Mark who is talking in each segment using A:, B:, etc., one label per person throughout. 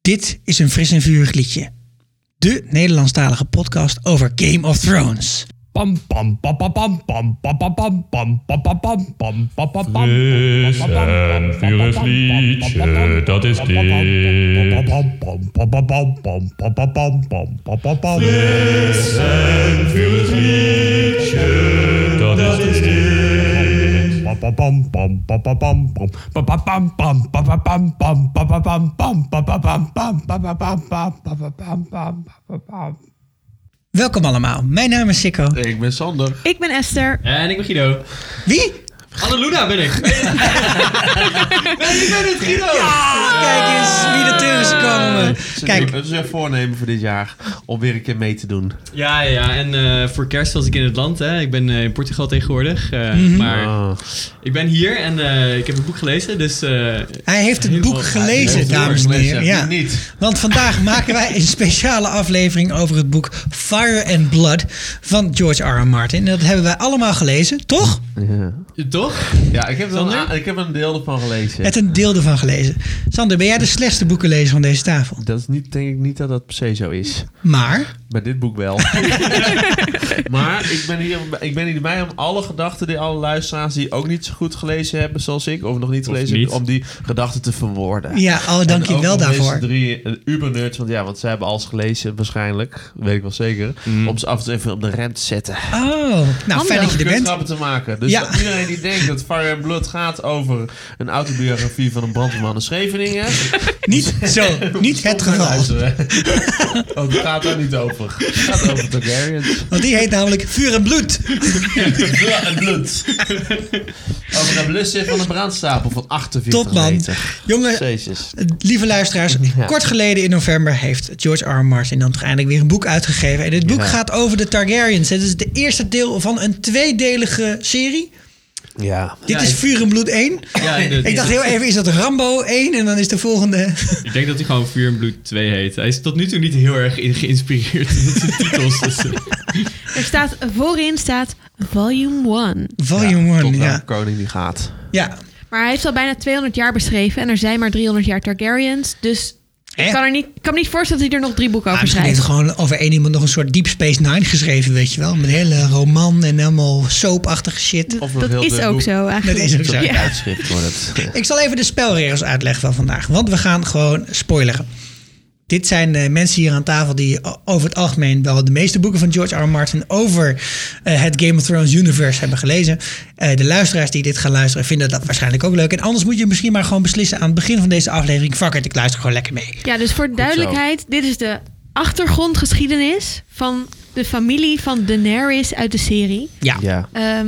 A: Dit is een fris en vurig liedje. De Nederlandstalige podcast over Game of Thrones.
B: Pam pam pam pam pam pam pam pam pam pam pam pam pam pam pam pam pam.
C: Fris en vurig liedje, dat is dit. Fris en vurig liedje, dat is dit.
A: Welkom allemaal, mijn naam is Sikko.
D: Ik ben Sander.
E: Ik ben Esther.
F: En ik ben Guido.
A: Wie?
F: Annaluna ben ik. Nee, ik ben het, Guido.
A: Ah, Kijk eens wie er terug is gekomen. Kijk,
D: Het is een voornemen voor dit jaar om weer een keer mee te doen.
F: Ja, ja. En eh, voor kerst was ik in het land. Hè. Ik ben eh, in Portugal tegenwoordig. eh, Maar
D: Oh.
F: ik ben hier en eh, ik heb een boek gelezen. Dus eh,
A: hij heeft het boek gelezen,
D: Heel
A: dames en
D: voorgelezen,
A: heren.
D: wie
A: Ja.
D: Niet.
A: Want vandaag maken wij een speciale aflevering over het boek Fire and Blood van George R. R. Martin. En dat hebben wij allemaal gelezen, toch?
F: toch?
D: Ja, ik heb, er
F: Sander?
D: een, ik heb er een deel ervan gelezen.
A: Het een deel ervan gelezen. Sander, ben jij de slechtste boekenlezer van deze tafel?
D: Dat is niet, denk ik niet dat dat per se zo is.
A: Maar,
D: Bij dit boek wel. maar ik ben, hier, ik ben hier bij om alle gedachten die alle luisteraars die ook niet zo goed gelezen hebben zoals ik, of nog niet gelezen
F: niet.
D: hebben, om die gedachten te verwoorden.
A: ja, oh, dank
D: En
A: je
D: ook
A: wel
D: om
A: daarvoor.
D: Deze drie eh, ubernerds, want ja, want zij hebben alles gelezen waarschijnlijk, weet ik wel zeker, om ze af en toe even op de rem te zetten.
A: Oh, nou fijn dat je er
D: Om
A: bent.
D: kunstgrappen te maken. Dus
A: Ja.
D: dat iedereen die denkt dat Fire and Blood gaat over een autobiografie van een brandweerman in Scheveningen.
A: Niet zo, niet het
D: Kom
A: geval.
D: maar luisteren. Want het gaat daar niet over. Het gaat over Targaryens.
A: Want die heet namelijk Vuur en Bloed.
D: Vuur en bloed. Over een blusser van een brandstapel van 48
A: Top man.
D: meter.
A: Jongen,
D: Jezus.
A: lieve luisteraars. Kort geleden in november heeft George R. R. Martin dan toch eindelijk weer een boek uitgegeven. En dit boek
D: Ja.
A: gaat over de Targaryens. Het is de eerste deel van een tweedelige serie.
D: Ja.
A: Dit is Vuur en Bloed 1.
F: Ja,
A: Ik dacht
F: ik,
A: heel even, is dat Rambo 1? En dan is de volgende...
F: ik denk dat hij gewoon Vuur en Bloed 2 heet. Hij is tot nu toe niet heel erg in- geïnspireerd met zijn titels. Dus, eh,
E: Er staat, voorin staat volume 1.
A: Volume 1,
D: Tot naar
A: ja.
D: de koning die gaat.
A: Ja.
E: Maar hij heeft al bijna 200 jaar beschreven en er zijn maar 300 jaar Targaryens. Dus
A: Hè?
E: ik kan, er niet, ik kan me niet voorstellen dat hij er nog drie boeken
A: Maar
E: over
A: misschien heeft
E: schrijft.
A: gewoon over één iemand nog een soort Deep Space Nine geschreven, weet je wel. Met hele roman en helemaal soapachtige shit.
D: Of een heel
E: Dat is
D: dun
E: ook
D: boek.
E: zo
A: Dat
E: eigenlijk.
A: is ook zo.
D: Zo'n
E: Ja.
D: tijdschrift wordt het.
A: Ik zal even de spelregels uitleggen van vandaag. Want we gaan gewoon spoileren. Dit zijn eh, mensen hier aan tafel die o- over het algemeen wel de meeste boeken van George R. R. Martin over eh, het Game of Thrones universe hebben gelezen. Eh, de luisteraars die dit gaan luisteren vinden dat waarschijnlijk ook leuk. En anders moet je misschien maar gewoon beslissen aan het begin van deze aflevering. Fuck it, ik luister gewoon lekker mee.
E: Ja, dus voor duidelijkheid, dit is de achtergrondgeschiedenis van de familie van Daenerys uit de serie.
A: Ja.
D: Ja.
E: Ehm,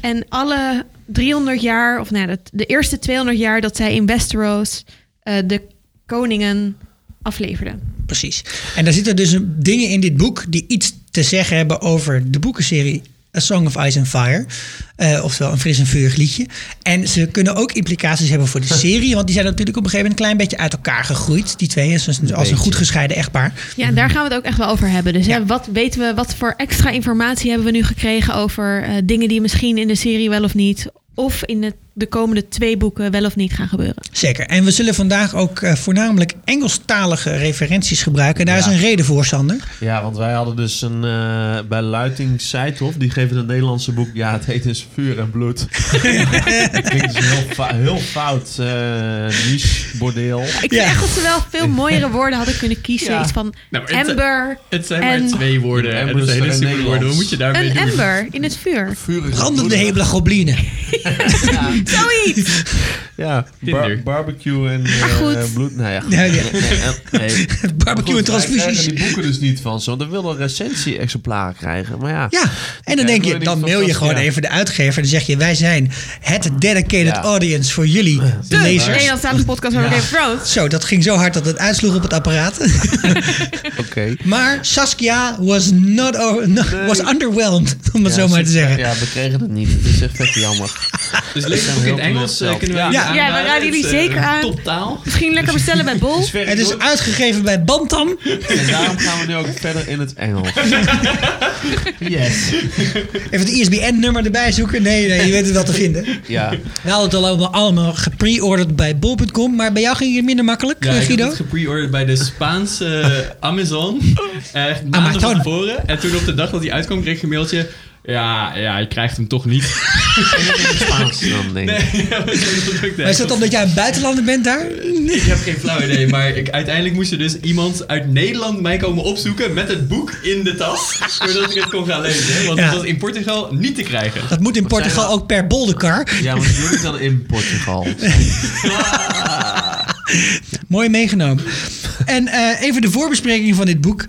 E: en alle 300 jaar, of nou, ja, dat, de eerste 200 jaar dat zij in Westeros eh, de koningen afleverde.
A: Precies. En daar zitten dus een- dingen in dit boek die iets te zeggen hebben over de boekenserie A Song of Ice and Fire. Eh, oftewel een fris en vurig liedje. En ze kunnen ook implicaties hebben voor de serie, want die zijn natuurlijk op een gegeven moment een klein beetje uit elkaar gegroeid. Die twee, als een, als een goed gescheiden echtpaar.
E: Ja, en daar gaan we het ook echt wel over hebben. Dus hè, wat weten we, wat voor extra informatie hebben we nu gekregen over eh, dingen die misschien in de serie wel of niet, of in het- de komende twee boeken wel of niet gaan gebeuren.
A: Zeker. En we zullen vandaag ook eh, voornamelijk Engelstalige referenties gebruiken. En daar is een reden voor, Sander.
D: Ja, want wij hadden dus een eh, bij Luiting Seithof, die geven het Nederlandse boek, ja, het heet dus Vuur en Bloed. Dat klinkt dus heel, fa- heel fout, eh niche bordeel.
E: Ik
A: Ja.
E: vind echt dat ze wel veel mooiere woorden hadden kunnen kiezen.
D: Ja.
E: Iets van
F: Nou, maar het-
E: ember,
F: het zijn maar
E: En-
F: twee woorden.
D: En moest
F: En het zijn
D: er
F: hele
D: een
F: simpele woorden. Hoe moet je daarmee
E: een
F: doen?
E: ember in het vuur.
D: Vuur en
A: Brandende
D: bloed.
A: hebele goblinen.
E: Zoiets!
D: Ja,
F: Tinder.
D: bar- barbecue en
E: Maar
D: eh,
E: goed.
D: bloed. Nou ja, goed.
A: Ja, ja.
D: Nee, nee, nee. Maar
A: Barbecue
D: goed,
A: en
D: Wij
A: transfusies.
D: krijgen die boeken dus niet van ze, want we wilden recensie-exemplaren krijgen. Maar ja,
A: Ja, en dan
D: Ja,
A: denk
D: ik
A: je,
D: wil
A: dan
D: niet
A: mail je
D: vast-
A: gewoon
D: ja.
A: even de uitgever. en Dan zeg je, wij zijn het dedicated
D: Ja.
A: audience voor jullie, de
E: De
A: lezers.
E: Nederlandstalige podcast over Game of Thrones.
A: Zo, dat ging zo hard dat het uitsloeg op het apparaat.
D: oké.
A: maar Saskia was, not over- no- was underwhelmed, om het
D: Ja,
A: zo maar
D: ze-
A: te zeggen.
D: Ja, we kregen het niet. Het is echt vet jammer.
F: Dus lees
D: zijn
F: Ook in
D: heel
F: het Engels eh,
D: teleurgesteld.
F: kunnen we
D: Ja.
E: Ja, we raden jullie
F: Het is, eh,
E: zeker aan.
F: Toptaal.
E: Misschien lekker bestellen bij Bol.
D: ver-
A: Het is uitgegeven bij Bantam.
D: En daarom gaan we nu ook verder in het Engels. yes.
A: Even het ISBN-nummer erbij zoeken. Nee, nee, je weet het wel te vinden.
D: Ja.
A: We hadden het al allemaal, allemaal gepre-orderd bij bol.com. Maar bij jou ging het minder makkelijk,
F: Ja,
A: eh,
F: ik heb
A: Guido?
F: het gepre-orderd bij de Spaanse eh, Amazon.
A: Ah,
F: Echt maanden
A: Amazon.
F: van tevoren. En toen op de dag dat hij uitkwam, kreeg ik een mailtje. Ja, ja, je krijgt hem toch niet.
D: Spaans dan, denk ik.
F: Nee, ja, maar zo druk, hè.
A: Maar is dat omdat jij een buitenlander bent daar? Nee.
F: Ik heb geen flauw idee, maar ik, uiteindelijk moest er dus iemand uit Nederland mij komen opzoeken met het boek in de tas. Zodat ik het kon gaan lezen. Want
A: Ja.
F: het was in Portugal niet te krijgen.
A: Dat moet in Portugal
D: zijn we-
A: ook per boldenkar.
D: Ja, want jullie dan in Portugal.
A: Mooi meegenomen. En eh, even de voorbespreking van dit boek.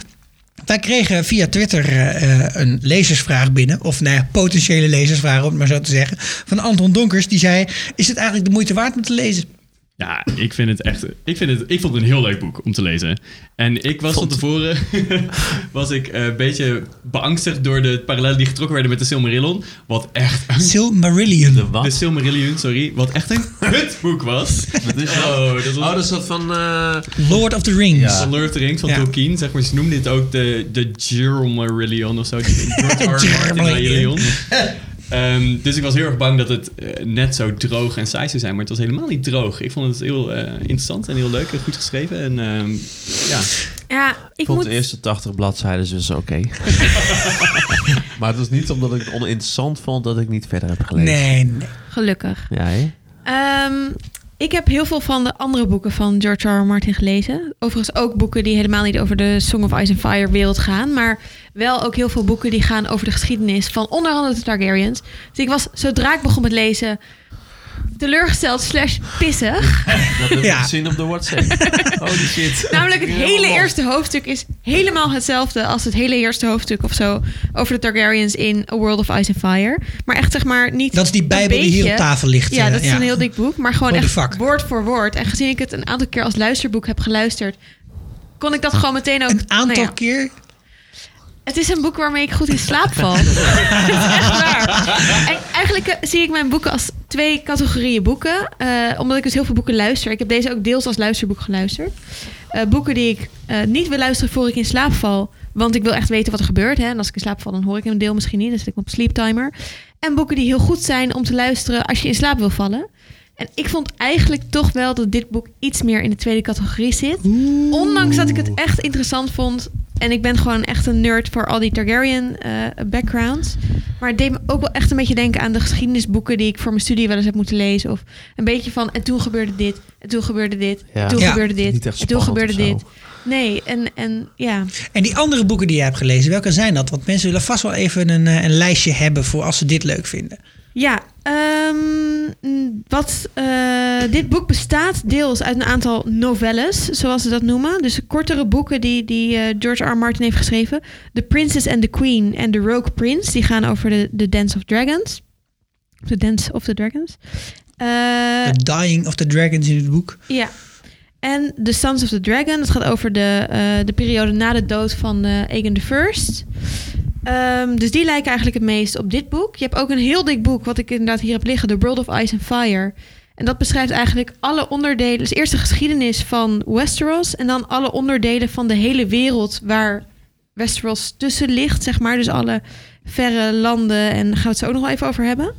A: Wij kregen via Twitter eh, eh, een lezersvraag binnen. Of nou ja, potentiële lezersvraag, om het maar zo te zeggen. Van Anton Donkers. Die zei, is het eigenlijk de moeite waard om te lezen?
F: Ja, ik vind het echt. Ik, vind het, ik vond het een heel leuk boek om te lezen. En ik was van tevoren was ik eh, een beetje beangstigd door de parallellen die getrokken werden met de Silmarillion. Wat echt. een-
A: Silmarillion.
D: De wat?
F: De Silmarillion, sorry. Wat echt een kutboek was.
D: Wat is dat?
F: Oh, dat was.
D: Oh, dat is dat van... eh,
A: Lord of the Rings.
F: van Lord of the Rings van
A: Ja.
F: Tolkien, zeg maar, ze noemden dit ook de, de Silmarillion of zo. George R. R. Martin
A: Silmarillion.
F: Silmarillion. Ehm, dus ik was heel erg bang dat het eh, net zo droog en saai zou zijn, maar het was helemaal niet droog. Ik vond het heel eh, interessant en heel leuk en goed geschreven. En ehm, ja,
E: Ja, ik
D: Ik vond
E: moet...
D: de eerste 80 bladzijden dus oké. maar het was niet omdat ik het oninteressant vond dat ik niet verder heb gelezen.
A: Nee, nee.
E: Gelukkig.
D: Ja, hè?
E: Ehm, ik heb heel veel van de andere boeken van George R. R. Martin gelezen. Overigens ook boeken die helemaal niet over de Song of Ice and Fire wereld gaan. Maar wel ook heel veel boeken die gaan over de geschiedenis van onder andere de Targaryens. Dus ik was, zodra ik begon met lezen, teleurgesteld slash pissig.
D: Dat heb ik
A: Ja.
D: gezien op de WhatsApp. Holy shit.
E: Namelijk het
D: Helemaal
E: hele
D: los.
E: eerste hoofdstuk is helemaal hetzelfde als het hele eerste hoofdstuk of zo over de Targaryens in A World of Ice and Fire. Maar echt zeg maar niet
A: Dat is die
E: een
A: Bijbel die hier
E: beetje.
A: op tafel ligt.
E: Ja,
A: eh,
E: dat is een heel dik boek, maar gewoon
A: Holy
E: echt
A: fuck.
E: woord voor woord. En gezien ik het een aantal keer als luisterboek heb geluisterd, kon ik dat gewoon meteen ook.
A: Een aantal
E: nou ja,
A: keer.
E: Het is een boek waarmee ik goed in slaap val. Dat is echt waar. En eigenlijk eh, zie ik mijn boeken als twee categorieën boeken, eh, omdat ik dus heel veel boeken luister. Ik heb deze ook deels als luisterboek geluisterd. Eh, boeken die ik eh, niet wil luisteren voor ik in slaap val, want ik wil echt weten wat er gebeurt. Hè? En als ik in slaap val, dan hoor ik een deel misschien niet. Dan zit ik op sleeptimer. En boeken die heel goed zijn om te luisteren als je in slaap wil vallen. En ik vond eigenlijk toch wel dat dit boek iets meer in de tweede categorie zit. Ondanks dat ik het echt interessant vond. En ik ben gewoon echt een nerd voor al die Targaryen eh, backgrounds. Maar het deed me ook wel echt een beetje denken aan de geschiedenisboeken die ik voor mijn studie wel eens heb moeten lezen. Of een beetje van, en toen gebeurde dit, en toen gebeurde dit,
D: Ja.
E: en toen
A: Ja.
E: gebeurde dit,
D: Niet echt
E: en toen
D: spannend
E: gebeurde
D: of
E: dit.
D: zo.
E: Nee, en, en ja.
A: En die andere boeken die jij hebt gelezen, welke zijn dat? Want mensen willen vast wel even een, eh, een lijstje hebben voor als ze dit leuk vinden.
E: Ja, ehm, mm, wat, eh, dit boek bestaat deels uit een aantal novelles, zoals ze dat noemen. Dus kortere boeken die, die eh, George R. R. Martin heeft geschreven. The Princess and the Queen en The Rogue Prince. Die gaan over de, de Dance of Dragons. The Dance of the Dragons. Eh,
A: The Dying of the Dragons in het boek.
E: ja. En The Sons of the Dragon. Dat gaat over de, eh, de periode na de dood van eh Aegon the First. Ehm, dus die lijken eigenlijk het meest op dit boek. Je hebt ook een heel dik boek, wat ik inderdaad hier heb liggen: The World of Ice and Fire. En dat beschrijft eigenlijk alle onderdelen. Dus eerst de geschiedenis van Westeros. En dan alle onderdelen van de hele wereld waar Westeros tussen ligt, zeg maar. Dus alle verre landen. En daar gaan we het zo ook nog wel even over hebben.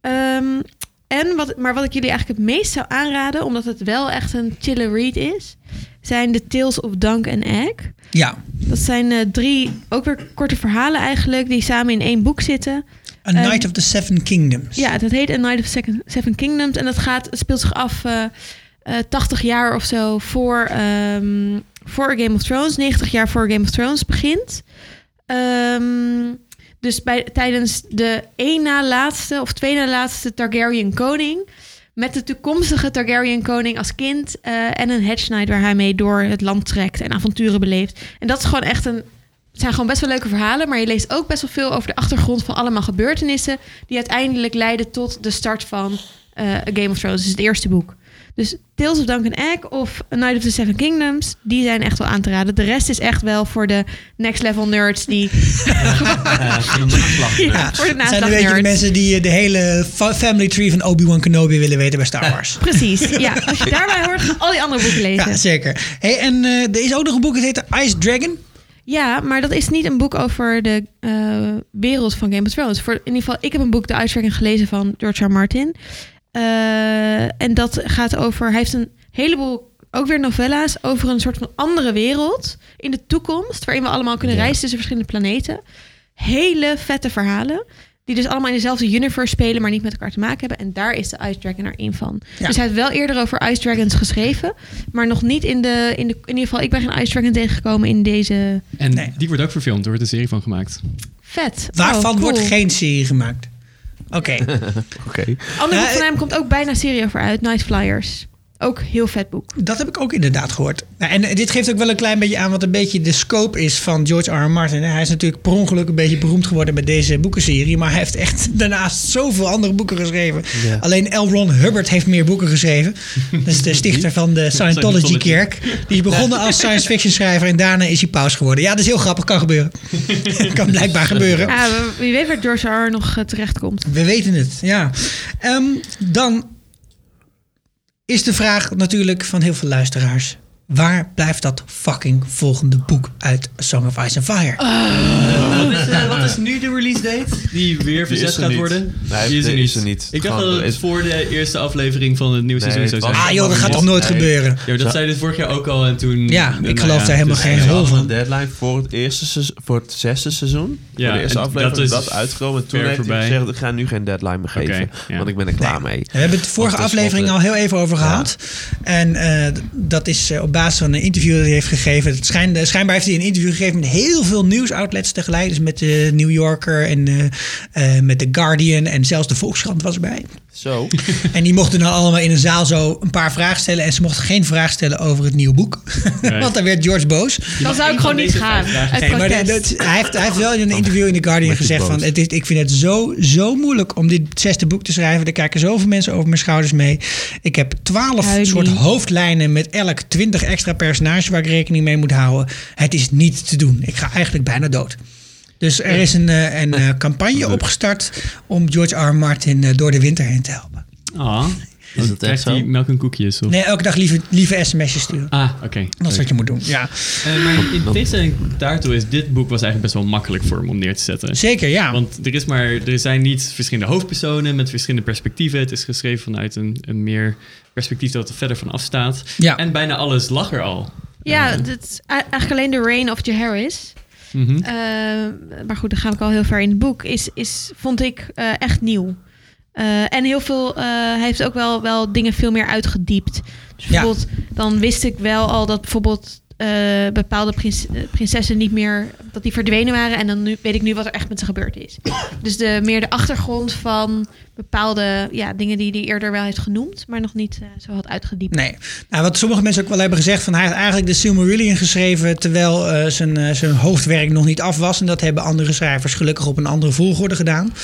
E: Ehm, en wat, maar wat ik jullie eigenlijk het meest zou aanraden, omdat het wel echt een chille read is, zijn de Tales of Dunk and Egg.
A: Ja,
E: Dat zijn eh, drie ook weer korte verhalen eigenlijk, die samen in één boek zitten.
A: A
E: Ehm,
A: Night of the Seven Kingdoms.
E: Ja, dat heet A Night of Second- Seven Kingdoms. En dat gaat, het speelt zich af eh eh, 80 jaar of zo voor, ehm, voor Game of Thrones. 90 jaar voor Game of Thrones begint. Ehm, dus bij, tijdens de één na laatste of twee na laatste Targaryen koning... met de toekomstige Targaryen koning als kind... eh, en een Hedge Knight waar hij mee door het land trekt... en avonturen beleeft. En dat is gewoon echt een... Het zijn gewoon best wel leuke verhalen... maar je leest ook best wel veel over de achtergrond... van allemaal gebeurtenissen die uiteindelijk leiden tot de start van eh, A Game of Thrones. Dus het eerste boek. Dus Tales of Duncan Egg of A Night of the Seven Kingdoms, die zijn echt wel aan te raden. De rest is echt wel voor de next level nerds die
D: Eh, voor de naslag.
E: ja, voor de
A: Het zijn een beetje de
E: naslagnerds.
A: mensen die eh, de hele fa- family tree van Obi-Wan Kenobi willen weten bij Star Wars.
E: Precies, ja. Als je daarbij hoort, gaan al die andere boeken lezen.
A: Ja,
E: Ja,
A: zeker. Hey, en eh, er is ook nog een boek, dat heet Ice Dragon.
E: maar dat is niet een boek over de eh, wereld van Game of Thrones. Voor, in ieder geval, ik heb een boek, De Uitwerking, gelezen van George R. R. Martin. Eh, en dat gaat over... Hij heeft een heleboel, ook weer novella's... over een soort van andere wereld in de toekomst... waarin we allemaal kunnen reizen tussen verschillende planeten. Hele vette verhalen... Die dus allemaal in dezelfde universe spelen, maar niet met elkaar te maken hebben. En daar is de Ice Dragon er één van.
A: Ja.
E: Dus hij heeft wel eerder over Ice Dragons geschreven. Maar nog niet in de, in de. In ieder geval, ik ben geen Ice Dragon tegengekomen in deze.
F: En
A: Nee.
F: die wordt ook verfilmd, er wordt een serie van gemaakt.
E: Vet.
A: Waarvan
E: Oh, cool.
A: wordt geen serie gemaakt? Oké.
D: Oké.
E: Ander boek
A: Ja, eh-
E: van hem komt ook bijna serie over uit. Night Flyers. Ook heel vet boek.
A: Dat heb ik ook inderdaad gehoord. Nou, en eh, dit geeft ook wel een klein beetje aan wat een beetje de scope is van George R. R. Martin. Hij is natuurlijk per ongeluk een beetje beroemd geworden met deze boekenserie. Maar hij heeft echt daarnaast zoveel andere boeken geschreven.
D: Ja.
A: Alleen L. Ron Hubbard heeft meer boeken geschreven. Dat is de stichter van de
F: Scientology.
A: Scientology-kerk. Die is begonnen als science fiction schrijver en daarna is hij paus geworden. Ja, dat is heel grappig. Kan gebeuren. kan blijkbaar gebeuren.
E: Ja, we- wie weet waar George R. R. nog eh, terechtkomt.
A: We weten het, ja. Ehm, dan is de vraag natuurlijk van heel veel luisteraars. Waar blijft dat fucking volgende boek uit A Song of Ice and Fire?
F: Wat is,
A: eh,
F: nu de release date? Die weer
D: Die
F: verzet
D: is er
F: gaat
D: niet.
F: worden?
D: Nee,
F: die is er,
D: die
F: niet.
D: is er niet.
F: Ik dacht
D: Gewoon,
F: dat het
D: het-
F: voor de eerste aflevering van het nieuwe
D: Nee,
F: seizoen
D: het
F: zou
D: was-
F: zijn.
A: ah joh, dat gaat toch nooit
D: Nee.
A: gebeuren?
F: Ja, maar dat
D: Zo-
F: zei dit vorig jaar ook al en toen... Nou dus-
A: Ja, ik geloof daar helemaal
F: het is-
A: geen
D: Er
A: rol
D: was
A: van.
D: een deadline voor het, eerste seizoen- voor het zesde seizoen.
F: Ja,
D: voor de eerste
F: en
D: aflevering.
F: dat
D: Dat
F: is
D: is dat uitgekomen. Toen
F: ver
D: heeft hij
F: voorbij.
D: gezegd, ik ga nu geen deadline meer geven.
F: ja.
D: Want ik ben er klaar mee.
A: We hebben het de vorige
D: Want het is
A: aflevering al
D: altijd-
A: heel even over gehad. En eh, d- dat is eh, op basis van een interview dat hij heeft gegeven. Het schijn- eh, schijnbaar heeft hij een interview gegeven met heel veel nieuwsoutlets tegelijk. Dus met de New Yorker en eh, eh, met The Guardian. En zelfs de Volkskrant was erbij.
D: Zo.
A: En die mochten dan allemaal in een zaal zo een paar vragen stellen. En ze mochten geen vraag stellen over het nieuwe boek.
F: Nee.
A: Want dan werd George boos.
E: Dan zou ik gewoon
F: één van
E: niet
F: deze
E: gaan.
F: vijf dagen.
E: Uit
A: Nee, maar dat,
E: protest.
A: dat- hij, heeft, hij heeft wel in een interview in The Guardian
D: Word je
A: gezegd
D: boos.
A: van... Het is, ik vind het zo, zo moeilijk om dit zesde boek te schrijven. Er kijken zoveel mensen over mijn schouders mee. Ik heb twaalf
E: Huilie.
A: soort hoofdlijnen met elk twintig extra personages... waar ik rekening mee moet houden. Het is niet te doen. Ik ga eigenlijk bijna dood. Dus er is een, eh, een eh, campagne opgestart om George R. R. Martin eh, door de winter heen te helpen.
F: Ah, is
D: het echt
F: die
D: zo?
F: melk en koekjes? Of?
A: Nee, elke dag lieve, lieve sms'jes sturen.
F: Ah, oké.
A: Dat is wat je moet doen. Ja.
F: Eh, maar in tegenstelling daartoe is dit boek was eigenlijk best wel makkelijk voor hem om neer te zetten.
A: Zeker, ja.
F: Want er, is maar, er zijn niet verschillende hoofdpersonen met verschillende perspectieven. Het is geschreven vanuit een, een meer perspectief dat er verder van afstaat.
A: Ja.
F: En bijna alles lag er al.
E: Ja, dat is eigenlijk alleen de Reign of Jaharis.
F: Mhm.
E: Eh, maar goed, dan ga ik al heel ver in het boek. Is, is, vond ik eh, echt nieuw. Eh, en heel veel, eh, hij heeft ook wel, wel dingen veel meer uitgediept. Dus
A: Ja.
E: bijvoorbeeld, dan wist ik wel al dat bijvoorbeeld eh, bepaalde prins- eh, prinsessen niet meer, dat die verdwenen waren. En dan nu, weet ik nu wat er echt met ze gebeurd is. dus de, meer de achtergrond van bepaalde ja, dingen die hij eerder wel heeft genoemd, maar nog niet eh, zo had uitgediept.
A: Nee. Nou, wat sommige mensen ook wel hebben gezegd, van hij heeft eigenlijk de Silmarillion geschreven terwijl eh, zijn, eh, zijn hoofdwerk nog niet af was. En dat hebben andere schrijvers gelukkig op een andere volgorde gedaan.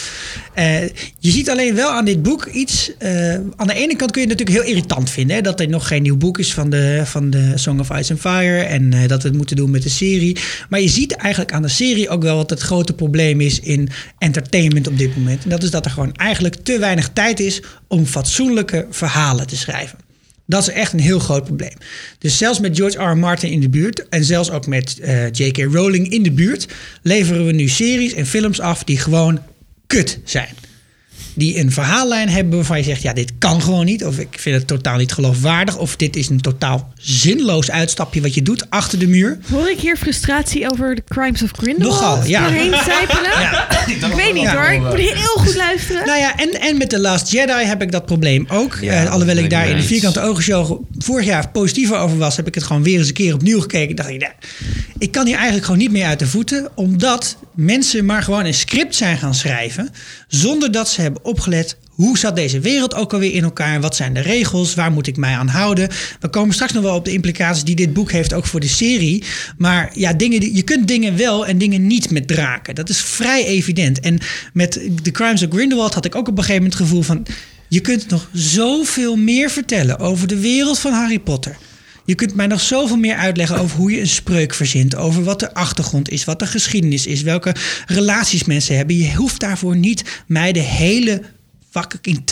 A: Eh, je ziet alleen wel aan dit boek iets. eh, aan de ene kant kun je het natuurlijk heel irritant vinden. Hè, dat er nog geen nieuw boek is van de, van de Song of Ice and Fire. En eh, dat we het moeten doen met de serie. Maar je ziet eigenlijk aan de serie ook wel wat het grote probleem is in entertainment op dit moment. En dat is dat er gewoon eigenlijk te weinig tijd is om fatsoenlijke verhalen te schrijven. Dat is echt een heel groot probleem. Dus zelfs met George R. R. Martin in de buurt en zelfs ook met eh, J.K. Rowling in de buurt leveren we nu series en films af die gewoon kut zijn. Die een verhaallijn hebben waarvan je zegt: ja, dit kan gewoon niet. Of ik vind het totaal niet geloofwaardig. Of dit is een totaal zinloos uitstapje wat je doet achter de muur.
E: Hoor ik hier frustratie over de Crimes of Grindelwald
A: Nogal, ja.
E: doorheen sijpelen? Ik weet niet hoor, ik moet
F: eh,
E: heel goed luisteren.
A: Nou ja, en, en met The Last Jedi heb ik dat probleem ook.
D: Ja,
A: Eh,
D: dat
A: alhoewel
D: ben
A: ik
D: ik
A: daar
D: mee
A: in de
D: eens.
A: vierkante ogen show vorig jaar positiever over was, heb ik het gewoon weer eens een keer opnieuw gekeken. Ik dacht, ik, nou, ik kan hier eigenlijk gewoon niet meer uit de voeten, omdat mensen maar gewoon een script zijn gaan schrijven, zonder dat ze hebben opgelet. Hoe zat deze wereld ook alweer in elkaar? Wat zijn de regels? Waar moet ik mij aan houden? We komen straks nog wel op de implicaties die dit boek heeft, ook voor de serie. Maar ja, dingen die, je kunt dingen wel en dingen niet met draken. Dat is vrij evident. En met The Crimes of Grindelwald had ik ook op een gegeven moment het gevoel van... Je kunt nog zoveel meer vertellen over de wereld van Harry Potter. Je kunt mij nog zoveel meer uitleggen over hoe je een spreuk verzint. Over wat de achtergrond is, wat de geschiedenis is, welke relaties mensen hebben. Je hoeft daarvoor niet mij de hele fuck, in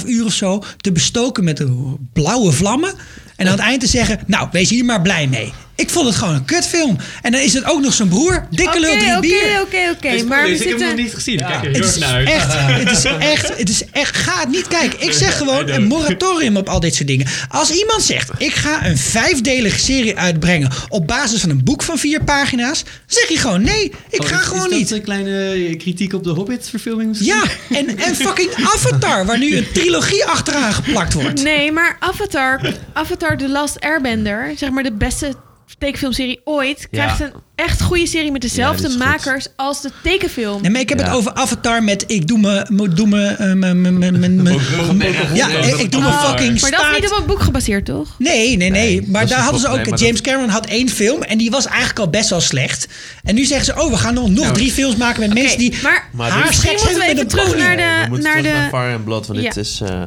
A: 2,5 uur of zo te bestoken met de blauwe vlammen. En aan het eind te zeggen, nou, wees hier maar blij mee. Ik vond het gewoon een kutfilm. En dan is het ook nog zijn broer, dikke lul, drie
E: Oké,
A: bier.
E: oké, oké, oké. Maar we
F: Dus ik heb hem nog
E: zitten...
F: niet gezien. Ik Kijk er
A: Het
F: heel
A: is,
F: erg naar uit.
A: echt, het, is echt, het is echt, ga het niet kijken. Ik zeg gewoon een moratorium op al dit soort dingen. Als iemand zegt, ik ga een vijfdelige serie uitbrengen op basis van een boek van vier pagina's, zeg je gewoon nee, ik ga gewoon
F: Oh, is
A: niet.
F: dat een kleine eh, kritiek op de Hobbit-verfilming?
A: Ja, en, en fucking Avatar, waar nu een trilogie achteraan geplakt wordt.
E: Nee, maar Avatar, Avatar The Last Airbender, zeg maar de beste tekenfilmserie ooit, krijgt een echt goede serie met dezelfde
D: is goed.
E: makers als de tekenfilm.
A: Nee, maar ik heb het
D: Ja.
A: over Avatar met ik doe me, me- doe me, eh, me, me, me, me- me- ja, ik, ik doe me
E: Oh,
A: fucking
E: maar dat is
A: staart.
E: niet op een boek gebaseerd, toch?
A: Nee, nee, nee.
D: dat
A: maar
D: is
A: daar
D: een
A: hadden ze
D: goed-
A: ook.
D: nee, maar
A: James Cameron had één film en die was eigenlijk al best wel slecht. En nu zeggen ze: Oh, we gaan nog, nog drie films maken met mensen die.
E: maar
D: Nou, Maar dit-
E: misschien
A: haarscheks
E: moeten we
A: hebben
E: even
A: met
E: terug
A: een pony.
E: naar
D: We
E: de...
D: moeten
E: Naar
D: terug naar
E: de
D: Fire and Blood, want
E: Ja.
D: dit is... eh,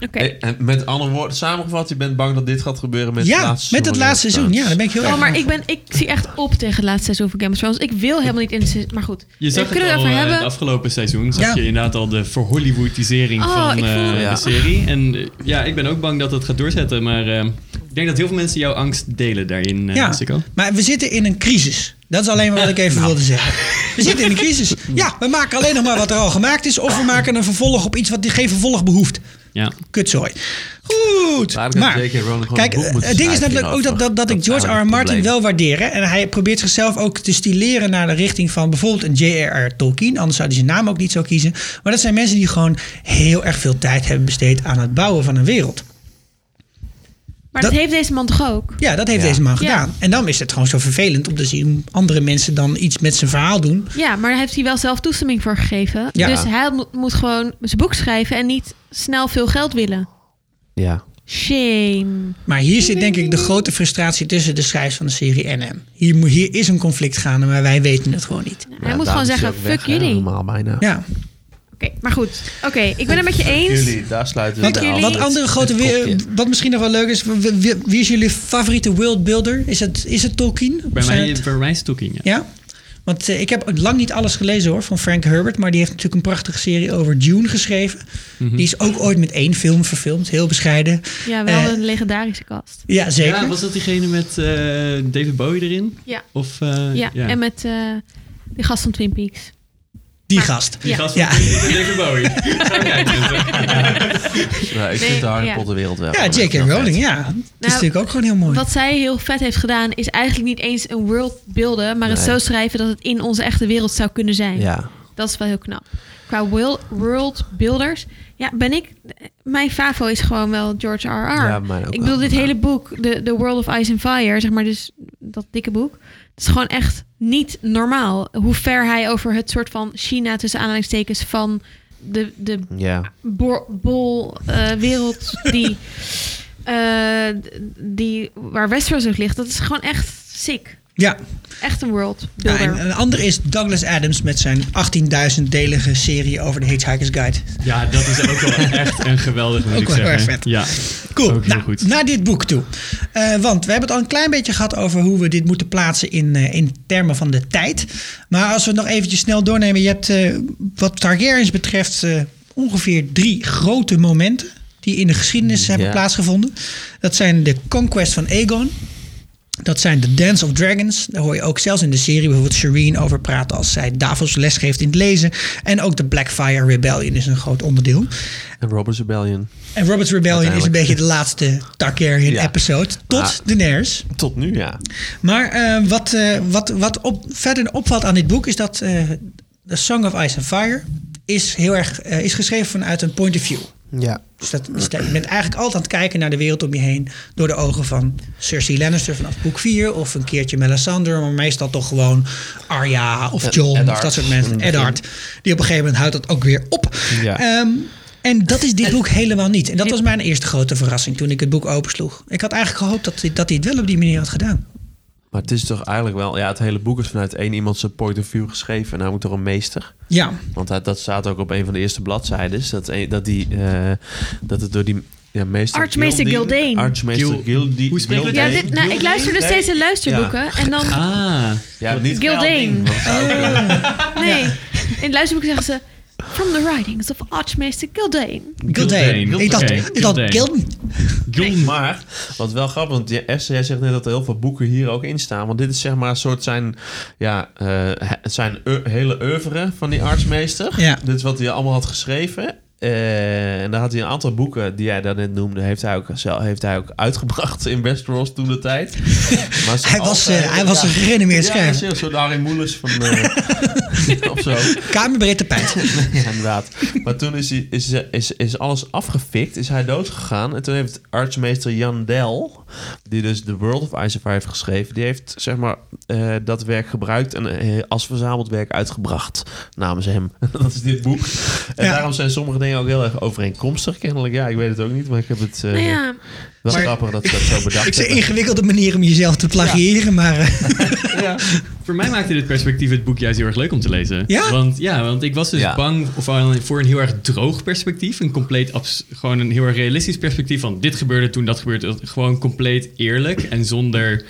E: Oké.
D: eh, en met andere woorden, samengevat, je bent bang dat dit gaat gebeuren met het
A: Ja,
D: laatste
A: met het
D: Game of
A: laatste seizoen.
D: Thrones.
A: Ja, daar ben ik heel
E: Oh,
A: erg.
E: maar ik, ben, ik zie echt op tegen het laatste seizoen van Game of Thrones. Ik wil helemaal niet in de se- Maar goed,
F: Je zag
E: we kunnen
F: het
E: het over
F: al eh,
E: hebben.
F: het afgelopen seizoen. Zag
A: Ja.
F: je inderdaad al de verhollywoodisering
E: Oh,
F: van
E: ik
F: eh,
E: voel-
D: Ja.
F: de serie. En eh, ja, ik ben ook bang dat het gaat doorzetten. Maar eh, ik denk dat heel veel mensen jouw angst delen daarin, eh
A: Ja,
F: Sico.
A: maar we zitten in een crisis. Dat is alleen maar wat ik even wilde zeggen. We zitten in een crisis. Ja, we maken alleen nog maar wat er al gemaakt is. Of we maken een vervolg op iets wat die geen vervolg behoeft.
F: Ja.
A: Kutzooi. Goed.
D: Daar had
A: Maar,
D: J.K. Rowling gewoon
A: kijk, eh,
D: een boek moeten
A: het ding is
D: schrijven
A: natuurlijk ook dat,
D: hierover.
A: dat, dat ik
D: is
A: George R. R.
D: eigenlijk het
A: Martin
D: probleem.
A: wel waardeer. hè. En hij probeert zichzelf ook te stileren naar de richting van bijvoorbeeld een J.R.R. Tolkien. Anders zou hij zijn naam ook niet zo kiezen. Maar dat zijn mensen die gewoon heel erg veel tijd hebben besteed aan het bouwen van een wereld.
E: Maar
A: dat-
E: dat heeft deze man toch ook?
A: Ja, dat heeft
D: Ja.
A: deze man
E: Ja.
A: gedaan. En dan is het gewoon zo vervelend om te zien hoe andere mensen dan iets met zijn verhaal doen.
E: Ja, maar daar heeft hij wel zelf toestemming voor gegeven.
A: Ja.
E: Dus hij mo- moet gewoon zijn boek schrijven en niet snel veel geld willen.
D: Ja.
E: Shame.
A: Maar hier zit denk ik de grote frustratie tussen de schrijvers van de serie en hem. Hier, moet- hier is een conflict gaande, maar wij weten het gewoon niet.
E: hij moet gewoon zeggen, fuck jullie. Oké,
D: Normaal bijna.
A: Ja.
E: maar goed. Oké, ik ben het met je eens.
D: Jullie, daar sluiten
A: Wat,
D: we de
E: jullie-
A: wat
D: avond.
A: andere grote
D: Het
A: weer-
D: kopje.
A: wat misschien nog wel leuk is, wie, wie- wie is jullie favoriete worldbuilder? Is het, is het Tolkien? Of
F: Bij
A: zijn
F: mij,
A: het-
F: bij mij is het ook in, ja.
A: ja. Want eh, ik heb lang niet alles gelezen hoor van Frank Herbert, maar die heeft natuurlijk een prachtige serie over Dune geschreven. Die is ook ooit met één film verfilmd, heel bescheiden.
E: Ja, wel
A: Eh,
E: een legendarische kast.
A: ja zeker.
F: Ja, was dat diegene met eh, David Bowie erin?
E: Ja.
F: Of, eh,
E: Ja, en met eh die gast van Twin Peaks.
A: die
E: maar-
A: gast.
F: Die
E: Ja.
F: gast van
A: Ja.
F: David Bowie. Oké, mensen.
D: Nou, ik vind de Harry
E: ja.
D: Potter wereld
A: Ja,
D: wel. gewoon
A: J.K.
D: echt heel
A: Rowling,
D: vet.
A: ja. Dat is natuurlijk ook gewoon heel mooi.
E: Wat zij heel vet heeft gedaan, is eigenlijk niet eens een world builden, maar het
D: Nee.
E: zo schrijven dat het in onze echte wereld zou kunnen zijn.
D: Ja.
E: Dat is wel heel knap. Qua world, world builders, ja, ben ik. Mijn favo is gewoon wel George R.R.
D: Ja, mij ook
E: ik bedoel,
D: wel,
E: dit
D: ja.
E: hele boek, de, de World of Ice and Fire, zeg maar, dus dat dikke boek. Het is gewoon echt niet normaal hoe ver hij over het soort van China tussen aanhalingstekens van de, de
D: Ja.
E: bor- bol eh, wereld die, eh, d- die waar Westeros ook ligt. Dat is gewoon echt sick.
A: Ja,
E: Echt een world
A: ja
E: builder.
A: en eh, een ander is Douglas Adams met zijn 18.000-delige serie over de Hitchhiker's Guide.
F: ja, dat is ook wel echt een geweldig, moet
A: Ook
F: ik
A: wel erg
F: zeggen.
A: vet.
F: Ja.
A: Cool,
F: Ook heel
A: nou,
F: goed.
A: naar dit boek toe. Eh, want we hebben het al een klein beetje gehad over hoe we dit moeten plaatsen in, eh, in termen van de tijd. Maar als we het nog eventjes snel doornemen. Je hebt eh, wat Targaryens betreft eh, ongeveer drie grote momenten die in de geschiedenis hebben
D: Ja.
A: plaatsgevonden. Dat zijn de conquest van Aegon. Dat zijn de Dance of Dragons. Daar hoor je ook zelfs in de serie bijvoorbeeld Shireen over praten als zij Davos lesgeeft in het lezen. En ook de Blackfire Rebellion is een groot onderdeel.
D: En Robert's Rebellion.
A: En Robert's Rebellion is een beetje de laatste
D: Ja.
A: Targaryen-episode. Tot
D: Ah.
A: Daenerys.
D: Tot nu, ja.
A: Maar eh, wat, eh, wat, wat op, verder opvalt aan dit boek is dat eh The Song of Ice and Fire is, heel erg, eh, is geschreven vanuit een point of view.
D: Ja.
A: Dus dat, is dat- je bent eigenlijk altijd aan het kijken naar de wereld om je heen door de ogen van Cersei Lannister vanaf boek 4 of een keertje Melisandre, maar meestal toch gewoon Arya of
D: Ed-
A: Jon of
D: Eddard.
A: dat soort mensen.
D: In het begin.
A: Eddard, die op een gegeven moment houdt dat ook weer op.
D: Ja.
A: Ehm, en dat is dit boek helemaal niet. En dat was mijn eerste grote verrassing toen ik het boek opensloeg. Ik had eigenlijk gehoopt dat hij, dat hij het wel op die manier had gedaan.
D: Maar het is toch eigenlijk wel... Ja, het hele boek is vanuit één iemand zijn point of view geschreven. En hij moet toch een meester.
A: Ja,
D: Want dat, dat staat ook op een van de eerste bladzijdes. Dat, een- dat, die, eh, dat het door die ja, meester...
E: Archmeester Gildane.
D: Archmeester
F: Gil-
D: Gildi,
F: Hoe spreek je dat
E: Ja,
F: Nee,
E: dit, nou, ik luister dus steeds de luisterboeken. En dan,
F: Ah,
D: Ja, niet
E: Gildane.
D: Gildane, want het is ook,
F: Oh.
D: eh,
E: nee. In het luisterboek zeggen ze... From the writings of Archmeester Gildane.
A: Gildane.
F: Gildane.
A: Ik dacht,
F: Oké,
A: ik dacht
F: Gildane.
A: Gilden.
D: Maar, wat wel grappig, want je- Esther, jij zegt net dat er heel veel boeken hier ook in staan. Want dit is zeg maar een soort zijn, ja, eh, he- zijn eu- hele oeuvre van die artsmeester.
A: Ja.
D: Dit is wat hij allemaal had geschreven. Eh, en daar had hij een aantal boeken die jij daarnet noemde, heeft hij ook, zelf, heeft hij ook uitgebracht in Westeros toen de tijd. Maar ze
A: Hij was,
D: altijd-
A: eh, hij was
D: ja.
A: een gerenommeerd
D: Ja, hij is
A: schrijver.
D: een soort Harry Moelis van... eh of zo.
A: Kamerbreed tapijt.
D: Ja, inderdaad. Maar toen is, hij, is, is, is alles afgefikt, is hij doodgegaan. En toen heeft artsmeester Jan Del, die dus The World of Ice and Fire heeft geschreven, die heeft zeg maar eh, dat werk gebruikt en eh, als verzameld werk uitgebracht namens hem. dat is dit boek. En
A: Ja.
D: daarom zijn sommige dingen ook heel erg overeenkomstig kennelijk. Ja, ik weet het ook niet, maar ik heb het eh,
E: Nou ja,
D: wel
A: Maar-
D: grappig dat ze dat zo
A: Ik
D: bedacht
A: zei
D: hebben.
A: ingewikkelde manier om jezelf te plagiëren, maar... eh,
F: Voor mij maakte dit perspectief het boek juist heel erg leuk om te lezen.
A: Ja?
F: Want, ja, want ik was dus
D: Ja.
F: bang voor, voor een heel erg droog perspectief. Een compleet, abs- gewoon een heel erg realistisch perspectief van dit gebeurde toen, dat gebeurde. Gewoon compleet eerlijk en zonder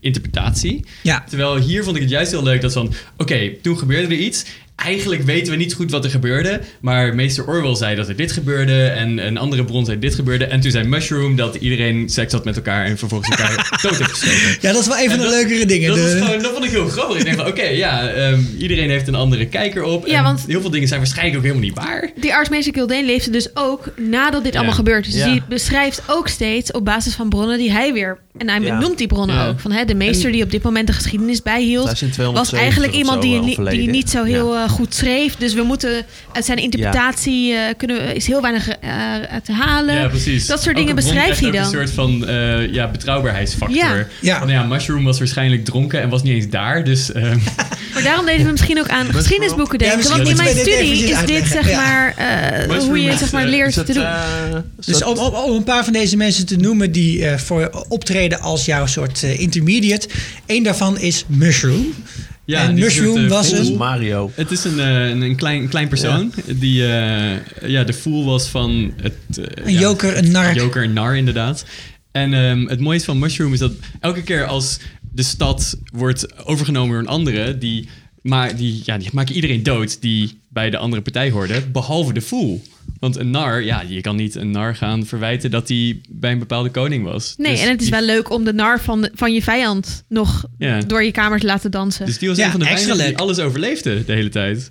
F: interpretatie.
A: ja,
F: Terwijl hier vond ik het juist heel leuk dat van, oké, toen gebeurde er iets. Eigenlijk weten we niet goed wat er gebeurde, maar meester Orwell zei dat er dit gebeurde en een andere bron zei dit gebeurde. En toen zei Mushroom dat iedereen seks had met elkaar en vervolgens elkaar dood heeft gestoken.
A: ja, dat is wel een van de
F: En dat-
A: leukere dingen.
F: Dat,
A: de-
F: is gewoon, dat vond ik heel grappig. Ik denk van, oké, ja, ehm, iedereen heeft een andere kijker op.
E: Ja,
F: en
E: want-
F: heel veel dingen zijn waarschijnlijk ook helemaal niet waar.
E: Die Archmeester Gildane leefde dus ook nadat dit
F: Ja.
E: allemaal gebeurd is. Dus
D: Ja.
E: die beschrijft ook steeds op basis van bronnen die hij weer... En hij
D: Ja.
E: noemt die bronnen
F: Ja.
E: ook. Van, hè, de meester die op dit moment de geschiedenis
D: Hij is
E: bijhield...
D: in 270
E: was eigenlijk
D: of
E: iemand
D: zo
E: die,
D: al
E: ni- die
D: overleden.
E: niet zo heel eh, goed schreef. Dus we moeten uit zijn interpretatie... eh, kunnen we, is heel weinig eh, uit te halen.
F: Ja, precies.
E: Dat soort dingen
F: Elke bron
E: beschrijft hij
F: krijgt
E: dan.
F: ook Een soort van eh, ja, betrouwbaarheidsfactor.
E: Ja.
A: Ja.
F: Van, ja, Mushroom was waarschijnlijk dronken en was niet eens daar. Dus ehm,
E: Maar daarom deden we misschien ook aan geschiedenisboeken
A: Ja,
E: denken.
A: misschien
E: want in
A: moeten
E: mijn
A: we dit
E: studie
A: eventjes
E: is dit
A: uitleggen.
E: zeg
A: Ja.
E: maar... eh,
F: Mushroom
E: hoe je
F: is,
E: zeg maar
F: eh,
E: leert
D: Is
E: te
D: dat,
E: doen.
D: eh, is
A: Dus
D: dat-
A: om, om, om een paar van deze mensen te noemen die eh, voor optreden als jouw soort eh, intermediate. Eén daarvan is Mushroom.
F: ja,
A: en
F: die
A: Mushroom
F: soort, eh,
A: was
D: dat
A: een-
D: is
F: fool.
D: Mario.
F: Het is een, eh, een, een klein, een klein persoon die eh, ja, de fool was van het... eh,
A: Een
F: ja,
A: joker, een nar.
F: Joker en Nar, inderdaad. En ehm, het mooiste van Mushroom is dat elke keer als de stad wordt overgenomen door een andere, die, maar die, ja, die maken iedereen dood die bij de andere partij hoorde, behalve de fool. Want een nar, ja, je kan niet een nar gaan verwijten dat hij bij een bepaalde koning was.
E: Nee,
F: Dus
E: en het is
F: die-
E: wel leuk om de nar van, de- van je vijand nog
F: Ja.
E: door je kamer te laten dansen.
F: Dus die was
A: Ja,
F: een van de
A: extra
F: weinigen die
A: leuk.
F: alles overleefde de hele tijd.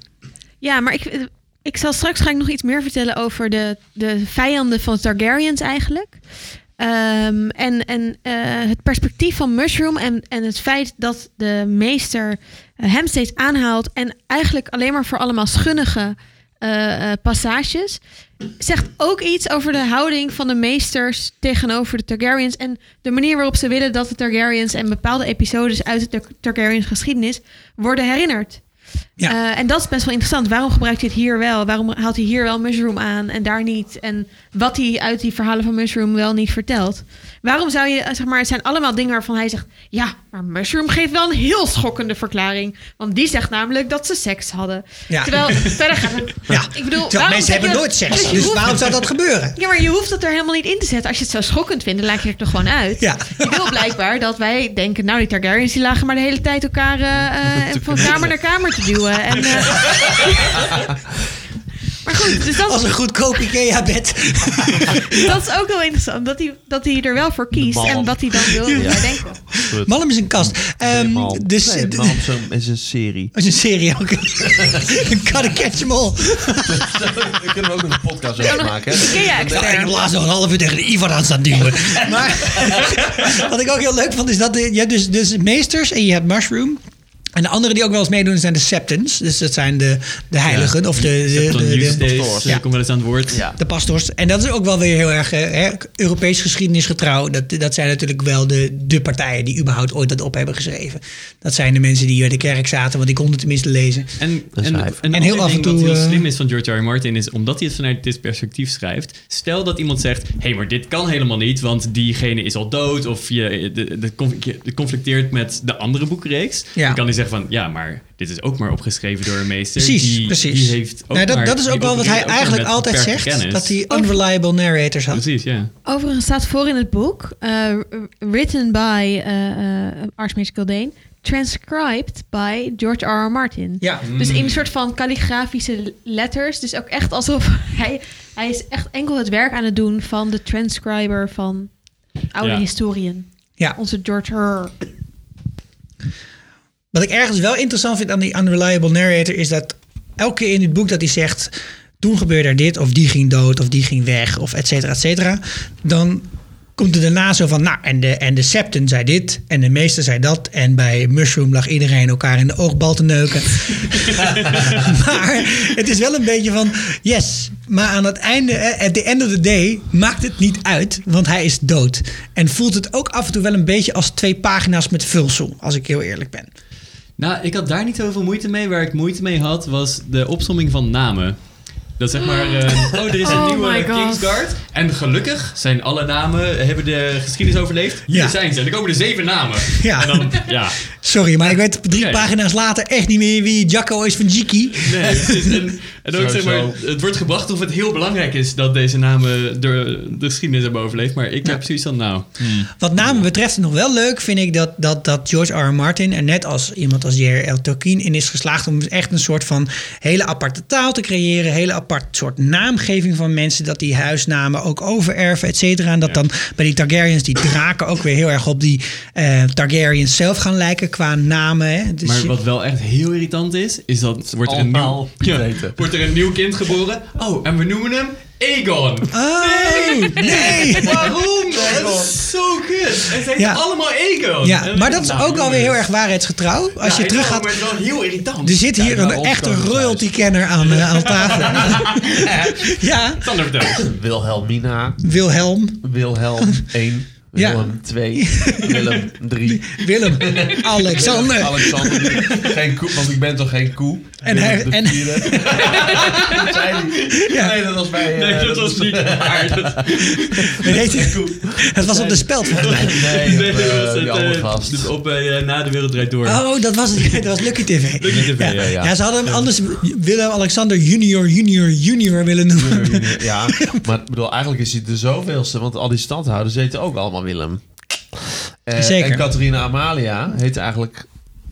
E: Ja, maar ik, ik zal straks ga ik nog iets meer vertellen over de, de vijanden van Targaryens eigenlijk. Ehm, en en eh, het perspectief van Mushroom en, en het feit dat de meester eh, hem steeds aanhaalt en eigenlijk alleen maar voor allemaal schunnige eh, eh, passages, zegt ook iets over de houding van de meesters tegenover de Targaryens en de manier waarop ze willen dat de Targaryens en bepaalde episodes uit de Targaryens geschiedenis worden herinnerd.
A: Ja.
E: Eh, en dat is best wel interessant. Waarom gebruikt hij het hier wel? Waarom haalt hij hier wel Mushroom aan en daar niet? En wat hij uit die verhalen van Mushroom wel niet vertelt. Waarom zou je, eh, zeg maar, het zijn allemaal dingen waarvan hij zegt... Ja, maar Mushroom geeft wel een heel schokkende verklaring. Want die zegt namelijk dat ze seks hadden.
A: Ja.
E: Terwijl, verder gaat het...
A: Ja.
E: Ik
A: Terwijl
E: bedoel, waarom
A: mensen
E: zeg je
A: hebben
E: dat-
A: nooit seks.
E: je
A: Dus
E: hoeft-
A: waarom zou dat gebeuren?
E: ja, maar je hoeft dat er helemaal niet in te zetten. Als je het zo schokkend vindt, dan laat je het er gewoon uit.
A: Ja.
E: Je wil blijkbaar dat wij denken... nou, die Targaryens die lagen maar de hele tijd elkaar... eh, eh, van kamer naar kamer te duwen. En, eh, maar goed, dus dat,
A: Als een goedkoop Ikea-bed.
E: dat is ook wel interessant. Dat hij, dat hij er wel voor kiest
D: De bal.
E: en wat hij dan wil
D: Ja.
E: bedenken.
A: Malm is een kast. Ehm,
D: Helemaal.
A: dus,
D: nee,
A: d-
D: Malmsteen is een serie.
A: als een serie ook. Een gotta catch em all.
D: Daar kunnen we ook nog een podcast over maken. hè?
A: Ja, ik heb
E: Ikea-expert.
A: laatst nog een half uur tegen de Ivan aan staan duwen. Maar wat ik ook heel leuk vond, is dat de- je hebt dus, dus meesters en je hebt mushroom. En En de andere die ook wel eens meedoen zijn de septons. Dus dat zijn de, de heiligen of de, de,
F: Dan
A: de, de,
F: Youth Days,
A: Ja.
F: ik kom wel eens aan het woord.
D: Ja.
A: de pastors. En dat is ook wel weer heel erg eh, hè, Europees geschiedenisgetrouw. Dat, dat zijn natuurlijk wel de, de partijen die überhaupt ooit dat op hebben geschreven. Dat zijn de mensen die hier in de kerk zaten, want die konden tenminste lezen.
F: En,
D: is
F: en,
D: hij.
F: en,
A: En
F: heel af en toe. Wat heel
A: eh,
F: slim is van George R. R. Martin is omdat hij het vanuit dit perspectief schrijft. Stel dat iemand zegt: hé, hey, maar dit kan helemaal niet, want diegene is al dood. of je, de, de, conf- het conflicteert met de andere boekenreeks.
A: Ja.
F: Dan kan hij zeggen: van ja, maar dit is ook maar opgeschreven door een meester.
A: Precies,
F: die,
A: precies.
F: Die heeft ook
A: Nou, dat,
F: maar-
A: dat is
F: die
A: ook wel wat hij
F: opereert maar
A: eigenlijk
F: met
A: altijd zegt.
F: beperkte kennis. Dus-
A: Dat hij unreliable narrators had.
F: Precies, ja.
E: Overigens staat voor in het boek, eh, written by eh eh Archmage Gildane, transcribed by George R. R. Martin.
A: Ja,
E: Dus in
F: Mm.
E: een soort van kalligrafische letters. Dus ook echt alsof hij, hij is echt enkel het werk aan het doen van de transcriber van oude
F: Ja.
E: historien.
A: ja.
E: Onze George R.
A: Wat ik ergens wel interessant vind aan die unreliable narrator is dat elke keer in het boek dat hij zegt. Toen gebeurde er dit, of die ging dood, of die ging weg, of et cetera, et cetera. Dan komt er daarna zo van, nou, en de, en de septen zei dit, en de meester zei dat. En bij Mushroom lag iedereen elkaar in de oogbal te neuken. maar het is wel een beetje van, yes, maar aan het einde, eh, at the end of the day, maakt het niet uit, want hij is dood. En voelt het ook af en toe wel een beetje als twee pagina's met vulsel, als ik heel eerlijk ben.
F: Nou, ik had daar niet zoveel moeite mee. Waar ik moeite mee had, was de opsomming van namen. Dat zeg maar, eh, oh, er is een
E: Ah. Oh my
F: nieuwe
E: God.
F: Kingsguard. En gelukkig zijn alle namen, hebben de geschiedenis overleefd. Hier
A: Ja.
F: zijn ze. En er komen er zeven namen.
A: Ja.
F: En dan, ja.
A: Sorry, maar ik weet drie
F: Oké.
A: pagina's later echt niet meer wie Jacco is van Jiki.
F: Nee, precies. En, en ook, zeg maar,
D: Sowieso.
F: het wordt gebracht of het heel belangrijk is dat deze namen de, de geschiedenis hebben overleefd. Maar ik heb zoiets van, nou...
A: Wat namen betreft nog wel leuk vind ik dat, dat, dat George R. R. Martin en net als iemand als J.R.L. Tolkien in is geslaagd om dus echt een soort van hele aparte taal te creëren, hele apart soort naamgeving van mensen, dat die huisnamen ook overerven, et cetera. En dat dan bij die Targaryens die draken ook weer heel erg op die eh, Targaryens zelf gaan lijken qua namen. Hè? Dus
F: Maar
A: je-
F: wat wel echt heel irritant is, is dat wordt er, een nieuw,
D: allemaal
F: Ja,
D: planeten.
F: wordt er een nieuw kind geboren. Oh, en we noemen hem Aegon.
A: Oh, nee!
F: Waarom? Dat is zo kut. En ze
A: Oh, Ja.
F: ja. allemaal Aegon.
A: Ja,
F: En-
A: maar dat is
F: Nou,
A: ook alweer
F: jongens.
A: heel erg waarheidsgetrouw. Als
F: Ja,
A: je terug Dus-
F: ik
A: gaat
F: weet wel, maar het is wel heel irritant.
A: Er zit hier
D: naar
A: een
D: ons
A: echte
D: komen thuis.
A: royalty-kenner aan, eh, aan tafel. ja,
F: Sander, vertel.
D: Wilhelmina,
A: Wilhelm,
D: Wilhelm 1,
A: Ja.
D: Willem 2, Willem 3.
A: Willem, Alexander.
D: Alexander, geen koe, want ik ben toch geen koe?
A: En
D: Willem
A: hij-
D: de
A: en-
D: vierde. Dat zei hij.
A: Ja.
D: Nee, dat was bij... eh,
F: Nee, dat was niet waar. Dat-
A: Weet je, Het was op de speld. volgens mij.
D: Nee,
F: nee,
D: op,
F: dat
D: eh,
F: was
D: die
F: het,
D: andere
F: eh,
D: gast.
F: dus op bij eh, Na de Wereld Draait Door.
A: Oh, dat was, het. dat was Lucky TV.
D: Lucky TV, ja, ja.
A: ze hadden hem anders Willem-Alexander junior, junior, junior willen noemen.
D: Ja, maar ik bedoel, eigenlijk is hij de zoveelste, want al die standhouders heten ook allemaal Willem. Eh,
A: Zeker.
D: En Catharina Amalia heet eigenlijk...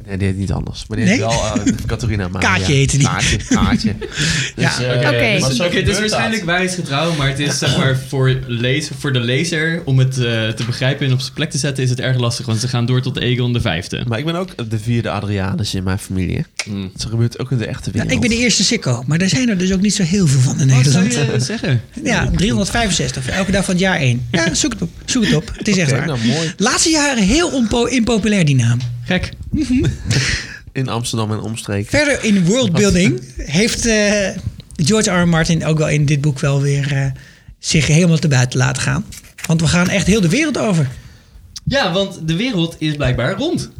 D: Nee, die heet niet anders. Maar die heet
A: Nee?
D: wel eh, Catharina Amalia.
A: Kaatje heette die.
D: Kaatje, Kaatje.
A: Ja,
D: eh,
E: oké.
D: maar
F: Dus,
D: zo
F: Oké, het
D: gebeurt
F: is
D: dat.
F: waarschijnlijk waarheidsgetrouw, maar het is zeg maar voor, lezer, voor de lezer om het eh, te begrijpen en op zijn plek te zetten is het erg lastig, want ze gaan door tot Aegon de vijfde.
D: Maar ik ben ook de vierde Adrianus in mijn familie. hè.
F: Mm.
D: Dat gebeurt ook in de echte
A: Ja,
D: wereld.
A: ik ben de eerste sicko, maar er zijn er dus ook niet zo heel veel van in
F: Wat zou
A: Nederland.
F: je eh, zeggen?
A: Ja, 365. Elke dag van het jaar één. Ja, zoek het op. Zoek het op. Het is echt
D: Oké,
A: waar.
D: nou, mooi.
A: Laatste jaren heel onpo- impopulair die naam.
F: Gek.
D: In Amsterdam en omstreken.
A: Verder in worldbuilding heeft eh, George R. R. Martin ook wel in dit boek wel weer eh, zich helemaal te buiten laten gaan. Want we gaan echt heel de wereld over.
F: Ja, want de wereld is blijkbaar rond.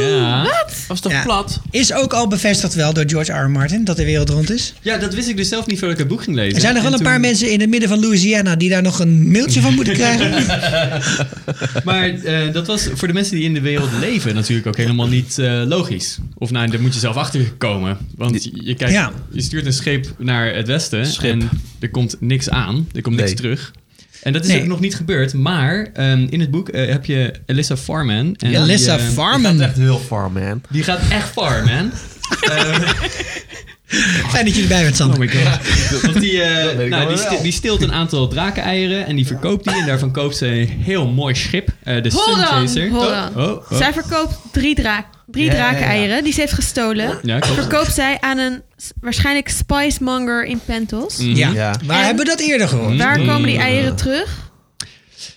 F: Ja.
D: Was toch
A: Ja.
D: plat?
A: Is ook al bevestigd wel door George R. R. Martin dat de wereld rond is.
F: ja, dat wist ik dus zelf niet voordat ik het boek ging lezen.
A: Er zijn nog wel
F: En
A: een paar
F: toen-
A: mensen in het midden van Louisiana die daar nog een mailtje van moeten krijgen.
F: eh, Maar eh, dat was voor de mensen die in de wereld leven natuurlijk ook helemaal niet eh, logisch. Of nou, daar moet je zelf achter komen. Want je- je, kijkt,
A: Ja.
F: je stuurt een scheep naar het westen
D: Schip.
F: en er komt niks aan. Er komt niks
D: Nee.
F: terug. En dat is
A: Nee.
F: ook nog niet gebeurd. Maar ehm, in het boek eh, heb je Alyssa Farman. En die,
A: Alyssa
F: eh,
D: Dat is
A: Farman.
D: echt heel far, man.
F: Die gaat echt far, man.
A: Fijn dat je erbij bent, Sander.
F: Oh my god. Want die, eh,
D: weet ik
F: nou,
D: wel
F: die,
D: wel.
F: sti- die steelt een aantal drakeneieren en die verkoopt die. En daarvan koopt ze een heel mooi schip, eh, de
E: Hold
F: Sunchaser.
E: on, hold
F: Oh,
E: on.
F: oh, oh.
E: Zij verkoopt drie, draak, drie
D: Ja, ja, ja.
E: drakeneieren die ze heeft gestolen.
F: Ja, klopt.
E: Verkoopt zij aan een s- waarschijnlijk spicemonger in Pentos.
A: Ja.
D: Ja.
F: Mm-hmm.
A: Waar
E: En-
F: Hmm.
A: hebben we dat eerder gehoord?
E: Waar komen die eieren terug?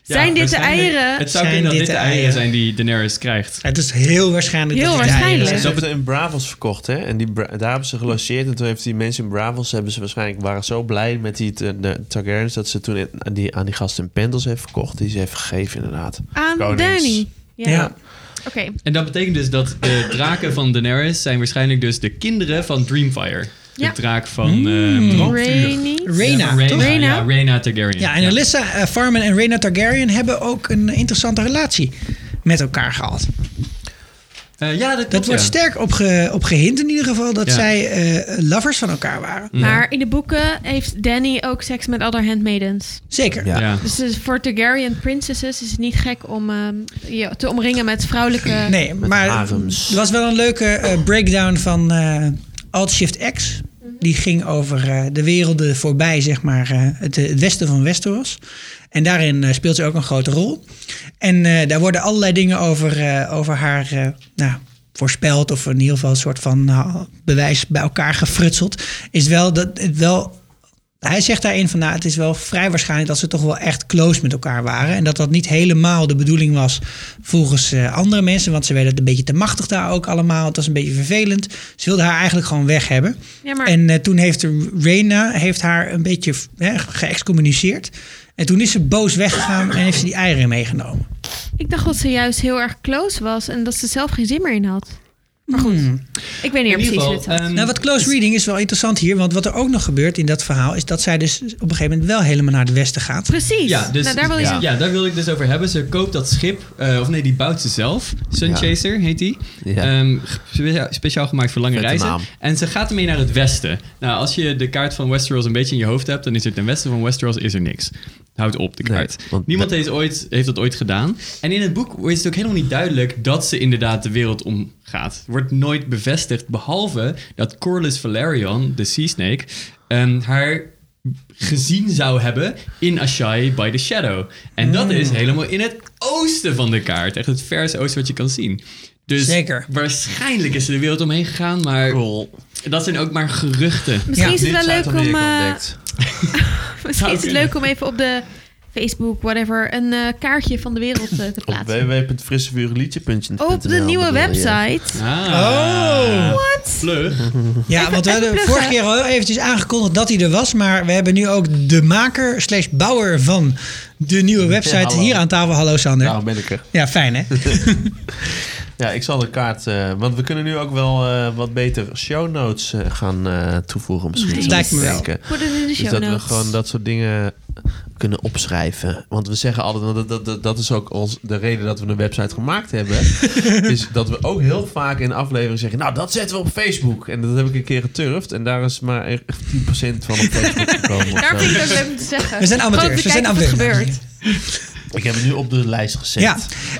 E: Zijn dit de
F: waarschijnlijk-
E: eieren?
F: Het zou
A: Zijn
F: kunnen dat
A: dit
F: dit de
A: de
F: eieren
A: eieren?
F: zijn die Daenerys krijgt.
A: Het is heel waarschijnlijk
E: Heel
A: dat dit de
E: waarschijnlijk.
A: eieren
D: Ze
A: zijn.
D: hebben het in Bravos verkocht, hè? En die, Bra- daar hebben ze gelanceerd. En toen heeft die mensen in Bravos hebben ze waarschijnlijk waren zo blij met die t- de Targaryens dat ze toen in- aan die, aan die gasten in Pentos heeft verkocht. Die ze heeft gegeven, inderdaad.
E: Aan
D: Konings.
E: Danny. Ja.
A: Ja.
E: Oké.
F: En dat betekent dus dat de draken van Daenerys zijn waarschijnlijk dus de kinderen van Dreamfire. De
E: Ja.
F: draak van... ehm,
E: Rainy.
A: Mm. Rhaena,
F: Rhaena,
A: toch?
E: Rhaena?
F: Ja, Rhaena Targaryen.
A: Ja, en Alyssa eh, Farman en Rhaena Targaryen hebben ook een interessante relatie met elkaar gehad.
F: Eh, ja, dat,
A: Dat
F: klopt,
A: wordt
F: ja.
A: sterk op, ge, op gehind in ieder geval dat
F: Ja.
A: zij eh, lovers van elkaar waren.
E: Maar in de boeken heeft Danny ook seks met other handmaidens.
A: Zeker.
D: Ja.
F: Ja.
E: Dus het is voor Targaryen princesses is het niet gek om ehm, je te omringen met vrouwelijke...
A: Nee, maar
D: harems.
A: het was wel een leuke eh, breakdown van eh Alt-Shift X. Die ging over eh, de werelden voorbij, zeg maar, eh, het, eh, het westen van Westeros. En daarin eh, speelt ze ook een grote rol. En eh, daar worden allerlei dingen over, eh, over haar eh, nou, voorspeld... of in ieder geval een soort van nou, bewijs bij elkaar gefrutseld. Is wel dat het wel hij zegt daarin van, nou, het is wel vrij waarschijnlijk dat ze toch wel echt close met elkaar waren. En dat dat niet helemaal de bedoeling was volgens eh, andere mensen. Want ze werden een beetje te machtig daar ook allemaal. Het was een beetje vervelend. Ze wilden haar eigenlijk gewoon weg hebben.
E: Ja, maar-
A: En eh, toen heeft Reina heeft haar een beetje hè, geëxcommuniceerd. En toen is ze boos weggegaan en heeft ze die eieren meegenomen.
E: Ik dacht dat ze juist heel erg close was en dat ze zelf geen zin meer in had. Maar goed,
A: Hmm.
E: ik weet niet
F: In
E: precies
F: ieder
E: hoe
F: geval,
E: het zat.
F: ehm,
A: Nou, wat close reading is wel interessant hier. Want wat er ook nog gebeurt in dat verhaal... is dat zij dus op een gegeven moment wel helemaal naar het westen gaat.
E: precies.
F: Ja, dus,
E: nou, daar wil je
F: ja.
E: zo-
F: ja, daar wil ik dus over hebben. Ze koopt dat schip, eh, of nee, die bouwt ze zelf. Sunchaser heet die.
D: Ja.
F: Ehm, spe- speciaal gemaakt voor lange
D: Vette
F: reizen.
D: naam.
F: En ze gaat ermee naar het westen. Nou, als je de kaart van Westeros een beetje in je hoofd hebt, dan is er ten westen van Westeros is er niks. Houd op de
D: Nee,
F: kaart.
D: want-
F: Niemand heeft, ooit, heeft dat ooit gedaan. En in het boek is het ook helemaal niet duidelijk dat ze inderdaad de wereld omgaat. Het wordt nooit bevestigd, behalve dat Corlys Valerion, de Sea Snake, ehm, haar gezien zou hebben in Ashai by the Shadow. En dat
A: Hmm.
F: is helemaal in het oosten van de kaart. Echt het verste oosten wat je kan zien. Dus
A: Zeker.
F: waarschijnlijk is er de wereld omheen gegaan, maar dat zijn ook maar geruchten.
E: Misschien
A: Ja.
E: is het wel leuk om, eh,
D: ontdekt.
E: misschien
D: Nou,
E: is het
F: kunnen.
E: leuk om even op de Facebook, whatever, een eh, kaartje van de wereld eh, te
D: Op
E: plaatsen.
D: www.frissevuurliedje.nl
E: Op de nieuwe website.
A: Oh.
F: Ah,
E: Wat?
F: vlug.
A: Ja, want we
E: even
A: hebben
E: pluggen.
A: vorige keer al heel eventjes aangekondigd dat hij er was. Maar we hebben nu ook de maker slash bouwer van de nieuwe website
D: hallo. Nou.
A: hier aan tafel. Hallo Sander.
D: Daarom ben ik er.
A: Ja, fijn hè?
D: Ja, ik zal de kaart... eh, want we kunnen nu ook wel eh, wat beter show notes eh, gaan eh, toevoegen misschien.
E: Nice.
D: zou
A: Lijkt
D: ik
A: me wel.
D: denken.
E: Put it in de
D: Dus
E: show
D: dat we
E: notes.
D: gewoon dat soort dingen kunnen opschrijven. Want we zeggen altijd, want dat, dat, dat, dat is ook ons, de reden dat we een website gemaakt hebben. is dat we ook heel vaak in afleveringen zeggen, nou dat zetten we op Facebook. En dat heb ik een keer geturfd. En daar is maar echt 10% van op Facebook gekomen. of
E: Daar
D: zo.
E: vind ik het ook leuk om te zeggen.
A: We zijn
E: Gewoon
A: amateurs,
E: te
A: we zijn
E: kijken of het
A: amateurs.
E: gebeurt.
D: Ik heb het nu op de lijst gezet.
A: ja.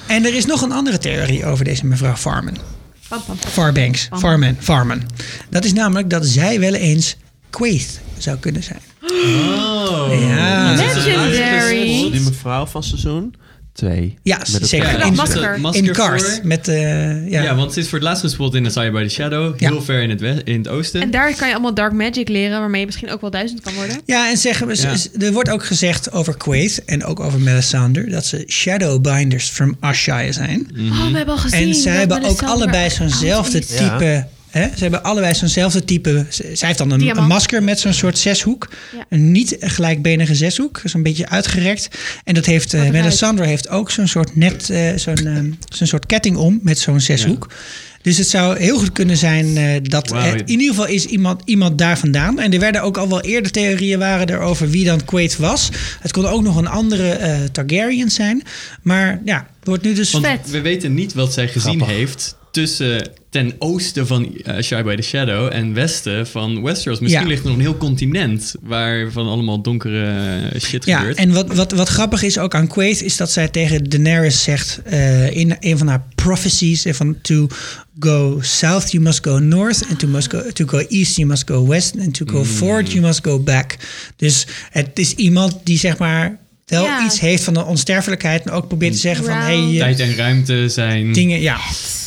A: En er is nog een andere theorie over deze mevrouw Farman.
E: Pam, pam, pam.
A: Farbanks. Farman. Farman. Dat is namelijk dat zij wel eens Quaith zou kunnen zijn.
F: Oh.
A: Ja.
E: Legendary.
D: Die mevrouw van seizoen 2.
A: Ja, zeker.
E: Ja,
A: In-
E: masker.
A: In
F: voor-
A: Karth. Met, eh, ja.
F: Ja. want ze is voor het laatst gespot in Asai by the Shadow. Heel
A: Ja.
F: ver in het, we- in het oosten.
E: En daar kan je allemaal dark magic leren, waarmee je misschien ook wel duizend kan worden.
A: Ja, en zeggen, we-
F: Ja.
A: er wordt ook gezegd over Quaith en ook over Melisandre... dat ze Shadowbinders from Ashaya zijn.
D: Mhm.
E: Oh, we hebben al gezien.
A: En
E: dat
A: ze hebben ook
E: Melisandre-
A: allebei zo'nzelfde
E: Oh,
D: Ja.
A: type. Hè? Ze hebben allebei zo'nzelfde type. z- Zij heeft dan een,
E: Diamant.
A: een masker met zo'n soort zeshoek.
E: Ja.
A: Een niet gelijkbenige zeshoek. Zo'n beetje uitgerekt. En dat heeft eh,
E: Wat eruit.
A: Melisandre heeft ook zo'n soort net, eh, zo'n ehm, zo'n soort ketting om met zo'n zeshoek. Dus het zou heel goed kunnen zijn eh, dat
F: Wauw.
A: eh, in ieder geval is iemand, iemand daar vandaan. En er werden ook al wel eerder theorieën waren er over wie dan Quaid was. Het kon ook nog een andere eh, Targaryen zijn. Maar ja, er wordt nu dus...
F: want
E: vet.
F: we weten niet wat zij gezien
D: Grappig.
F: heeft tussen ten oosten van eh, Asai by the Shadow en westen van Westeros. Misschien
A: Ja.
F: ligt er nog een heel continent waarvan allemaal donkere eh, shit
A: Ja,
F: gebeurt.
A: en wat, wat, wat grappig is ook aan Quaid... is dat zij tegen Daenerys zegt eh, in een van haar prophecies... eh, van to go south you must go north... and to, must go, to go east you must go west... and to go
F: Hmm.
A: forward you must go back. Dus het is iemand die zeg maar wel
E: Ja.
A: iets heeft van de onsterfelijkheid... en ook probeert te zeggen van... Hey,
E: Round.
A: eh,
F: Hmm. Tijd en ruimte zijn...
A: dingen, ja.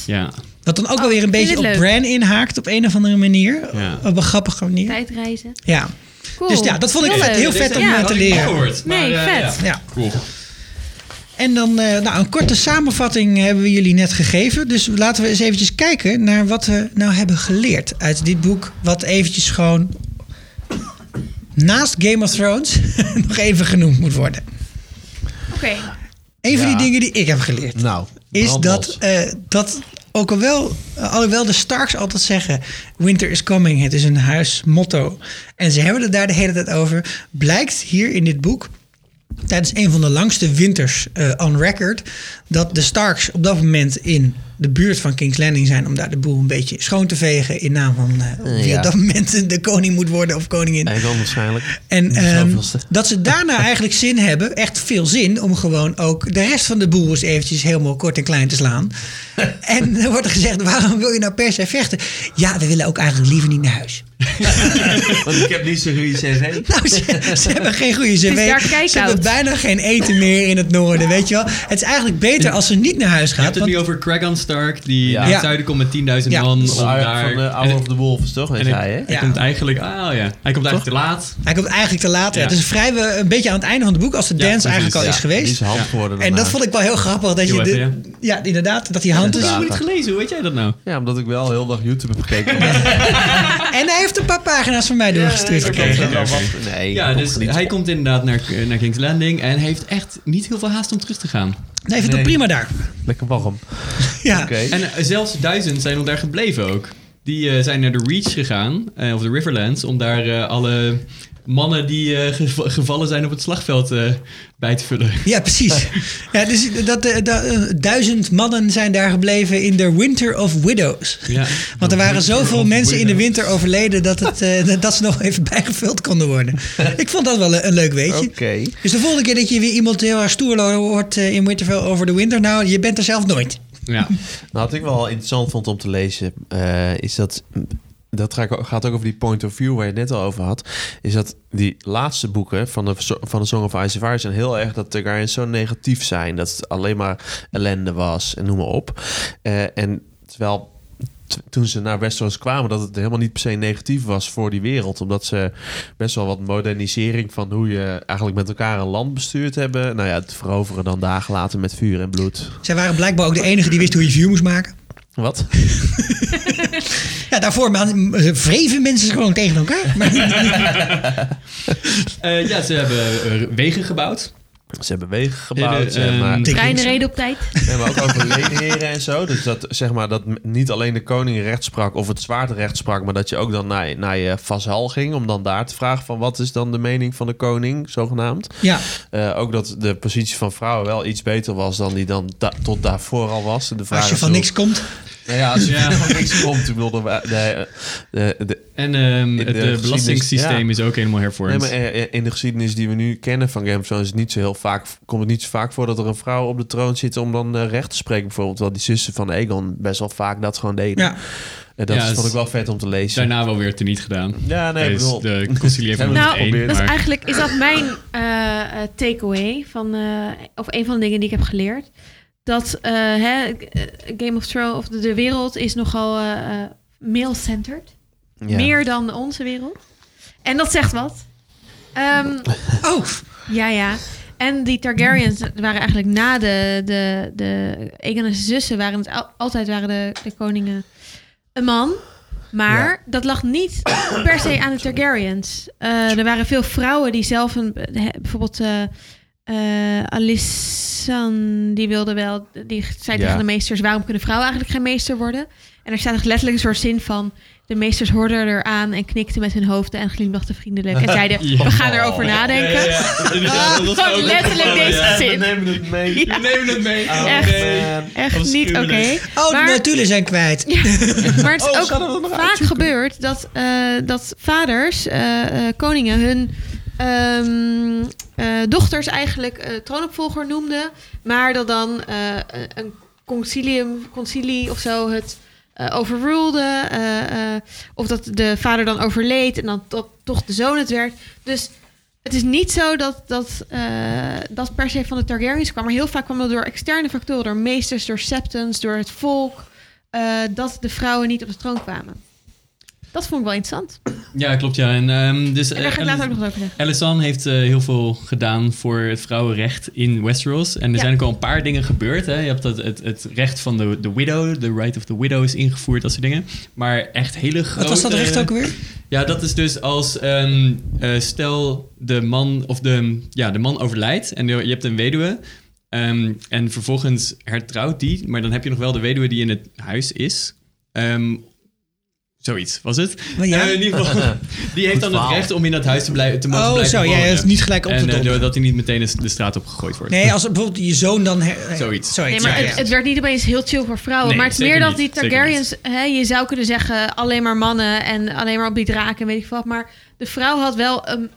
F: Ja.
A: Wat dan ook wel weer een
E: ik Oh, vind
A: beetje op
E: het leuk.
A: Bran inhaakt... op een of andere manier.
F: Ja.
A: Op een grappige manier.
E: Tijdreizen.
A: Ja.
E: Cool.
A: Dus ja, dat vond ik
E: Heel
A: vet-
F: Oh,
E: leuk.
A: heel vet om
E: Ja.
A: eh, te leren.
E: Nee, vet.
A: Ja.
F: Cool.
A: En dan eh, nou, een korte samenvatting hebben we jullie net gegeven. Dus laten we eens eventjes kijken naar wat we nou hebben geleerd uit dit boek. Wat eventjes gewoon naast Game of Thrones nog even genoemd moet worden.
E: Oké.
A: Een van
D: Ja.
A: die dingen die ik heb geleerd
D: Nou,
A: is
D: brand
A: dat,
D: los.
A: eh, dat ook al wel, alhoewel de Starks altijd zeggen: Winter is coming, het is een huismotto. En ze hebben het daar de hele tijd over. Blijkt hier in dit boek, tijdens een van de langste winters eh, on record, dat de Starks op dat moment in de buurt van King's Landing zijn om daar de boel een beetje schoon te vegen in naam van eh, wie
D: Ja.
A: op dat moment de koning moet worden of koningin.
D: Eigenlijk waarschijnlijk.
A: En
D: De
A: ehm,
D: zoveelste.
A: dat ze daarna eigenlijk zin hebben, echt veel zin, om gewoon ook de rest van de boel eens eventjes helemaal kort en klein te slaan. en er wordt er gezegd, waarom wil je nou per se vechten? Ja, we willen ook eigenlijk liever niet naar huis.
D: Want ik heb niet zo'n goede cv.
A: Nou, ze, ze hebben geen goede cv.
E: daar
A: ze
E: kijkout.
A: hebben bijna geen eten meer in het noorden, weet je wel. Het is eigenlijk beter als ze niet naar huis
F: Je
A: gaat.
F: hebt het
A: want-
F: nu over Kragan Stark, die
D: Ja.
F: naar het
A: Ja.
F: zuiden komt met 10.000
A: Ja.
F: man. Om daar,
D: Van de
F: en
D: Hour
F: het-
D: of the Wolf is toch? En
F: en het-
D: hij, hè?
F: Hij
A: Ja.
F: komt eigenlijk, ah ja, hij komt eigenlijk te laat.
A: Hij komt eigenlijk te laat. Ja,
F: Ja.
A: het is vrij eh, een beetje aan het einde van het boek, als de
F: Ja,
A: dance
F: precies.
A: eigenlijk al
D: Ja,
A: is geweest.
D: Die is half
F: Ja.
D: geworden
A: en dat
D: daarna.
A: vond ik wel heel grappig. Dat je
F: Heel
A: de-
F: even,
A: ja. inderdaad, dat die hand is.
F: Dat is
D: Later.
F: goed gelezen, hoe weet jij dat nou?
D: Ja, omdat ik wel heel dag YouTube heb gekeken. Ja,
A: En hij heeft een paar pagina's van mij doorgestuurd.
F: oké.
A: gekregen.
D: dat wel wat- Nee,
F: Ja,
D: dat
F: dus
D: niet.
F: hij komt inderdaad naar, eh, naar King's Landing en hij heeft echt niet heel veel haast om terug te gaan.
A: Nee, vindt het
D: Nee.
A: prima daar.
D: Lekker warm.
A: Ja.
D: Oké.
F: En eh, zelfs duizend zijn nog daar gebleven ook. Die eh, zijn naar de Reach gegaan, eh, of de Riverlands, om daar eh, alle mannen die eh, gev- gevallen zijn op het slagveld eh, bij te vullen.
A: Ja, precies. Ja, dus dat, eh, dat, eh, duizend mannen zijn daar gebleven in de Winter of Widows.
F: Ja.
A: Want er waren zoveel
F: of
A: mensen in de
F: Widows.
A: winter overleden dat, het, eh, dat- dat ze nog even bijgevuld konden worden. Ik vond dat wel een, een leuk weetje.
D: Oké.
A: Dus de volgende keer dat je weer iemand heel erg stoer hoort eh, in Winterfell over de winter, nou, je bent er zelf nooit.
F: Ja.
D: Nou, wat ik wel interessant vond om te lezen, eh, is dat. Dat ga ik ook- gaat ook over die point of view waar je het net al over had. Is dat die laatste boeken van de, van de Song of Ice and Fire zijn heel erg dat Targaryens zo negatief zijn. Dat het alleen maar ellende was en noem maar op. Eh, en terwijl t- toen ze naar Westeros kwamen, dat het helemaal niet per se negatief was voor die wereld. Omdat ze best wel wat modernisering van hoe je eigenlijk met elkaar een land bestuurd hebben. Nou ja, het veroveren dan dagen later met vuur en bloed.
A: Zij waren blijkbaar ook de enige die wist hoe je view moest maken.
D: Wat?
A: Ja, daarvoor man, eh, wreven mensen gewoon tegen elkaar. Maar
F: Eh, ja, ze hebben eh, wegen gebouwd.
D: Ze hebben wegen gebouwd.
F: Eh,
D: ze hebben-
F: ehm,
A: Dikke
E: Treinen
A: mensen.
E: reden op tijd.
D: we hebben ook over leenheren en zo. Dus dat, zeg maar, dat m- niet alleen de koning recht sprak of het zwaard recht sprak... maar dat je ook dan naar, naar je vazal ging... om dan daar te vragen van wat is dan de mening van de koning, zogenaamd.
A: Ja,
D: Eh, ook dat de positie van vrouwen wel iets beter was... dan die dan da- tot daarvoor al was. De vraag
A: als je
D: is
A: van
D: hoe-
A: niks komt.
D: Nou ja, als je
F: Ja.
D: van niks komt... Ik bedoel, de, de, eh, de, de-
F: En ehm,
D: de
F: het eh,
D: geschiedenis-
F: belastingssysteem
D: ja.
F: is ook helemaal hervormd.
D: Nee, maar eh, in de geschiedenis die we nu kennen van Game of Thrones... Is het niet zo heel vaak, komt het niet zo vaak voor dat er een vrouw op de troon zit... om dan eh, recht te spreken bijvoorbeeld. Terwijl die zussen van Aegon best wel vaak dat gewoon deden.
A: Ja.
D: En dat
F: Ja,
D: is-
F: dus
D: vond ik wel vet om te lezen.
F: Daarna wel weer teniet gedaan.
D: Ja, nee, ik bedoel...
F: Tijdens de concilie van
D: Hebben we
E: Nou,
D: het geprobeerd?
E: Dat is
F: Maar-
E: eigenlijk is dat mijn eh, eh, takeaway van eh, of een van de dingen die ik heb geleerd. Dat eh, hè, eh, Game of Thrones of de, de wereld is nogal eh, eh, male-centered,
D: Ja.
E: meer dan onze wereld. En dat zegt wat. Ehm,
A: Oh,
E: ja, ja. En die Targaryens waren eigenlijk na de de de Aegon en zijn zussen waren het al- altijd waren de, de koningen een man. Maar dat lag niet per se aan de Targaryens. Eh, er waren veel vrouwen die zelf een he- bijvoorbeeld eh eh, Alissan die wilde wel die zei
D: Ja.
E: tegen de meesters waarom kunnen vrouwen eigenlijk geen meester worden? En er staat echt letterlijk een soort zin van de meesters hoorden eraan en knikten met hun hoofden en glimlachten vriendelijk en zeiden we gaan erover nadenken. Ah,
F: Dat zou
E: gewoon
F: ook
E: letterlijk
F: opvallen,
E: deze
F: ja.
E: zin.
D: nemen het mee.
E: Ja,
F: Neem het mee.
D: Oh,
E: Echt.
F: Nee.
D: man.
E: echt
F: Wat
E: niet oké.
F: schuwelijk.
A: oh
E: Maar-
A: de notulen zijn kwijt.
E: Ja, maar het is
D: Oh, zouden we dat
E: ook
D: nog
E: vaak gebeurd dat, eh, dat vaders, eh, eh, koningen, hun ehm, eh, dochters eigenlijk eh, troonopvolger noemden. Maar dat dan eh, een concilium, concilie of zo het eh overrulde. eh, eh, of dat de vader dan overleed en dan to- toch de zoon het werd. Dus het is niet zo dat dat, eh, dat per se van de Targaryens kwam. Maar heel vaak kwam dat door externe factoren. Door meesters, door septons, door het volk eh, dat de vrouwen niet op de troon kwamen. Dat vond ik wel interessant.
F: Ja, klopt ja. En, ehm, dus,
E: En daar ga ik
F: eh,
E: later ook nog over zeggen.
F: Elisan heeft eh, heel veel gedaan voor het vrouwenrecht in Westeros. En er
E: Ja.
F: zijn ook al een paar dingen gebeurd. Hè. Je hebt het, het, het recht van de, de widow, de right of the widow is ingevoerd, dat soort dingen. Maar echt hele grote...
A: Wat was dat recht ook weer?
F: Ja, dat is dus als ehm, eh, stel de man of de, ja, de man overlijdt en je hebt een weduwe. ehm, en vervolgens hertrouwt die, maar dan heb je nog wel de weduwe die in het huis is. Ehm, zoiets was het.
A: Maar ja.
F: Eh, in ieder geval, die heeft dan het
D: verhaal.
F: recht om in dat huis te, blijven te mogen
A: Oh,
F: blijven
A: zo.
F: wonen.
A: Ja, dat is niet gelijk op te
F: En eh,
A: doppen.
F: dat hij niet meteen de straat op gegooid wordt.
A: Nee, als bijvoorbeeld je zoon dan... her-
F: Zoiets.
E: Nee,
A: ja,
E: maar
A: ja.
E: het, het werd niet opeens heel chill voor vrouwen.
F: Nee,
E: maar het is
F: zeker
E: meer dat
F: niet,
E: die
F: zeker
E: Targaryens... Hè, je zou kunnen zeggen alleen maar mannen en alleen maar op die draken en weet ik wat. Maar de vrouw had wel een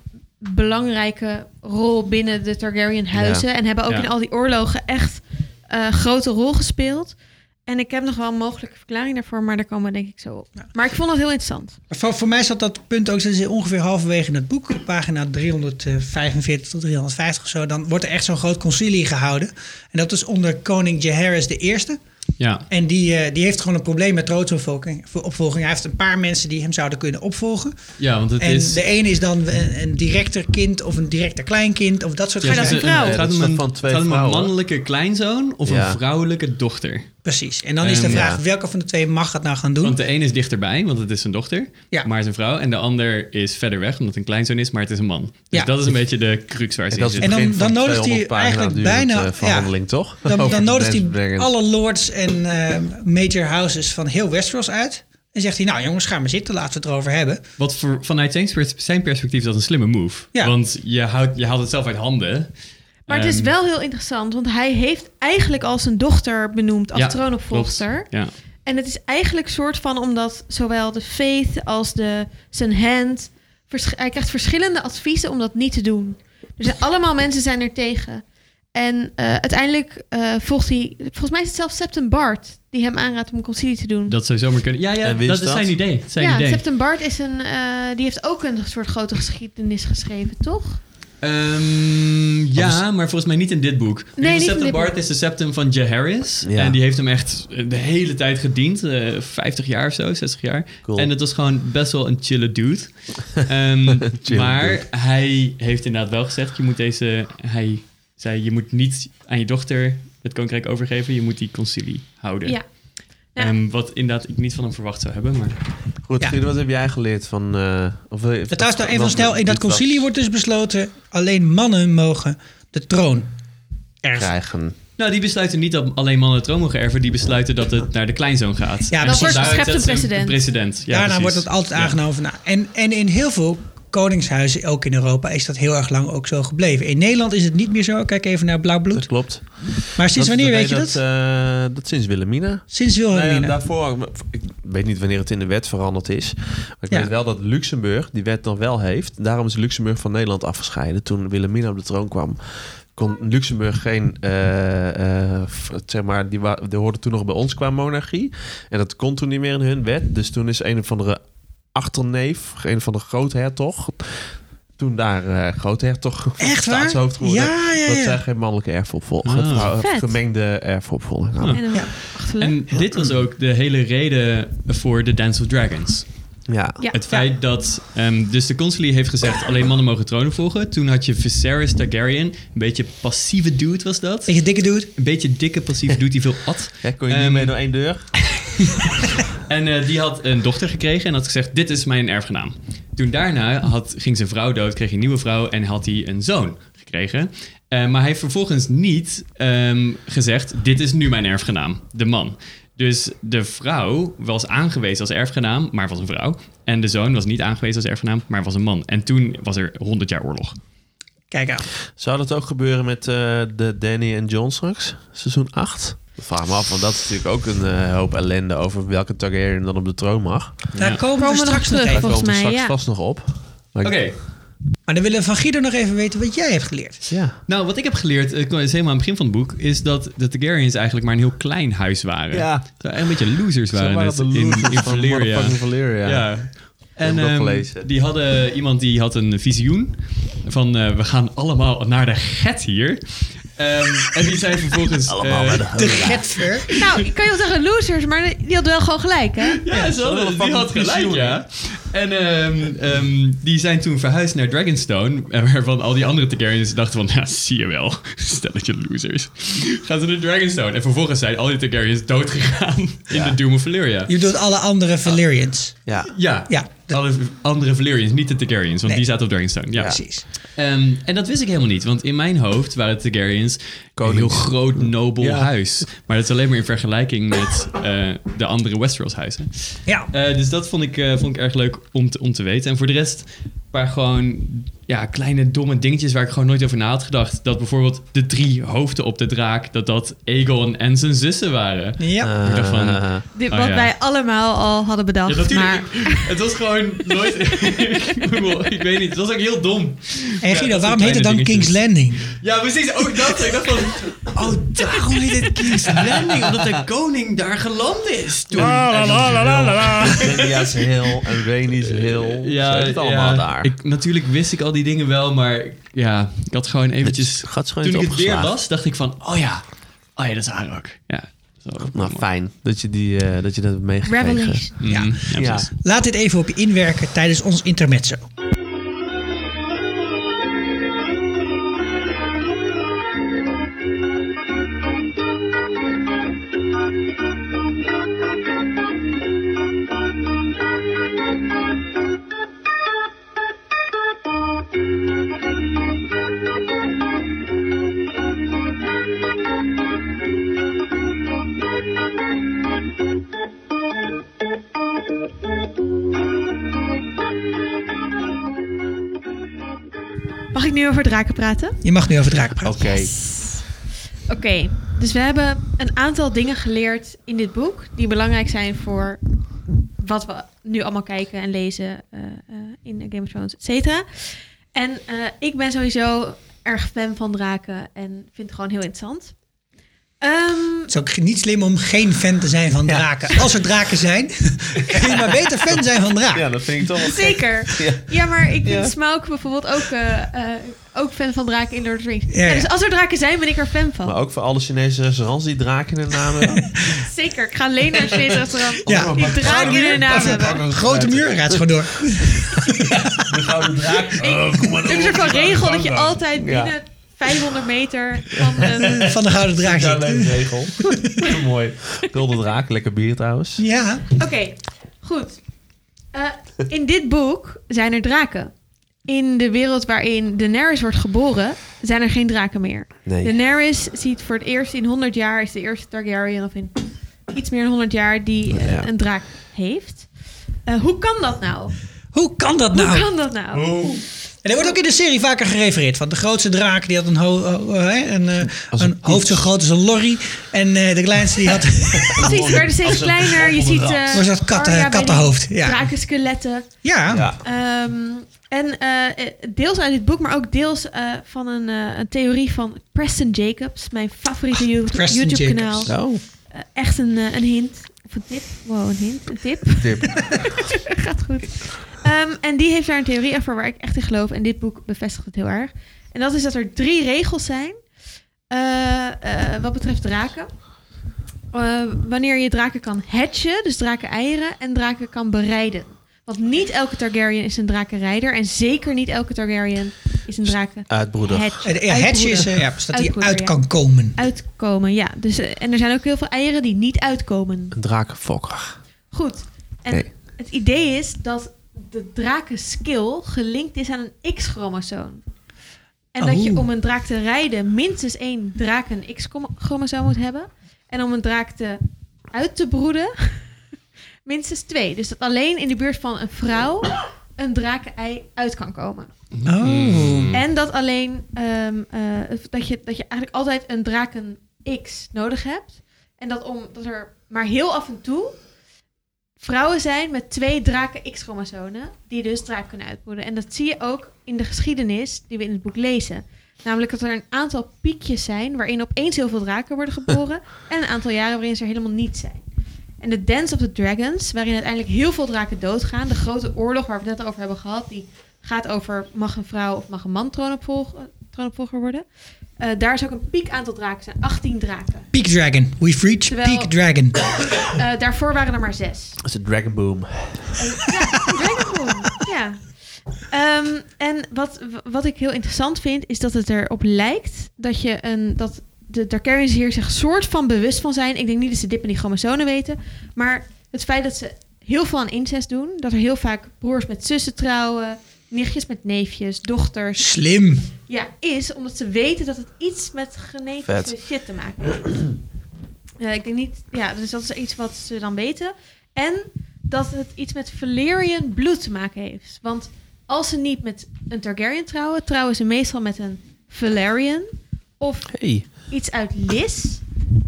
E: belangrijke rol binnen de Targaryen-huizen. En hebben ook
F: Ja.
E: in al die oorlogen echt eh grote rol gespeeld. En ik heb nog wel een mogelijke verklaring daarvoor, maar daar komen we denk ik zo op. Maar ik vond dat heel interessant.
A: Maar Voor, voor mij zat dat punt ook zo ongeveer halverwege in het boek. op Pagina 345 tot 350 of zo. Dan wordt er echt zo'n groot concilie gehouden. En dat is onder koning Jaehaerys de eerste.
F: Ja.
A: En die, eh, die heeft gewoon een probleem met troonsopvolging. voor- opvolging. Hij heeft een paar mensen die hem zouden kunnen opvolgen.
F: ja, want het
A: en
F: is...
A: de ene is dan een, een directer kind of een directer kleinkind of dat soort
F: Ja,
E: Maar dat
A: gezeik.
E: is een vrouw.
F: Het gaat
D: Dat is
F: om
D: toch
F: een,
D: van
F: het
D: twee
F: gaat om een
D: vrouwen?
F: mannelijke kleinzoon of
D: Ja.
F: een vrouwelijke dochter.
A: Precies. En dan is de
F: Ehm,
A: vraag
D: ja.
A: welke van de twee mag het nou gaan doen?
F: Want de een is dichterbij, want het is zijn dochter,
A: Ja.
F: maar zijn vrouw. En de ander is verder weg, omdat het een kleinzoon is, maar het is een man. Dus
A: Ja.
F: dat is een beetje de crux waar ze
D: dat
F: in
D: is het
F: zit.
A: En dan-
D: begin van
A: dan nodigt hij
D: 200 pagina's
A: eigenlijk
D: durend,
A: bijna-
D: eh,
A: ja.
D: verhandeling, toch?
A: Dan,
D: Over
A: dan
D: de
A: nodigt
D: Dance
A: hij
D: Dragons.
A: alle lords en eh, major houses van heel Westeros uit. En zegt hij, nou jongens, ga maar zitten, laten we het erover hebben.
F: Wat voor, vanuit zijn, pers- zijn perspectief dat een slimme move.
A: Ja.
F: Want je, houdt, je haalt het zelf uit handen.
E: Maar het is
F: Ehm,
E: wel heel interessant, want hij heeft eigenlijk al zijn dochter benoemd als
F: Ja,
E: troonopvolgster.
F: klopt. Ja.
E: En het is eigenlijk soort van omdat zowel de faith als de, zijn hand... versch- hij krijgt verschillende adviezen om dat niet te doen. Er zijn allemaal mensen zijn er tegen. En eh, uiteindelijk eh, volgt hij... Volgens mij is het zelfs Septon Bart die hem aanraadt om een concilie te doen.
F: Dat zou zomaar kunnen. Ja, ja
D: En
F: dat
D: wie
F: is,
D: is dat?
F: zijn idee. Zijn
E: ja,
F: idee.
E: Septon Bart is een, eh, die heeft ook een soort grote geschiedenis geschreven, toch?
F: Ehm, ja, maar volgens mij niet in dit boek.
E: Nee, niet in
F: Septum
E: dit
F: Bart
E: boek.
F: is de septum van Jaehaerys.
D: Ja.
F: En die heeft hem echt eh, de hele tijd gediend. eh 50 jaar of zo, 60 jaar.
D: Cool.
F: En het was gewoon best wel een chille dude. Ehm,
D: Chille
F: maar
D: dude.
F: hij heeft inderdaad wel gezegd... Je moet deze... Hij zei, je moet niet aan je dochter het koninkrijk overgeven. Je moet die concilie houden.
E: Ja. Ja.
F: Ehm, wat inderdaad ik niet van hem verwacht zou hebben. Maar
D: Goed,
A: Ja.
D: Guido, wat heb jij geleerd van... eh of, eh,
A: Dat trouwens nog
D: wat-
A: even
D: wat-
A: snel, in dat
D: dit was
A: concilie wordt dus besloten... alleen mannen mogen de troon erven.
D: Krijgen.
F: Nou, die besluiten niet dat alleen mannen het troon mogen erven. Die besluiten dat het naar de kleinzoon gaat.
A: Ja,
F: En
A: dat wordt
F: daaruit
E: geschept
F: zetten
E: een
F: ze
E: precedent.
F: precedent. Ja,
A: Daarna
F: precies.
A: wordt het altijd
F: Ja.
A: aangenomen van... nou, en, en in heel veel koningshuizen, ook in Europa... is dat heel erg lang ook zo gebleven. In Nederland is het niet meer zo. Kijk even naar Blauw
D: Dat
A: Bloed.
D: klopt.
A: Maar sinds
D: Dat-
A: wanneer
D: dat
A: weet je
D: hij
A: dat?
D: eh, dat sinds Wilhelmina.
A: sinds
D: Nou ja,
A: Wilhelmina.
D: daarvoor, ik weet niet wanneer het in de wet veranderd is. Maar ik
A: Ja.
D: weet wel dat Luxemburg die wet dan wel heeft. Daarom is Luxemburg van Nederland afgescheiden. Toen Wilhelmina op de troon kwam, kon Luxemburg geen. eh, eh, f- zeg maar, die, wa- die hoorden toen nog bij ons qua monarchie. En dat kon toen niet meer in hun wet. Dus toen is een of andere achterneef, een van de groothertog. Toen daar eh, groothertog
A: Echt waar?
D: staatshoofd geworden.
A: Ja, ja,
D: Dat
A: ja.
D: zijn geen mannelijke erfopvolger.
F: Ah.
D: vrouw-
E: Vet.
D: gemengde erfopvolger.
E: En dan
A: Ja.
E: achterlijk.
F: En dit was ook de hele reden voor de Dance of Dragons.
A: Hm.
D: Ja.
E: Ja.
F: Het feit dat... ehm, dus de concilie heeft gezegd... alleen mannen mogen tronen volgen. Toen had je Viserys Targaryen. Een beetje passieve dude was dat.
A: Weet je, dikke dude?
F: Een beetje dikke passieve dude die veel at.
D: Ja, kon je niet
F: Ehm,
D: mee door één deur?
F: En eh, die had een dochter gekregen en had gezegd: Dit is mijn erfgenaam. Toen daarna had, ging zijn vrouw dood, kreeg hij een nieuwe vrouw en had hij een zoon gekregen. Eh, maar hij heeft vervolgens niet ehm, gezegd: Dit is nu mijn erfgenaam, de man. Dus de vrouw was aangewezen als erfgenaam, maar was een vrouw. En de zoon was niet aangewezen als erfgenaam, maar was een man. En toen was er 100 jaar oorlog.
A: Kijk aan.
D: Zou dat ook gebeuren met eh, de Danny en John straks? Seizoen 8? Dat vraag me af, want dat is natuurlijk ook een eh, hoop ellende over welke Targaryen dan op de troon mag.
A: Daar komen
F: Ja.
A: we
E: Komen we nog
A: straks nog
E: terug.
A: even.
D: Daar
E: Volgens
D: komt het
E: mij,
D: straks
E: ja.
D: vast nog op. Maar ik-
F: Oké,
A: Maar dan willen we van Guido nog even weten wat jij hebt geleerd.
D: Ja.
F: nou wat ik heb geleerd, eh, is helemaal aan het begin van het boek, is dat de Targaryens eigenlijk maar een heel klein huis waren.
D: Ja.
F: Ze waren echt een beetje losers
D: Zo
F: waren
D: waren
F: het
D: de losers
F: in, in
D: van
F: Valyria.
D: motherfucking Valyria.
F: Ja. En
D: heb ik ook
F: ehm,
D: gelezen.
F: die hadden, iemand die had een visioen van eh, we gaan allemaal naar de get hier. Ehm, en die zei vervolgens...
D: Allemaal
F: eh,
D: bij de
A: De getver.
E: Nou, ik kan je wel zeggen losers, maar die had wel gewoon gelijk, hè?
F: Ja, ze hadden- die had gelijk, ja. En ehm, ehm, die zijn toen verhuisd naar Dragonstone. En waarvan al die andere Targaryens dachten van... Ja, zie je wel. Stelletje losers. Gaan ze naar Dragonstone. En vervolgens zijn al die Targaryens doodgegaan in de Doom of Valyria.
A: Je doet alle andere Valyrians.
D: Ja.
F: Ja,
A: Ja, dat-
F: alle andere Valyrians, niet de Targaryens. Want
A: Nee.
F: die zaten op Dragonstone. Ja.
A: precies.
F: Ehm, en dat wist ik helemaal niet, want in mijn hoofd waren de Targaryens een heel groot, nobel
D: Ja.
F: huis. Maar dat is alleen maar in vergelijking met eh, de andere Westeros-huizen.
A: Ja.
F: Eh, dus dat vond ik, eh, vond ik erg leuk om te, om te weten. En voor de rest, een paar gewoon ja, kleine domme dingetjes waar ik gewoon nooit over na had gedacht. Dat bijvoorbeeld de drie hoofden op de draak, dat dat Aegon en zijn zussen waren.
A: Ja.
D: eh,
F: Ik dacht van,
E: Dit,
F: Oh,
E: wat
F: ja.
E: wij allemaal al hadden bedacht.
F: ja, natuurlijk.
E: maar
F: Het was gewoon nooit... Ik bedoel, ik weet niet, het was ook heel dom.
A: en
F: dat
A: Guido,
F: zijn
A: waarom heet
F: kleine
A: het dan
F: dingetjes.
A: King's Landing?
F: Ja, precies. Ook dat. Ik dacht van... Oh, daarom heet het King's Landing. Omdat de koning daar geland is. Toen.
D: India's Hill en Rainey's Hill. Ja, het allemaal daar.
F: Eh, Ik, natuurlijk wist ik al die dingen wel, maar ja, ik had gewoon eventjes...
D: Het gaat gewoon
F: toen
D: niet
F: ik het weer
D: opgeslagen.
F: las, dacht ik van... Oh ja, oh ja, dat is haar ook. Ja. Zo.
D: Nou, fijn dat je, die, eh, dat, je dat hebt meegekregen.
E: Revelation.
F: Mm,
A: Ja.
D: Ja.
F: precies.
A: Laat dit even op je inwerken tijdens ons intermezzo.
E: Mag ik nu over draken praten?
A: Je mag nu over draken praten.
D: Oké.
E: Oké, dus we hebben een aantal dingen geleerd in dit boek die belangrijk zijn voor wat we nu allemaal kijken en lezen eh, eh, in Game of Thrones, et cetera. En eh, ik ben sowieso erg fan van draken en vind het gewoon heel interessant. Ehm,
A: Het is ook niet slim om geen fan te zijn van draken. Als er draken zijn, kun je maar beter fan zijn van draken.
D: Ja, dat vind ik toch wel gek.
E: zeker. Ja.
D: Ja.
E: maar ik vind
D: Ja.
E: Smaug bijvoorbeeld ook, eh, eh, ook fan van draken in Lord of the Rings.
A: Ja,
E: Ja,
A: ja.
E: dus als er draken zijn, ben ik er fan van.
D: Maar ook voor alle Chinese restaurants die draken in naam hebben.
E: Zeker, ik ga alleen naar het Chinese restaurant.
A: Ja.
E: Ja. Die draken in hun naam hebben.
A: Grote muur, gaat gewoon door.
E: Er is een soort van regel dat je altijd
D: Ja.
E: binnen 500 meter van de...
A: Van de gouden draak
D: Ja,
A: zit.
D: leuke regel. Heel Mooi. Gulden draak, lekker bier trouwens.
A: Ja,
E: Oké, goed. Eh, in dit boek zijn er draken. In de wereld waarin Daenerys wordt geboren, zijn er geen draken meer.
D: Nee.
E: Daenerys ziet voor het eerst in 100 jaar, is de eerste Targaryen of in iets meer dan 100 jaar, die eh,
D: Ja.
E: een draak heeft. Eh, hoe kan dat nou?
A: hoe kan dat
E: Hoe
A: nou?
E: kan dat nou?
A: En er wordt ook in de serie vaker gerefereerd. Van de grootste draak die had een, ho- ho- hè, een, eh, een hoofd zo groot als een lorry. En eh, de kleinste die had
E: Precies, ze werden steeds
D: Als een
E: kleiner. Je
D: op een
E: ziet...
D: rat.
E: eh,
A: Was dat katten-
E: Arya bij die
A: kattenhoofd, ja.
E: Drakenskeletten.
A: ja,
D: Ja.
E: Ehm, en eh, eh, deels uit dit boek, maar ook deels eh, van een, eh, een theorie van Preston Jacobs, mijn favoriete You-
A: Preston
E: YouTube-kanaal.
A: Jacobs.
D: Zo.
E: Eh, echt een, eh, een hint. Of een tip. Wow, een hint. Een tip.
D: Tip.
E: Gaat goed. Ehm, en die heeft daar een theorie over waar ik echt in geloof. En dit boek bevestigt het heel erg. En dat is dat er drie regels zijn eh, eh, wat betreft draken. Eh, wanneer je draken kan hatchen, dus draken eieren, en draken kan bereiden. Want niet elke Targaryen is een drakenrijder. En zeker niet elke Targaryen is een draken
D: Uitbroeder.
A: Eh, ja het is eh, ja, dus dat hij
E: Uitbroeder,
A: uit
E: ja.
A: kan komen.
E: Uitkomen, ja. Dus, eh, en er zijn ook heel veel eieren die niet uitkomen.
D: Een drakenfokker.
E: Goed. En
D: Nee.
E: het idee is dat de drakenskill gelinkt is aan een X-chromosoom. En dat je
A: Oh.
E: om een draak te rijden minstens één draken X-chromosoom moet hebben. En om een draak te uit te broeden minstens twee. Dus dat alleen in de buurt van een vrouw een drakenei uit kan komen.
F: Mm.
A: Oh.
E: En dat alleen ehm, eh, dat, je, dat je eigenlijk altijd een draken X nodig hebt. En dat omdat er maar heel af en toe vrouwen zijn met twee draken X-chromosomen, die dus draak kunnen uitbroeden. En dat zie je ook in de geschiedenis die we in het boek lezen. Namelijk dat er een aantal piekjes zijn waarin opeens heel veel draken worden geboren. en een aantal jaren waarin ze er helemaal niet zijn. En de Dance of the Dragons, waarin uiteindelijk heel veel draken doodgaan. De grote oorlog waar we het net over hebben gehad, die gaat over mag een vrouw of mag een man troon opvolgen, chronovolger eh, worden. Eh, daar zou ook een piek aantal draken zijn. 18 draken.
A: Peak Dragon. We've reached
E: Terwijl-
A: Peak Dragon.
E: Eh, daarvoor waren er maar zes.
D: Dat is de Dragon Boom.
E: Dragon Ball, ja. Ehm, en wat, wat ik heel interessant vind, is dat het erop lijkt dat je een. Dat de Targaryens hier zich soort van bewust van zijn. Ik denk niet dat ze dip in die chromosomen weten. Maar het feit dat ze heel veel aan incest doen. Dat er heel vaak broers met zussen trouwen. Nichtjes met neefjes, dochters.
A: Slim.
E: Ja, is omdat ze weten dat het iets met genetische
D: Vet.
E: shit te maken heeft. Eh, ik denk niet... Ja, dus dat is iets wat ze dan weten. En dat het iets met Valyrian bloed te maken heeft. Want als ze niet met een Targaryen trouwen... trouwen ze meestal met een Valerian. Of
D: Hey.
E: iets uit Lys.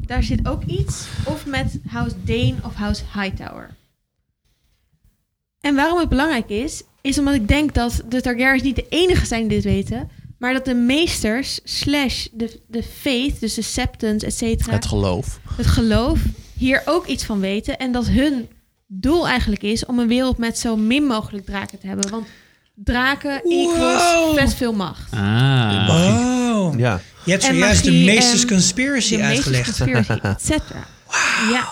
E: Daar zit ook iets. Of met House Dane of House Hightower. En waarom het belangrijk is, is omdat ik denk dat de Targaryens niet de enige zijn die dit weten. Maar dat de meesters, slash de, de faith, dus de septons, et cetera,
D: Het geloof.
E: het geloof, hier ook iets van weten. En dat hun doel eigenlijk is om een wereld met zo min mogelijk draken te hebben. Want draken equals
A: Wow.
E: vet veel macht.
F: Ah.
A: Oh.
D: Ja.
A: Je hebt
E: En
A: zojuist de
E: magie
A: Meesters
E: en-
A: Conspiracy
E: de meeste
A: uitgelegd.
E: conspiracy, et cetera. Ja.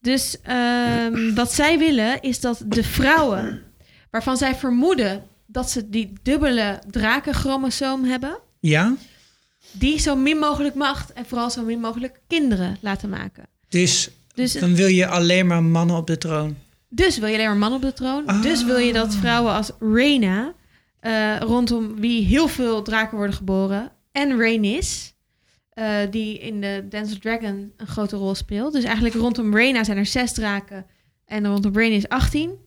E: Dus ehm, wat zij willen is dat de vrouwen, waarvan zij vermoeden dat ze die dubbele drakenchromosoom hebben,
A: Ja?
E: die zo min mogelijk macht en vooral zo min mogelijk kinderen laten maken.
A: Dus
E: Dus,
A: dan wil je alleen maar mannen op de troon.
E: dus wil je alleen maar mannen op de troon.
A: Ah.
E: Dus wil je dat vrouwen als Reina, eh, rondom wie heel veel draken worden geboren, en Rhaenys, eh, die in de Dance of Dragon een grote rol speelt. Dus eigenlijk rondom Reina zijn er zes draken en rondom Rhaenys 18.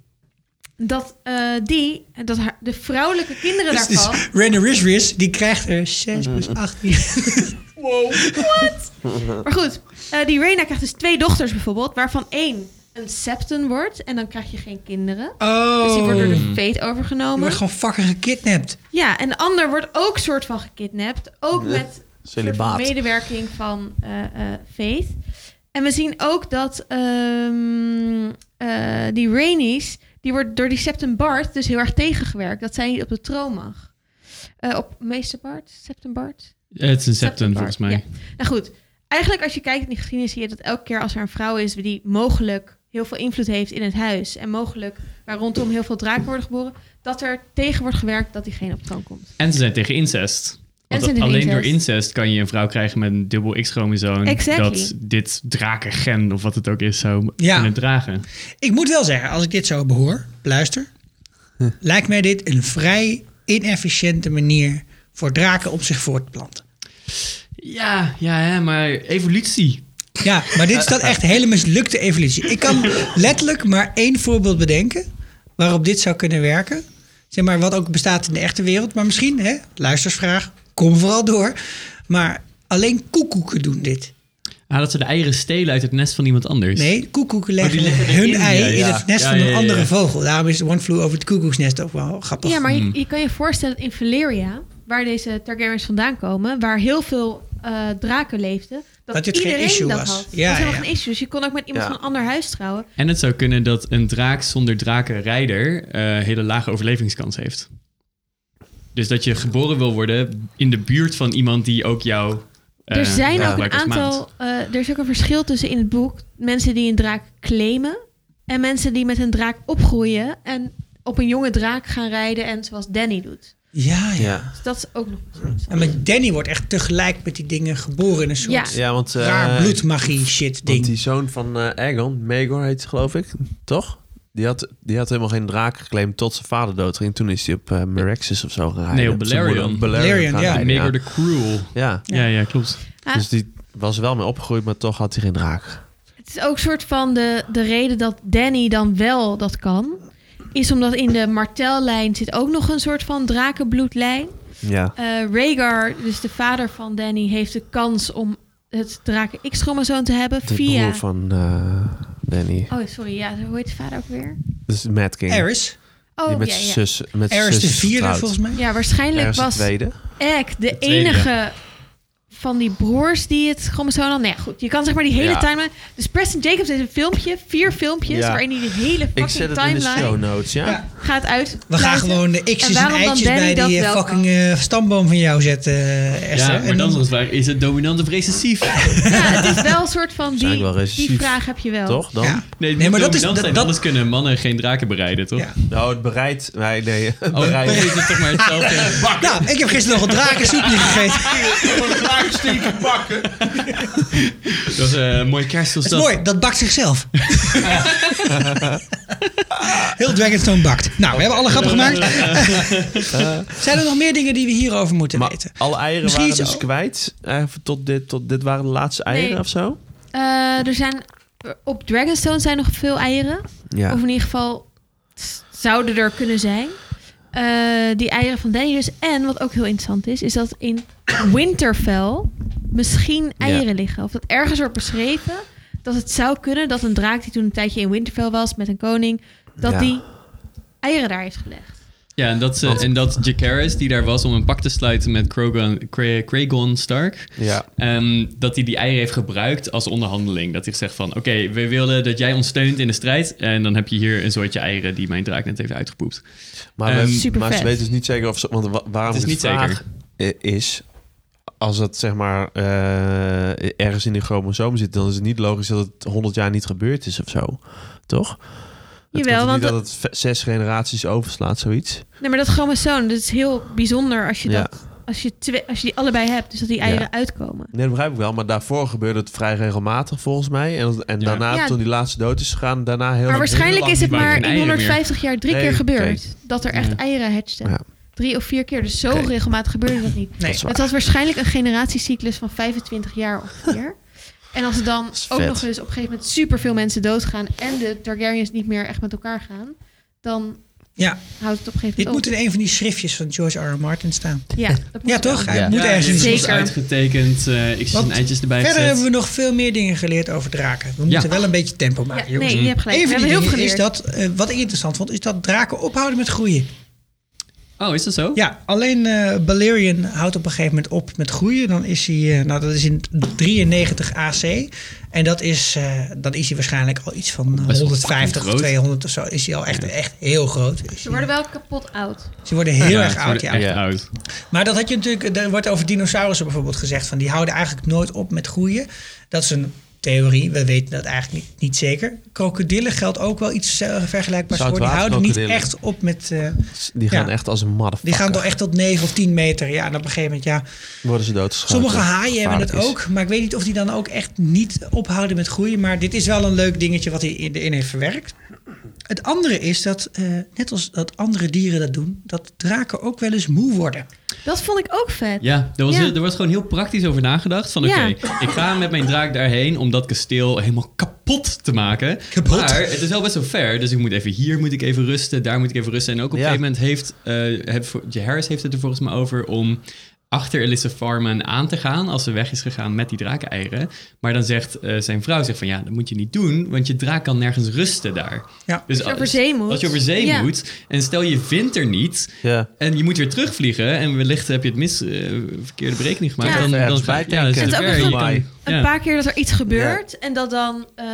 E: Dat eh, die, dat haar, de vrouwelijke kinderen
A: Dus,
E: daarvan...
A: dus Renner Risris, die krijgt er 6 plus
D: Oh.
A: 18.
E: Maar goed, eh, die Reina krijgt dus twee dochters bijvoorbeeld, waarvan één een septon wordt en dan krijg je geen kinderen.
A: Oh.
E: Dus die wordt door de fate
A: Je
E: overgenomen.
A: wordt gewoon fucking gekidnapt.
E: Ja, en de ander wordt ook soort van gekidnapt. Ook
D: Ja,
E: met soort van
D: Celibaat.
E: medewerking van eh eh, Faith. En we zien ook dat ehm, eh, die Rainies, die wordt door die Septon Bart dus heel erg tegengewerkt. Dat zij niet op de troon mag. Eh, op meester Bart? Septon Bart?
F: Het is een septum
E: Septon
F: volgens
E: Bart,
F: mij.
E: ja. Nou goed, eigenlijk als je kijkt in die geschiedenis zie je dat elke keer als er een vrouw is die mogelijk heel veel invloed heeft in het huis en mogelijk waar rondom heel veel draken worden geboren, dat er tegen wordt gewerkt dat diegene op de troon komt.
F: En ze zijn tegen incest. Want
E: zijn tegen
F: alleen door
E: incest.
F: incest kan je een vrouw krijgen met een dubbel X-chromosoom.
E: Exactly.
F: Dat dit drakengen, of wat het ook is, zou
A: Ja.
F: kunnen dragen.
A: Ik moet wel zeggen, als ik dit zo behoor, luister, lijkt mij dit een vrij inefficiënte manier voor draken om zich voor te planten.
F: Ja, ja, hè, maar evolutie.
A: Ja, maar dit is dan echt hele mislukte evolutie. Ik kan letterlijk maar één voorbeeld bedenken waarop dit zou kunnen werken. Zeg maar wat ook bestaat in de echte wereld. Maar misschien, hè, luistersvraag, kom vooral door. Maar alleen koekoeken doen dit.
F: Ah, dat ze de eieren stelen uit het nest van iemand anders.
A: Nee, koekoeken leggen,
F: Oh, die leggen
A: hun
F: erin,
A: ei
F: ja,
A: in
F: ja.
A: het nest
F: Ja,
A: van een
F: ja, ja,
A: andere
F: ja.
A: vogel. Daarom is One Flew Over het Koekoeksnest ook wel grappig.
E: Ja, maar je, je kan je voorstellen dat in Valyria, waar deze Targaryens vandaan komen, waar heel veel eh, draken leefden, dat,
A: Dat dit geen
E: iedereen
A: issue
E: dat
A: was.
E: had.
A: Ja,
E: dat was helemaal
A: ja.
E: geen issue. Dus je kon ook met iemand
D: Ja.
E: van een ander huis trouwen.
F: En het zou kunnen dat een draak zonder drakenrijder eh hele lage overlevingskans heeft. Dus dat je geboren wil worden in de buurt van iemand die ook jou... eh,
E: er zijn ook een
F: gebruikt als maat.
E: aantal, eh, er is ook een verschil tussen in het boek mensen die een draak claimen en mensen die met een draak opgroeien en op een jonge draak gaan rijden en zoals Danny doet.
A: ja, ja.
D: Ja.
E: Dus dat is ook nog een soort van-
A: En met Danny wordt echt tegelijk met die dingen geboren in een soort
E: Ja.
D: Ja, want... eh,
A: raar bloedmagie shit
D: Want
A: ding.
D: die zoon van eh Aegon, Megor heet hij geloof ik, toch? Die had, die had helemaal geen draak geclaimd tot zijn vader doodging. Toen is hij op eh Meraxis of zo gegaan.
F: Nee, op Balerion.
A: Balerion, ja.
F: Ja, Megor
D: ja.
F: the Cruel.
D: ja.
F: Ja, ja, klopt.
E: Ah,
D: Dus die was wel mee opgegroeid, maar toch had hij geen draak.
E: Het is ook een soort van de, de reden dat Danny dan wel dat kan. Is omdat in de Martellijn zit ook nog een soort van drakenbloedlijn.
D: Ja.
E: Eh Rhaegar, dus de vader van Danny, heeft de kans om het draken X-chromosoom te hebben
D: De
E: via...
D: broer van eh, Danny.
E: Oh, sorry, ja, hoe heet de vader ook weer?
D: Dus Mad King.
A: Eris.
E: Oh,
D: Die met
E: ja,
D: zijn
E: ja.
D: zus met zijn
A: Eris
D: zus
A: de
D: is
A: vierde
D: getrouwd.
A: volgens mij.
E: Ja,
D: Aerys
E: waarschijnlijk
D: de
E: was
D: tweede.
E: Egg de
F: tweede.
E: enige van die broers die het chromosoom dan... Nee, goed. Je kan zeg maar die hele
D: Ja.
E: timeline... Dus Preston Jacobs heeft een filmpje, vier filmpjes...
D: Ja.
E: waarin hij de hele
D: Ik
E: fucking
D: zet het in de
E: timeline
D: show notes, ja?
A: Ja.
E: gaat uit.
A: We gaan gewoon de
E: En
A: x's en,
E: waarom dan
A: eitjes
E: Danny
A: bij
E: dat
A: die eh,
E: wel kan?
A: fucking eh, stamboom van jou zetten, eh, Esther.
F: Ja, maar
A: En-
F: dan is het vraag, is het dominant of recessief?
E: Ja, het is wel een soort van...
D: Zijn
E: Die,
D: wel recessief,
E: die vraag heb je wel.
D: Toch dan?
A: Ja.
F: Nee, het
A: Nee,
F: moet
A: maar dat is-
F: dominant
A: dat-
F: zijn,
A: dat-
F: anders kunnen mannen geen draken bereiden, toch?
A: Ja.
D: Nou, het bereid... Nee, nee. het
F: Oh,
D: bereid.
F: is het toch maar hetzelfde. Bak!
A: Nou, ik heb gisteren nog een drakensoepje gegeten.
F: Dat is eh, een mooi kerst.
A: Dat is mooi, dat bakt zichzelf. Heel Dragonstone bakt. Nou, we hebben alle grappen gemaakt. Zijn er nog meer dingen die we hierover moeten
D: Maar
A: weten?
D: alle eieren
A: Misschien
D: waren
A: iets-
D: dus kwijt. eh, tot, dit, tot dit waren de laatste eieren
E: Nee.
D: of zo?
E: Eh, er zijn... Op Dragonstone zijn nog veel eieren.
D: Ja.
E: Of in ieder geval s- zouden er kunnen zijn. Eh, die eieren van Danny dus. En wat ook heel interessant is, is dat in Winterfell misschien eieren liggen. Of dat ergens wordt beschreven dat het zou kunnen dat een draak die toen een tijdje in Winterfell was met een koning, dat
D: Ja.
E: die eieren daar heeft gelegd.
F: Ja, en dat, ze, en dat Jacaerys, die daar was om een pact te sluiten met Krogon, Cra- Cragon Stark...
D: Ja.
F: ehm, dat hij die eieren heeft gebruikt als onderhandeling. Dat hij zegt van, oké, we willen dat jij ons steunt in de strijd... en dan heb je hier een soortje eieren die mijn draak net heeft uitgepoept.
D: Maar,
F: Ehm,
D: we-
E: eh, Super
D: maar ze
E: vet.
D: weten dus niet zeker of ze... Want wa- waarom
F: Het is
D: de
F: niet
D: vraag
F: zeker.
D: eh, is... Als dat zeg maar eh, ergens in de chromosoom zit... dan is het niet logisch dat het 100 jaar niet gebeurd is of zo. Toch? Het
E: Jawel,
D: klopt
E: want
D: niet dat het ve- zes generaties overslaat, zoiets.
E: nee, maar dat chromosoom, dat is heel bijzonder als je,
D: Ja.
E: dat, als je, twee, als je die allebei hebt. Dus dat die eieren
D: Ja.
E: uitkomen.
D: Nee, dat begrijp ik wel. Maar daarvoor gebeurde het vrij regelmatig volgens mij. En, en
F: Ja.
D: daarna,
E: Ja.
D: toen die laatste dood is gegaan... daarna heel
E: Maar
D: lang-
E: waarschijnlijk
D: heel
E: is het
D: lang
E: maar
F: geen
E: in
F: eieren meer.
E: 150 jaar drie
D: Nee,
E: keer
D: oké.
E: gebeurd dat er echt
F: Ja.
E: eieren hatchten.
D: Ja.
E: Drie of vier keer. Dus zo
D: Oké.
E: regelmatig gebeurde dat niet.
A: Nee.
D: is waar.
E: Het was waarschijnlijk een generatiecyclus van 25 jaar ongeveer. en als er dan
D: is
E: ook
D: vet.
E: nog eens op een gegeven moment superveel mensen doodgaan en de Targaryens niet meer echt met elkaar gaan, dan
A: Ja,
E: houdt het op een gegeven
A: dit moet
E: moment
A: in een van die schriftjes van George R. R. Martin staan.
E: op. Ja, dat moet
A: Ja,
E: wel.
A: toch? Hij
D: Ja.
A: moet ergens in
F: dit
A: staan.
E: Zeker.
F: is uitgetekend. eh ik zie
A: Want
F: een eitjes erbij
A: Verder
F: gezet.
A: hebben we nog veel meer dingen geleerd over draken. We moeten wel een beetje tempo maken,
E: Ja,
A: jongens.
E: nee, je hebt gelijk.
A: Een
E: We
A: van
E: hebben
A: die
E: heel veel
A: dingen is
E: geleerd.
A: dat, eh, wat ik interessant vond, is dat draken ophouden met groeien.
F: Oh, is dat zo?
A: Ja, alleen eh Balerion houdt op een gegeven moment op met groeien. Dan is hij, eh, nou dat is in 93 AC. En dat is, eh, dan is hij waarschijnlijk al iets van eh,
F: wel
A: 150 of
F: groot.
A: 200 of zo. Is hij al echt, echt heel groot. Is
E: Ze
A: hij-
E: worden wel kapot oud.
A: ze worden heel
F: Ja,
A: erg
F: het
A: oud,
F: wordt
A: ja.
F: Echt
D: Ja.
F: oud.
A: Maar dat had je natuurlijk, er wordt over dinosaurussen bijvoorbeeld gezegd van die houden eigenlijk nooit op met groeien. Dat is een theorie, we weten dat eigenlijk niet, niet zeker. Krokodillen geldt ook wel iets eh, vergelijkbaars voor. Die houden niet
D: Zoutwaterkrokodillen.
A: echt op met, eh,
D: Die gaan
A: Ja.
D: echt als een motherfucker.
A: die gaan toch echt tot 9 of 10 meter. Ja, en op een gegeven moment, ja.
D: Worden ze doodgeschoten.
A: Sommige haaien hebben het
D: Gevaarlijk is.
A: ook, maar ik weet niet of die dan ook echt niet ophouden met groeien. Maar dit is wel een leuk dingetje wat hij in- erin heeft verwerkt. Het andere is dat, eh, net als dat andere dieren dat doen, dat draken ook wel eens moe worden.
E: Dat vond ik ook vet.
F: Ja, er was,
E: Ja.
F: er was gewoon heel praktisch over nagedacht. Van oké,
E: Ja.
F: ik ga met mijn draak daarheen om dat kasteel helemaal kapot te maken.
A: Kapot?
F: Maar het is wel best wel ver. Dus ik moet even hier moet ik even rusten, daar moet ik even rusten. En ook op
D: Ja.
F: een gegeven moment heeft, eh heb, voor- Jaehaerys heeft het er volgens mij over om achter Elissa Farman aan te gaan als ze weg is gegaan met die drakeneieren. Maar dan zegt eh, zijn vrouw zegt van ja, dat moet je niet doen, want je draak kan nergens rusten daar.
A: Ja.
F: Dus
E: Als je over zee moet.
F: Als je over zee
E: Ja.
F: moet en stel je vindt er niet,
D: Ja.
F: en je moet weer terugvliegen en wellicht heb je het mis, eh, verkeerde berekening gemaakt.
E: Ja.
F: Dan, dan,
D: Ergens
F: ga-
D: bij
F: ja, dan
D: denken.
F: zit
E: Het
F: het
E: is
F: ver.
E: ook
F: Je
E: nog
F: kan-
D: een-
E: Een
F: ja.
E: paar keer dat er iets gebeurt. En dat dan, eh,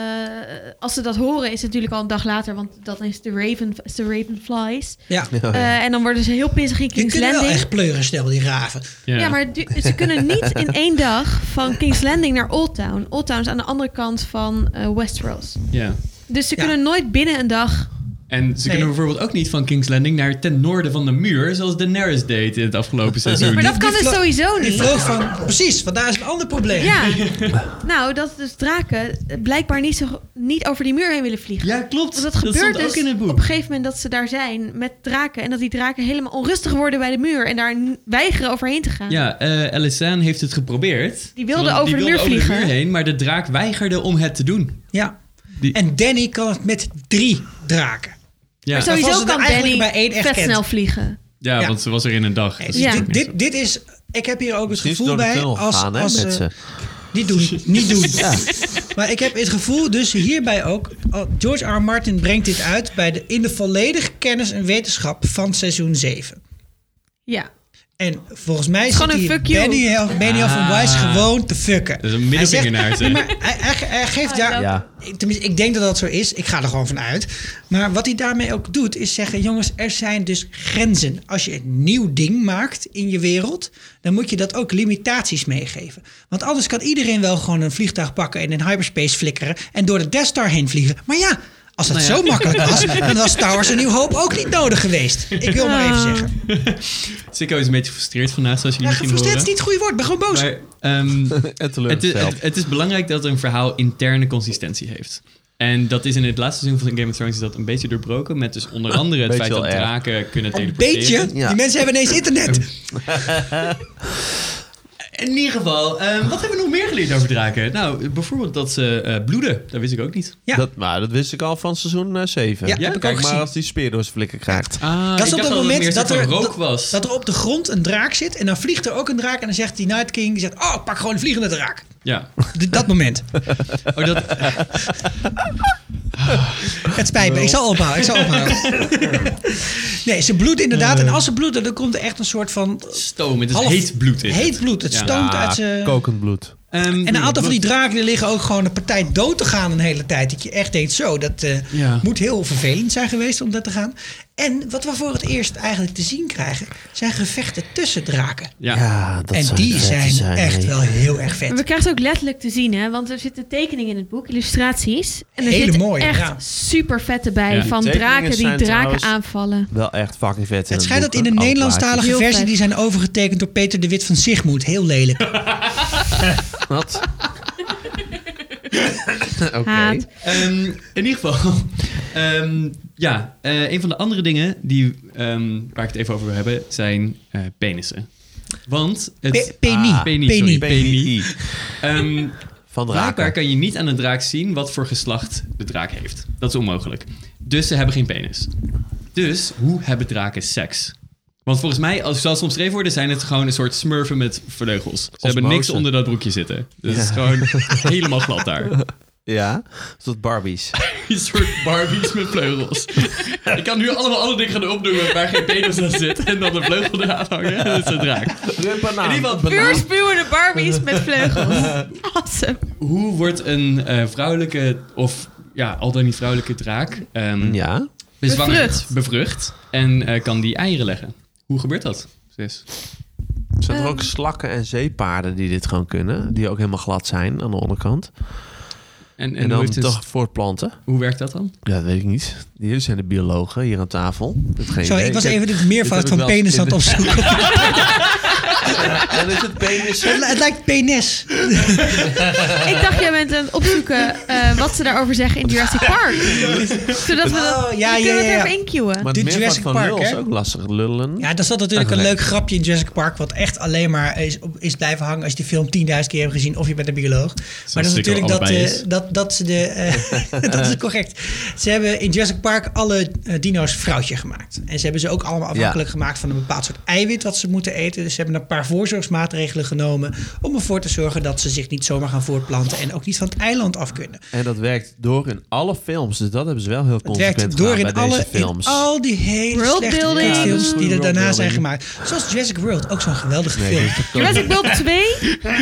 E: als ze dat horen, is het natuurlijk al een dag later. Want dat is de, raven, is de Ravenflies.
A: Ja.
E: Eh, en dan worden ze heel pissig in
A: Die
E: King's
A: kunnen wel
E: Landing.
A: echt pleuren snel, die raven.
F: Ja.
E: Ja, maar du- ze kunnen niet in één dag van King's Landing naar Old Town. Old Town is aan de andere kant van eh, Westeros.
F: Ja.
E: Dus ze
A: Ja.
E: kunnen nooit binnen een dag.
F: En ze kunnen bijvoorbeeld ook niet van King's Landing naar ten noorden van de muur, zoals Daenerys deed in het afgelopen seizoen.
E: Maar dat kan
A: die
E: dus
A: vlo-
E: sowieso
A: Die
E: niet.
A: vroeg van, precies, want daar is een ander probleem.
E: Ja, nou, dat dus draken eh, blijkbaar niet, zo, niet over die muur heen willen vliegen.
F: Ja, klopt.
E: Want dat gebeurt
F: stond ook
E: dus
F: in het
E: op
F: boek.
E: een gegeven moment dat ze daar zijn met draken. En dat die draken helemaal onrustig worden bij de muur. En daar n- weigeren overheen te gaan.
F: Ja, eh Elisane heeft het geprobeerd.
E: Die wilde
F: Want
E: over de muur
F: wilde over
E: vliegen.
F: de muur heen, maar de draak weigerde om het te doen.
A: Ja.
F: Die-
A: En Danny kan het met drie draken.
F: Ja,
E: Maar
A: Waarvan ze
E: sowieso
A: er
E: kan
A: eigenlijk
E: Danny
A: bij één echt
E: vet
A: kent.
E: snel vliegen.
F: ja,
A: Ja.
F: want ze was er in een dag. Dat
A: Dus
F: is
E: Ja.
F: natuurlijk
A: dit,
F: niet zo.
A: dit, dit is, ik heb hier ook het
D: Misschien is het
A: gevoel
D: door de
A: bij,
D: tunnel
A: als,
D: gegaan, hè,
A: als,
D: met
A: eh,
D: ze.
A: Niet doen, niet doen. Maar ik heb het gevoel, dus hierbij ook, al- George R. R. Martin brengt dit uit bij de, in de volledige kennis en wetenschap van seizoen 7.
E: Ja.
A: En volgens mij
E: is
A: zit
E: gewoon een
A: die
E: fuck you.
A: Benioff Benioff en
F: Ah.
A: Weiss gewoon te fucken.
F: Dat is een middelvinger
A: Hij zegt-
F: naar het, hè?
A: Nee, maar hij, hij- hij geeft daar...
D: Ja.
A: Ik- Tenminste, ik denk dat dat zo is. Ik ga er gewoon van uit. Maar wat hij daarmee ook doet, is zeggen... jongens, er zijn dus grenzen. Als je een nieuw ding maakt in je wereld... dan moet je dat ook limitaties meegeven. Want anders kan iedereen wel gewoon een vliegtuig pakken... en in hyperspace flikkeren en door de Death Star heen vliegen. Maar ja... Als
E: Nou
A: dat zo makkelijk was, dan was Towers een nieuw hoop ook niet nodig geweest. Ik wil maar even zeggen.
F: Sikko is een beetje gefrustreerd vandaag, zoals jullie
A: Ja,
F: misschien horen.
A: gefrustreerd is niet het goede woord. Ik ben gewoon boos.
F: Maar, ehm,
D: En
F: het, is,
D: teleurgesteld.
F: het, het is belangrijk dat een verhaal interne consistentie heeft. En dat is in het laatste seizoen van Game of Thrones is dat een beetje doorbroken. Met dus onder andere het
D: Beetje
F: feit dat
D: wel erg.
F: draken kunnen
A: Een
F: teleporteren.
A: beetje.
D: Ja.
A: Die mensen hebben ineens internet.
F: In ieder geval, ehm, wat hebben we nog meer geleerd over draken? Nou, bijvoorbeeld dat ze eh, bloeden. Dat wist ik ook niet.
A: Ja.
D: Dat, maar dat wist ik al van seizoen 7.
A: Ja,
F: Ja,
A: heb ik ook
D: Kijk maar
A: gezien.
D: als die speer door zijn flikker krijgt.
F: Ah,
A: Dat is op dat moment dat er,
F: rook
A: dat,
F: was.
A: dat er op de grond een draak zit. En dan vliegt er ook een draak. En dan zegt die Night King, die zegt, oh, ik pak gewoon een vliegende draak.
F: ja.
A: D- dat moment.
F: Oh, dat,
A: Het spijt me. Ik zal ophouden. Ik zal ophouden. nee, ze bloedt inderdaad. En als ze bloeden, dan komt er echt een soort van
F: stoom, Eh. het is
A: Half-
F: heet bloed. Is
A: heet
F: het.
A: bloed. Het
F: Ja. Ah,
A: stoomt uit ze...
D: Kokend bloed.
F: Ehm,
A: En een aantal van die
F: bloed.
A: draken die liggen ook gewoon een partij dood te gaan een hele tijd. Dat je echt denkt, zo, dat eh,
F: Ja.
A: moet heel vervelend zijn geweest om dat te gaan. En wat we voor het eerst eigenlijk te zien krijgen, zijn gevechten tussen draken.
F: Ja.
D: dat
A: en die zijn, echt wel heel erg
E: Maar we
A: vet.
E: krijgen het ook letterlijk te zien, hè? Want er zitten tekeningen in het boek, illustraties. En er
A: Hele
E: zitten
A: mooie,
E: echt
A: ja.
E: super vette bij.
F: Ja. Die
E: van
D: tekeningen
E: draken die
D: zijn
E: draken
D: trouwens-
E: aanvallen.
D: Wel echt fucking vet.
A: Het
D: het
A: schijnt dat
D: boek,
A: in de
D: hè. Alle
A: Nederlandstalige
E: Heel
A: versie,
E: vet.
A: die zijn overgetekend door Peter de Wit van Sigmoed. Heel lelijk.
D: plaatjes. Wat? Oké.
E: Haat.
F: Ehm, in ieder geval. ehm, ja, eh, een van de andere dingen die, ehm, waar ik het even over wil hebben zijn eh, penissen. Want
A: Pe-
F: het.
A: Penny.
D: Ah,
F: Peni,
A: Penny.
F: sorry. Peni.
D: PNI.
F: Ehm,
D: Van
F: Blijkbaar
D: draken.
F: kan je niet aan een draak zien wat voor geslacht de draak heeft. Dat is onmogelijk. Dus ze hebben geen penis. Dus hoe hebben draken seks? Want volgens mij, als, zoals ze omschreven worden, zijn het gewoon een soort smurfen met vleugels. Ze hebben niks onder dat broekje zitten. Dus het is gewoon helemaal glad daar.
D: Ja, tot Barbies.
F: Een soort Barbies met vleugels. Ik kan nu allemaal andere dingen gaan opdoemen waar geen penis aan zit. En dan een vleugel eraan hangen. Dat is een draak.
D: Banaan.
F: In ieder geval,
E: Puur spuwende Barbies met vleugels. Awesome.
F: hoe wordt een eh, vrouwelijke, of ja, al dan niet vrouwelijke draak... ehm,
D: Ja.
F: bezwangerd,
E: Bevrucht.
F: bevrucht, en eh, kan die eieren leggen. Hoe gebeurt dat? Sis?
D: Zijn er ook slakken en zeepaarden die dit gewoon kunnen? Die ook helemaal glad zijn aan de onderkant. En,
F: En, en, hoe,
D: dan
F: heeft het-
D: toch voortplanten?
F: hoe werkt dat dan?
D: Ja, dat weet ik niet. Jullie zijn de biologen hier aan tafel. Dat geen
A: Sorry,
D: idee.
A: ik was
D: heb-
A: even het
D: dit heb
A: meervoud
D: ik
A: van
D: wel eens
A: penis aan het
D: in de-
A: opzoeken.
D: Dan is het penis.
A: Het li- Het lijkt penis.
E: Ik dacht, jij bent aan het opzoeken eh, wat ze daarover zeggen in Jurassic Park. Zodat we dat...
A: Oh, ja,
E: we
A: ja,
E: kunnen
A: ja.
E: het even incuwen.
D: Maar
A: Dit
D: het
A: Jurassic
D: meervoud van
A: Park,
D: nul is
A: hè?
D: ook lastig. Lullen.
A: Ja, er zat natuurlijk een leuk
D: Eigenlijk.
A: grapje in Jurassic Park... wat echt alleen maar is, op- is blijven hangen als je die film 10.000 keer hebt gezien... of je bent een bioloog. maar dat is
F: Sikko
A: natuurlijk dat,
F: allebei
A: eh,
F: is.
A: dat, dat ze de... eh, dat is correct. Ze hebben in Jurassic Park alle eh, dino's vrouwtje gemaakt. En ze hebben ze ook allemaal afhankelijk gemaakt... van een bepaald soort eiwit wat ze moeten eten. Dus ze hebben een paar voorzorgsmaatregelen genomen... om ervoor te zorgen dat ze zich niet zomaar gaan voortplanten... en ook niet van het eiland af kunnen.
D: En dat werkt door in alle films. Dus dat hebben ze wel heel
A: Het
D: consequent
A: werkt door in,
D: gedaan bij
A: alle,
D: deze
A: in
D: films.
A: al die hele
E: World
A: slechte
E: building.
A: kutfilms
E: Ja, dat is
D: goede
A: die er
D: world
A: daarna zijn
D: building.
A: gemaakt. Zoals Jurassic World, ook zo'n geweldige film.
E: Jurassic World 2,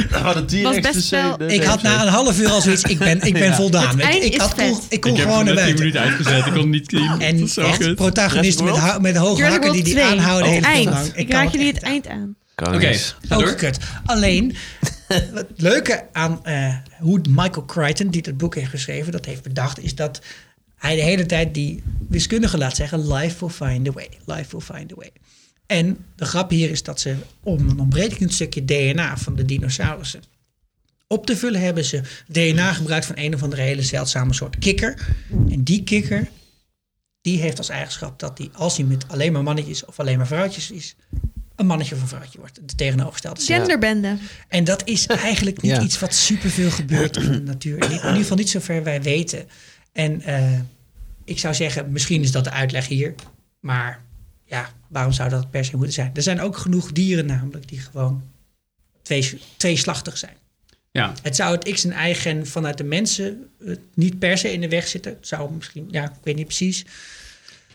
D: Hadden
E: was best wel-
D: dus
A: Ik had na een half uur al zoiets, ik ben, ik ben voldaan.
E: Het
A: Ik,
E: eind
A: ik,
E: is
A: had,
E: vet.
A: kon, ik kon
F: ik heb
A: gewoon naar
F: net 10
A: buiten.
F: minuten uitgezet. Ik kon niet zien.
A: En
F: zo
A: echt
F: kut.
A: protagonisten met,
D: Jurassic Oh,
A: ha- met hoge
E: Jurassic
A: hakken die
E: World
A: die
E: 2.
A: aanhouden. de
E: het
A: hele film
E: eind.
A: lang.
E: Ik,
A: kan
E: raak jullie
A: echt
E: het
A: aan.
E: eind aan.
F: Oké, ga
A: Ook
F: door.
A: kut. Alleen, het leuke aan eh, hoe Michael Crichton, die dat boek heeft geschreven, dat heeft bedacht, is dat hij de hele tijd die wiskundige laat zeggen: Life will find a way, life will find a way. En de grap hier is dat ze om een ontbrekend stukje DNA van de dinosaurussen op te vullen, hebben ze DNA gebruikt van een of andere hele zeldzame soort kikker. En die kikker, die heeft als eigenschap dat die, als hij met alleen maar mannetjes of alleen maar vrouwtjes is, een mannetje of een vrouwtje wordt. De tegenovergestelde.
E: Genderbende.
A: En dat is eigenlijk niet
D: Ja.
A: iets wat superveel gebeurt in de natuur. In ieder geval niet zover wij weten. En eh, ik zou zeggen, misschien is dat de uitleg hier. Maar ja, waarom zou dat per se moeten zijn? Er zijn ook genoeg dieren namelijk die gewoon twee, tweeslachtig zijn.
F: Ja,
A: Het zou het X en Y gen vanuit de mensen eh, niet per se in de weg zitten. Het zou misschien, ja, ik weet niet precies.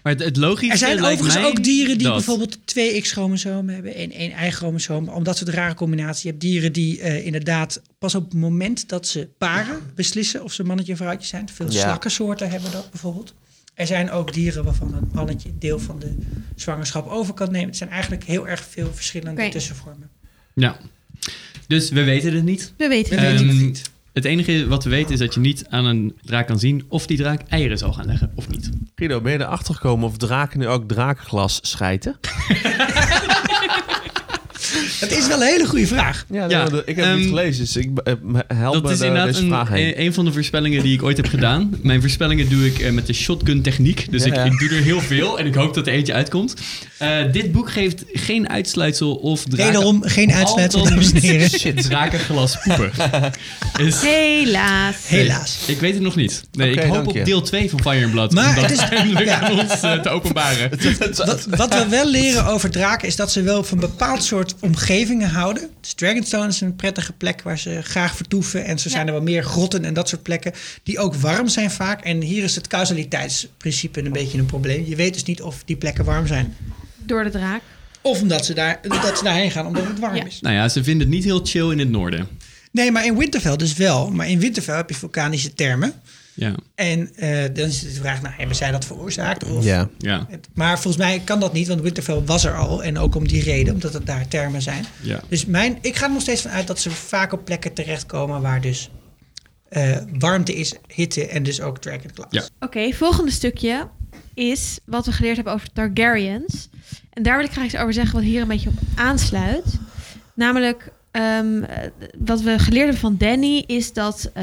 F: Maar het, het logische
A: Er zijn
F: lijkt
A: overigens
F: mij
A: ook dieren die
F: dat-
A: bijvoorbeeld twee X-chromosomen hebben en één Y-chromosoom. Omdat ze de rare combinatie. Je hebt dieren die eh, inderdaad pas op het moment dat ze paren beslissen of ze mannetje of vrouwtje zijn. Veel
D: Ja.
A: slakkensoorten hebben dat bijvoorbeeld. Er zijn ook dieren waarvan het mannetje deel van de zwangerschap over kan nemen. Het zijn eigenlijk heel erg veel verschillende
E: Oké.
A: tussenvormen.
F: Ja. Dus we weten het niet.
E: We weten
A: We
E: het.
A: weten het
F: Ehm,
A: niet.
F: Het enige wat we weten is dat je niet aan een draak kan zien of die draak eieren zal gaan leggen of niet.
D: Guido, ben je erachter gekomen of draken nu ook draakglas schijten?
A: Het is wel een hele goede vraag.
D: Ja,
F: Ja,
D: dat- ik heb het
F: ehm,
D: niet gelezen, dus ik, eh, help
F: dat
D: me
F: is
D: door
F: inderdaad
D: deze
F: een, e- eh,
D: vraag heen.
F: een, een van de voorspellingen die ik ooit heb gedaan. Mijn voorspellingen doe ik eh, met de shotgun techniek. Dus
D: Ja,
F: ik,
D: ja.
F: ik doe er heel veel en ik hoop dat er eentje uitkomt. Eh, dit boek geeft geen uitsluitsel of draken...
A: Wederom geen uitsluitsel, dames en heren.
F: Shit, drakenglas poepen. Is-
E: Helaas.
A: Helaas.
F: Ik weet het nog niet. Nee,
D: Oké,
F: ik hoop
D: dank je.
F: op deel 2 van Fire and Blood.
A: Maar
F: om dat
A: het is-
F: eindelijk
A: ja.
F: aan ons eh, te openbaren.
A: Wat, wat we wel leren over draken is dat ze wel van bepaald soort omgevingen houden. Dus Dragonstone is een prettige plek waar ze graag vertoeven. En zo zijn er wel meer grotten en dat soort plekken die ook warm zijn vaak. En hier is het causaliteitsprincipe een beetje een probleem. Je weet dus niet of die plekken warm zijn.
E: Door de draak.
A: Of omdat ze, daar, dat ze daarheen gaan omdat het warm
E: Ja.
A: is.
F: Nou ja, ze vinden het niet heel chill in het noorden.
A: Nee, maar in Winterfell dus wel. Maar in Winterfell heb je vulkanische termen.
F: Ja,
A: En eh, dan is de vraag, nou, hebben zij dat veroorzaakt? Of
D: Ja.
F: ja.
A: Het- Maar volgens mij kan dat niet, want Winterfell was er al. En ook om die reden, omdat het daar termen zijn.
F: Ja.
A: Dus mijn, ik ga er nog steeds van uit dat ze vaak op plekken terechtkomen waar dus eh, warmte is, hitte en dus ook dragonclaws.
F: Ja.
E: Oké, volgende stukje is wat we geleerd hebben over Targaryens. En daar wil ik graag iets over zeggen wat hier een beetje op aansluit. Namelijk, ehm, eh, wat we geleerd hebben van Danny is dat eh,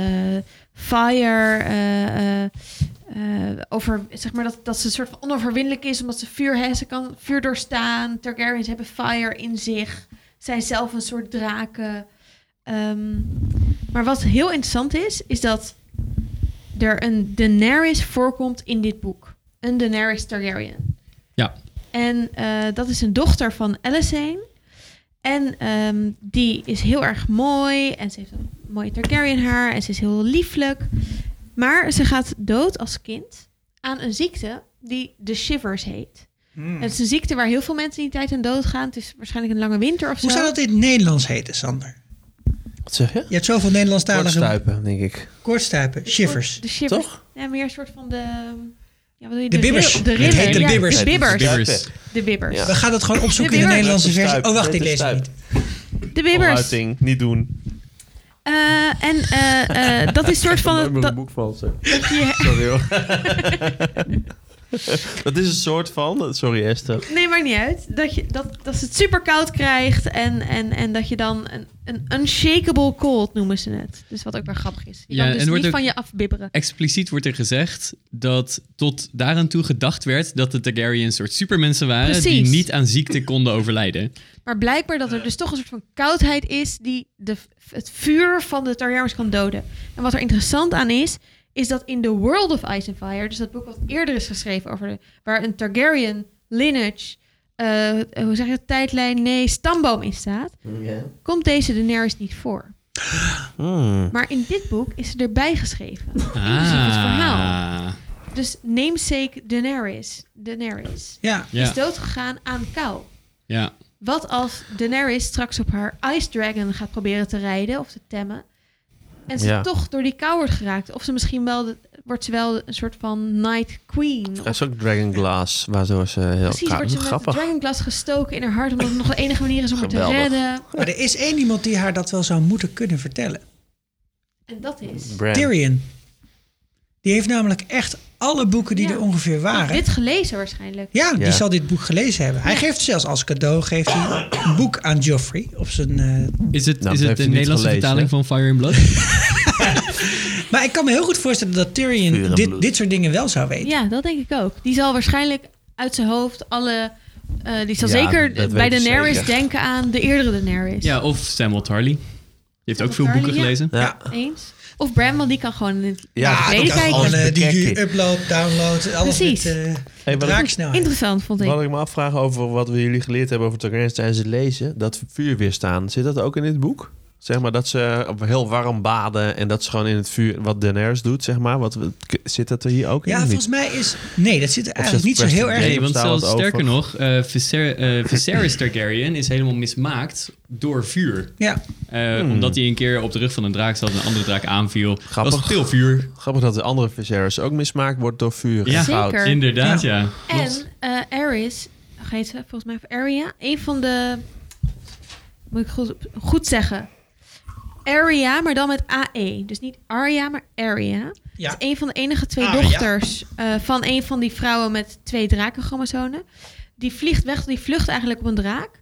E: fire eh, eh, eh, over, zeg maar dat, dat ze een soort van onoverwinnelijk is, omdat ze vuur heeft. Ze kan vuur doorstaan. Targaryens hebben fire in zich. Zijn zelf een soort draken. Ehm, maar wat heel interessant is, is dat er een Daenerys voorkomt in dit boek. Een Daenerys Targaryen.
F: Ja.
E: En eh, dat is een dochter van Alicent. En ehm, die is heel erg mooi. En ze heeft een mooi Targaryen haar. En ze is heel lieflijk. Maar ze gaat dood als kind aan een ziekte die de Shivers heet.
A: Hmm.
E: En Het is een ziekte waar heel veel mensen in die tijd aan doodgaan. Het is waarschijnlijk een lange winter of zo.
A: Hoe zou dat in het Nederlands heten, Sander?
D: Wat zeg je?
A: Je hebt zoveel Nederlandstalige...
D: Kortstuipen, denk ik.
A: Kortstuipen. Shivers.
E: De shivers.
D: Toch?
E: Ja, meer een soort van de... Ja, wat doe je?
A: De bibbers.
E: ril- De
A: Het
E: rillen.
A: heet de
E: ja,
A: bibbers.
E: De bibbers.
F: Bibbers.
E: De bibbers.
D: Ja.
A: We gaan dat gewoon opzoeken
E: De
A: in de
E: bibbers.
A: Nederlandse versie.
D: Kortstuip,
A: Oh, wacht, ik lees
D: korte
A: het
D: stuip.
A: niet.
E: De bibbers.
D: Uiting, niet doen.
E: Eh, en eh, eh, dat is soort van... Dat,
D: boek valt.
E: dat je,
D: Sorry hoor. dat is een soort van. Sorry Esther.
E: nee, maakt niet uit. Dat, je, dat, dat ze het super koud krijgt. En, en, en dat je dan een, een unshakable cold noemen ze het. Dus wat ook weer grappig is. Je
F: Ja,
E: kan
F: en
E: dus
F: wordt
E: niet
F: ook-
E: van je afbibberen.
F: Expliciet wordt er gezegd dat tot daaraan toe gedacht werd dat de Targaryens een soort supermensen waren die
E: Precies.
F: niet aan ziekte konden overlijden.
E: Maar blijkbaar dat er dus toch een soort van koudheid is die de, het vuur van de Targaryens kan doden. En wat er interessant aan is, is dat in The World of Ice and Fire, dus dat boek wat eerder is geschreven over de, waar een Targaryen lineage, eh, hoe zeg je dat, tijdlijn, nee, stamboom in staat, komt deze Daenerys niet voor. Maar in dit boek is ze erbij geschreven. Inclusief
F: Ah.
E: het verhaal. Dus namesake Daenerys, Daenerys
A: Ja.
E: is
F: Ja,
E: doodgegaan aan kou.
F: ja.
E: Wat als Daenerys straks op haar Ice Dragon gaat proberen te rijden of te temmen? En ze
D: Ja.
E: toch door die kou wordt geraakt. Of ze misschien wel, de- wordt ze wel een soort van Night Queen.
D: Er
E: Of,
D: is ook Dragon Glass, waardoor ze heel
E: precies,
D: Ja,
E: wordt ze met
D: grappig.
E: dragonglas gestoken in haar hart. Omdat het nog de enige manier is om haar te
D: Geweldig.
E: redden.
A: Maar er is één iemand die haar dat wel zou moeten kunnen vertellen.
E: En dat is...
D: Bran.
A: Tyrion. Die heeft namelijk echt alle boeken die
E: Ja.
A: er ongeveer waren.
E: Dit gelezen waarschijnlijk.
A: Ja,
D: Ja.
A: die zal dit boek gelezen hebben. Hij geeft zelfs als cadeau geeft hij een boek aan Joffrey. Op zijn, eh,
F: Is het,
D: Nou, dat
F: is het
D: heeft
F: de
D: hij niet
F: Nederlandse
D: gelezen, hè?
F: vertaling van Fire and Blood?
A: Maar ik kan me heel goed voorstellen dat
D: Vuur en
A: Tyrion dit,
D: bloed.
A: dit soort dingen wel zou weten.
E: Ja, dat denk ik ook. Die zal waarschijnlijk uit zijn hoofd alle... eh, die zal
D: Ja, dat
E: zeker
D: weet
E: bij
D: ik
E: Daenerys
D: zeker.
E: denken aan de eerdere Daenerys.
F: ja, of Samuel Tarly. Die heeft ook veel
E: Samuel
F: boeken
E: Tarly, ja.
D: Ja.
F: gelezen.
E: Eens. Of Bran, want die kan gewoon in het
D: Ja,
E: naar
A: Ah,
E: het
A: die
E: verleden
A: kan
E: kijken.
A: gewoon eh, die,
D: Bekijken.
A: die upload, download, alles
E: Precies.
A: met eh,
D: Hey, wat, ik,
A: draaksnelheid.
E: Interessant vond ik.
D: wat ik me afvraag over wat we jullie geleerd hebben over Targaryen tijdens het lezen, dat vuur weerstaan, zit dat ook in dit boek? Zeg maar dat ze heel warm baden en dat ze gewoon in het vuur... Wat Daenerys doet, zeg maar. Wat, k- zit dat er hier ook
A: Ja,
D: in?
A: volgens mij is... Nee, dat zit er eigenlijk
D: zit
A: niet zo heel
D: Preston
A: erg in.
D: James?
F: Nee,
D: staat
F: want zelfs
D: het over.
F: sterker nog, eh Viser- eh, Viserys Targaryen is helemaal mismaakt door vuur.
A: Ja,
F: Eh,
D: Hmm.
F: Omdat hij een keer op de rug van een draak zat en een andere draak aanviel.
D: Grappig.
F: Dat was veel vuur.
D: Grappig dat de andere Viserys ook mismaakt wordt door vuur.
F: Ja.
D: Goud.
E: Zeker.
F: Inderdaad, ja.
E: En eh Aris, hoe heet ze eh, volgens mij? Of Aria? Een van de. Moet ik goed, goed zeggen. Aria, maar dan met AE. Dus niet Aria, maar Aria.
A: ja.
E: Dat is een van de enige twee
A: Arya.
E: dochters eh, van een van die vrouwen met twee drakenchromosomen. Die vliegt weg, die vlucht eigenlijk op een draak.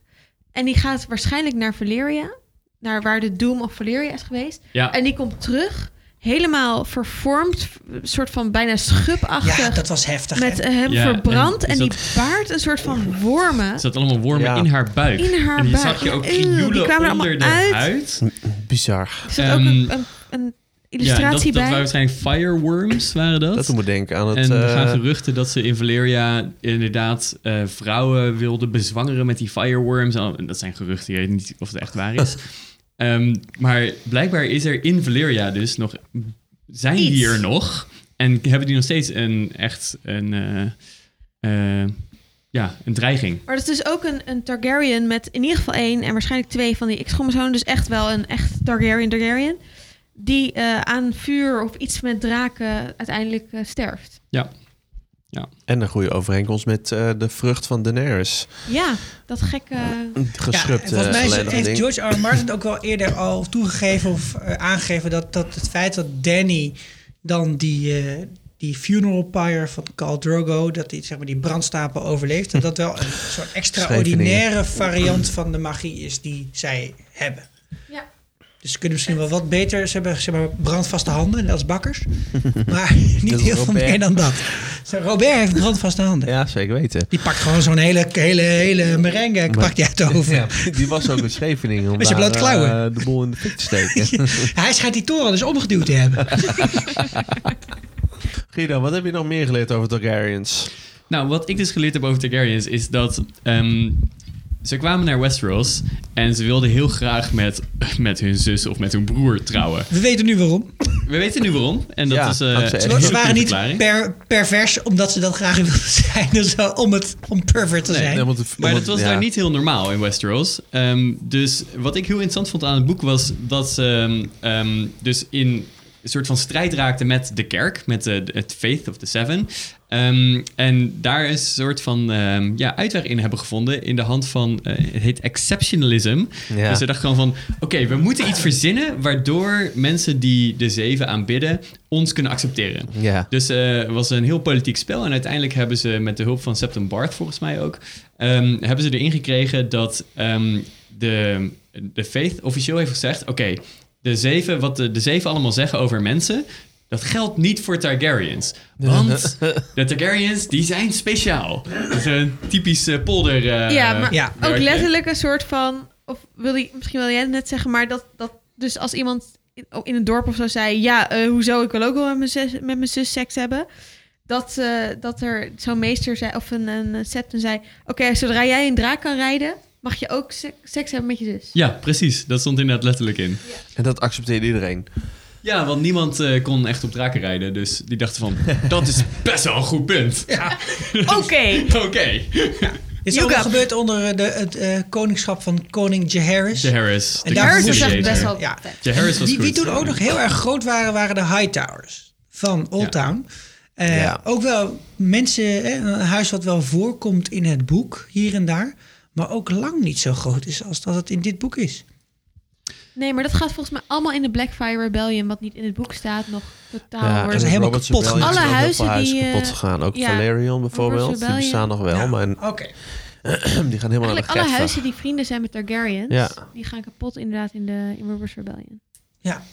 E: En die gaat waarschijnlijk naar Valyria. Naar waar de Doom of Valyria is geweest.
F: Ja.
E: En die komt terug, helemaal vervormd. Een soort van bijna schubachtig.
A: ja, dat was heftig.
E: met
A: hè?
E: eh, hem
F: Ja,
E: verbrand.
F: en
E: En,
F: is
E: die
F: dat-
E: baart een soort van wormen
F: Er zaten allemaal wormen
D: Ja.
F: in haar buik.
E: in haar
F: en die
E: buik.
F: zag je ook
E: Eeuw, die kwamen er
F: krioelen onder de
E: allemaal uit.
F: huid.
D: Bizar.
E: Er zat ook
F: Ehm,
E: een, een, een illustratie
F: ja, dat, dat
E: bij.
F: waren waarschijnlijk fireworms, waren dat.
D: Dat doet me denken aan het...
F: en er
D: eh,
F: gaan geruchten dat ze in Valeria inderdaad eh, vrouwen wilden bezwangeren met die fireworms. En dat zijn geruchten, je weet niet of het echt waar is. Ehm, maar blijkbaar is er in Valeria dus nog... Zijn
E: Iets.
F: die er nog? En hebben die nog steeds een echt een... eh, eh, ja, een dreiging.
E: Maar dat is dus ook een, een Targaryen met in ieder geval één en waarschijnlijk twee van die X-chromosomen. Dus echt wel een echt Targaryen Targaryen. Die eh, aan vuur of iets met draken uiteindelijk eh, sterft.
D: En een goede overeenkomst met eh, de vrucht van Daenerys.
E: Ja, dat gekke...
A: Ja, en
D: Geschrupt ja,
A: volgens mij is-
D: eh, ding.
A: heeft George R. R. Martin het ook wel eerder al toegegeven of eh, aangegeven dat, dat het feit dat Danny dan die, eh, die funeral pyre van Khal Drogo, dat die, zeg maar, die brandstapel overleeft, dat dat wel een soort extraordinaire variant van de magie is die zij hebben.
E: Ja.
A: Dus ze kunnen misschien wel wat beter, ze hebben zeg maar, brandvaste handen, net als bakkers, maar niet
D: Dus
A: heel veel
D: Robert.
A: meer dan dat. Zo, Robert heeft brandvaste handen.
D: Ja, zeker weten.
A: Die pakt gewoon zo'n hele, hele, hele merengue, pakt die uit de oven.
D: Die was ook in Scheveningen om
A: Met zijn
D: daar,
A: blote klauwen.
D: eh, de boel in de fik te steken.
A: Hij schijnt die toren dus omgeduwd te hebben.
D: Guido, wat heb je nog meer geleerd over Targaryens?
F: Nou, wat ik dus geleerd heb over Targaryens is dat ehm, ze kwamen naar Westeros en ze wilden heel graag met, met hun zus of met hun broer trouwen.
A: We weten nu waarom.
F: We weten nu waarom en dat
D: Ja,
F: is eh,
D: dankzij
F: een
D: Ed.
A: Ze,
F: hele
A: ze waren
F: goede
A: niet
F: verklaring.
A: per, pervers omdat ze dat graag wilden zijn. Dus wel om, het, om pervert te
F: Nee,
A: zijn.
D: Nee, want
F: Maar
D: omdat-
F: dat was
D: ja.
F: daar niet heel normaal in Westeros. Ehm, dus wat ik heel interessant vond aan het boek was dat ze ehm, ehm, dus in een soort van strijd raakten met de kerk, met de, de- het Faith of the Seven. Ehm, en daar een soort van ehm, ja, uitweg in hebben gevonden in de hand van, eh, het heet exceptionalism.
D: Ja.
F: Dus ze dachten gewoon van, oké, we moeten iets verzinnen waardoor mensen die de zeven aanbidden ons kunnen accepteren.
D: Ja.
F: Dus eh, het was een heel politiek spel. En uiteindelijk hebben ze met de hulp van Septon Bart, volgens mij ook, ehm, hebben ze erin gekregen dat ehm, de, de faith officieel heeft gezegd: oké, de zeven, wat de, de zeven allemaal zeggen over mensen. Dat geldt niet voor Targaryens. Want de Targaryens, die zijn speciaal. Dat is een typisch eh, polder... eh,
E: ja, maar
A: ja.
E: ook
F: werkje.
E: letterlijk een soort van... Of wil die, misschien wil jij het net zeggen, maar dat, dat dus als iemand in, in een dorp of zo zei... Ja, eh, hoezo, ik wil ook wel met mijn zus, met mijn zus seks hebben... Dat, eh, dat er zo'n meester zei, of een, een eh, septen zei... Oké, zodra jij een draak kan rijden, mag je ook se- seks hebben met je zus.
F: Ja, precies. Dat stond inderdaad letterlijk in.
D: En dat accepteerde iedereen.
F: Ja, want niemand eh, kon echt op draken rijden. Dus die dachten van, dat is best wel een goed punt.
E: Oké.
F: Oké.
A: Dit is
E: You
A: ook wel
E: got-
A: gebeurd onder eh, de, het eh, koningschap van koning Jaehaerys.
F: De Harris.
A: En daar
E: Harris is dus echt
A: Conciliator.
E: best wel...
A: Ja.
F: De Harris was
A: Die, die
F: goed.
A: toen ook nog heel erg groot waren, waren de Hightowers van Old Town. Eh,
D: Ja.
A: Ook wel mensen, hè, een huis wat wel voorkomt in het boek, hier en daar. Maar ook lang niet zo groot is als dat het in dit boek is.
E: Nee, maar dat gaat volgens mij allemaal in de Blackfire Rebellion... wat niet in het boek staat, nog totaal
D: Ja,
A: is
E: worden.
D: en
A: helemaal
D: Robert's
A: kapot
D: Rebellion
E: gemaakt.
D: is
E: Nou,
D: ook
E: Alle
D: heel veel
E: huizen die,
D: huizen kapot
E: eh,
D: gegaan. Ook
E: ja,
D: Valerion bijvoorbeeld. Die
E: Rebellion.
D: bestaan nog wel,
A: Ja,
D: maar
A: Nou, Oké.
D: die gaan helemaal
E: Eigenlijk
D: naar
E: alle
D: de gekte.
E: huizen die vrienden zijn met Targaryens...
D: Ja.
E: die gaan kapot inderdaad in de in Robert's Rebellion.
A: Ja.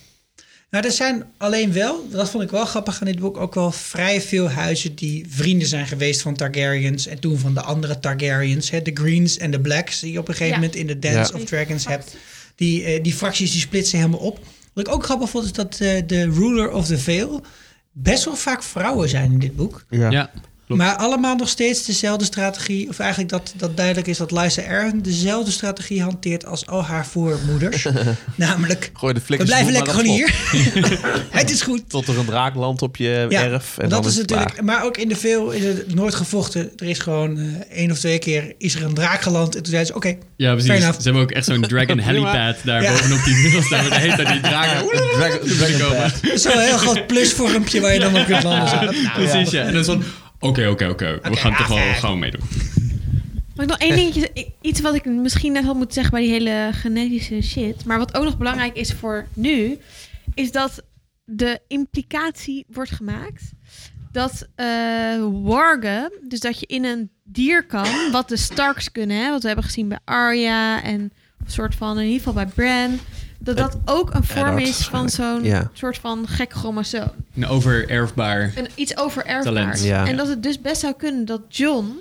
A: Nou, er zijn alleen wel, dat vond ik wel grappig aan dit boek, ook wel vrij veel huizen die vrienden zijn geweest van Targaryens en toen van de andere Targaryens, hè, de Greens en de Blacks, die je op een gegeven
E: Ja.
A: moment in de Dance
D: Ja.
A: of Dragons hebt. Die, eh, die fracties die splitsen helemaal op. Wat ik ook grappig vond is dat eh, de ruler of the Veil best wel vaak vrouwen zijn in dit boek.
F: Ja.
A: Maar allemaal nog steeds dezelfde strategie. Of eigenlijk dat, dat duidelijk is dat Liza Aaron dezelfde strategie hanteert als al haar voormoeders. Namelijk,
D: Gooi de
A: we
D: flikkers
A: blijven
D: vol,
A: lekker
D: maar
A: gewoon
D: dat
A: hier. het is goed.
D: Tot er een draak landt op je erf. En
A: dat
D: dan
A: is
D: het
A: natuurlijk.
D: klaar.
A: Maar ook in de veel is het nooit gevochten. Er is gewoon eh, één of twee keer is er een draak geland. En toen zeiden ze: Oké,
F: Ja,
A: Fair
F: precies.
A: enough.
F: Ze hebben ook echt zo'n dragon helipad daar
A: Ja.
F: bovenop die muur staan. Met de hele tijd die draken.
D: Dragon- dragon
F: komen.
D: path.
A: dat is wel een heel groot plusvormpje waar je dan op kunt landen. Zo, dat- nou,
F: Precies, ja. En dan is van... Oké, oké, oké. We gaan
A: ah,
F: toch wel
A: ja.
F: gewoon meedoen.
E: Mag ik nog één dingetje ik- Iets wat ik misschien net had moeten zeggen bij die hele genetische shit. Maar wat ook nog belangrijk is voor nu, is dat de implicatie wordt gemaakt dat eh wargen, dus dat je in een dier kan, wat de Starks kunnen, hè, wat we hebben gezien bij Arya en een soort van, in ieder geval bij Bran, dat dat ook een vorm
D: Eddard
E: is van zo'n
D: Ja.
E: soort van gek chromosoom.
F: Een overerfbaar...
E: Een, iets over erfbaar.
F: Talent,
D: ja.
E: En dat het dus best zou kunnen dat John,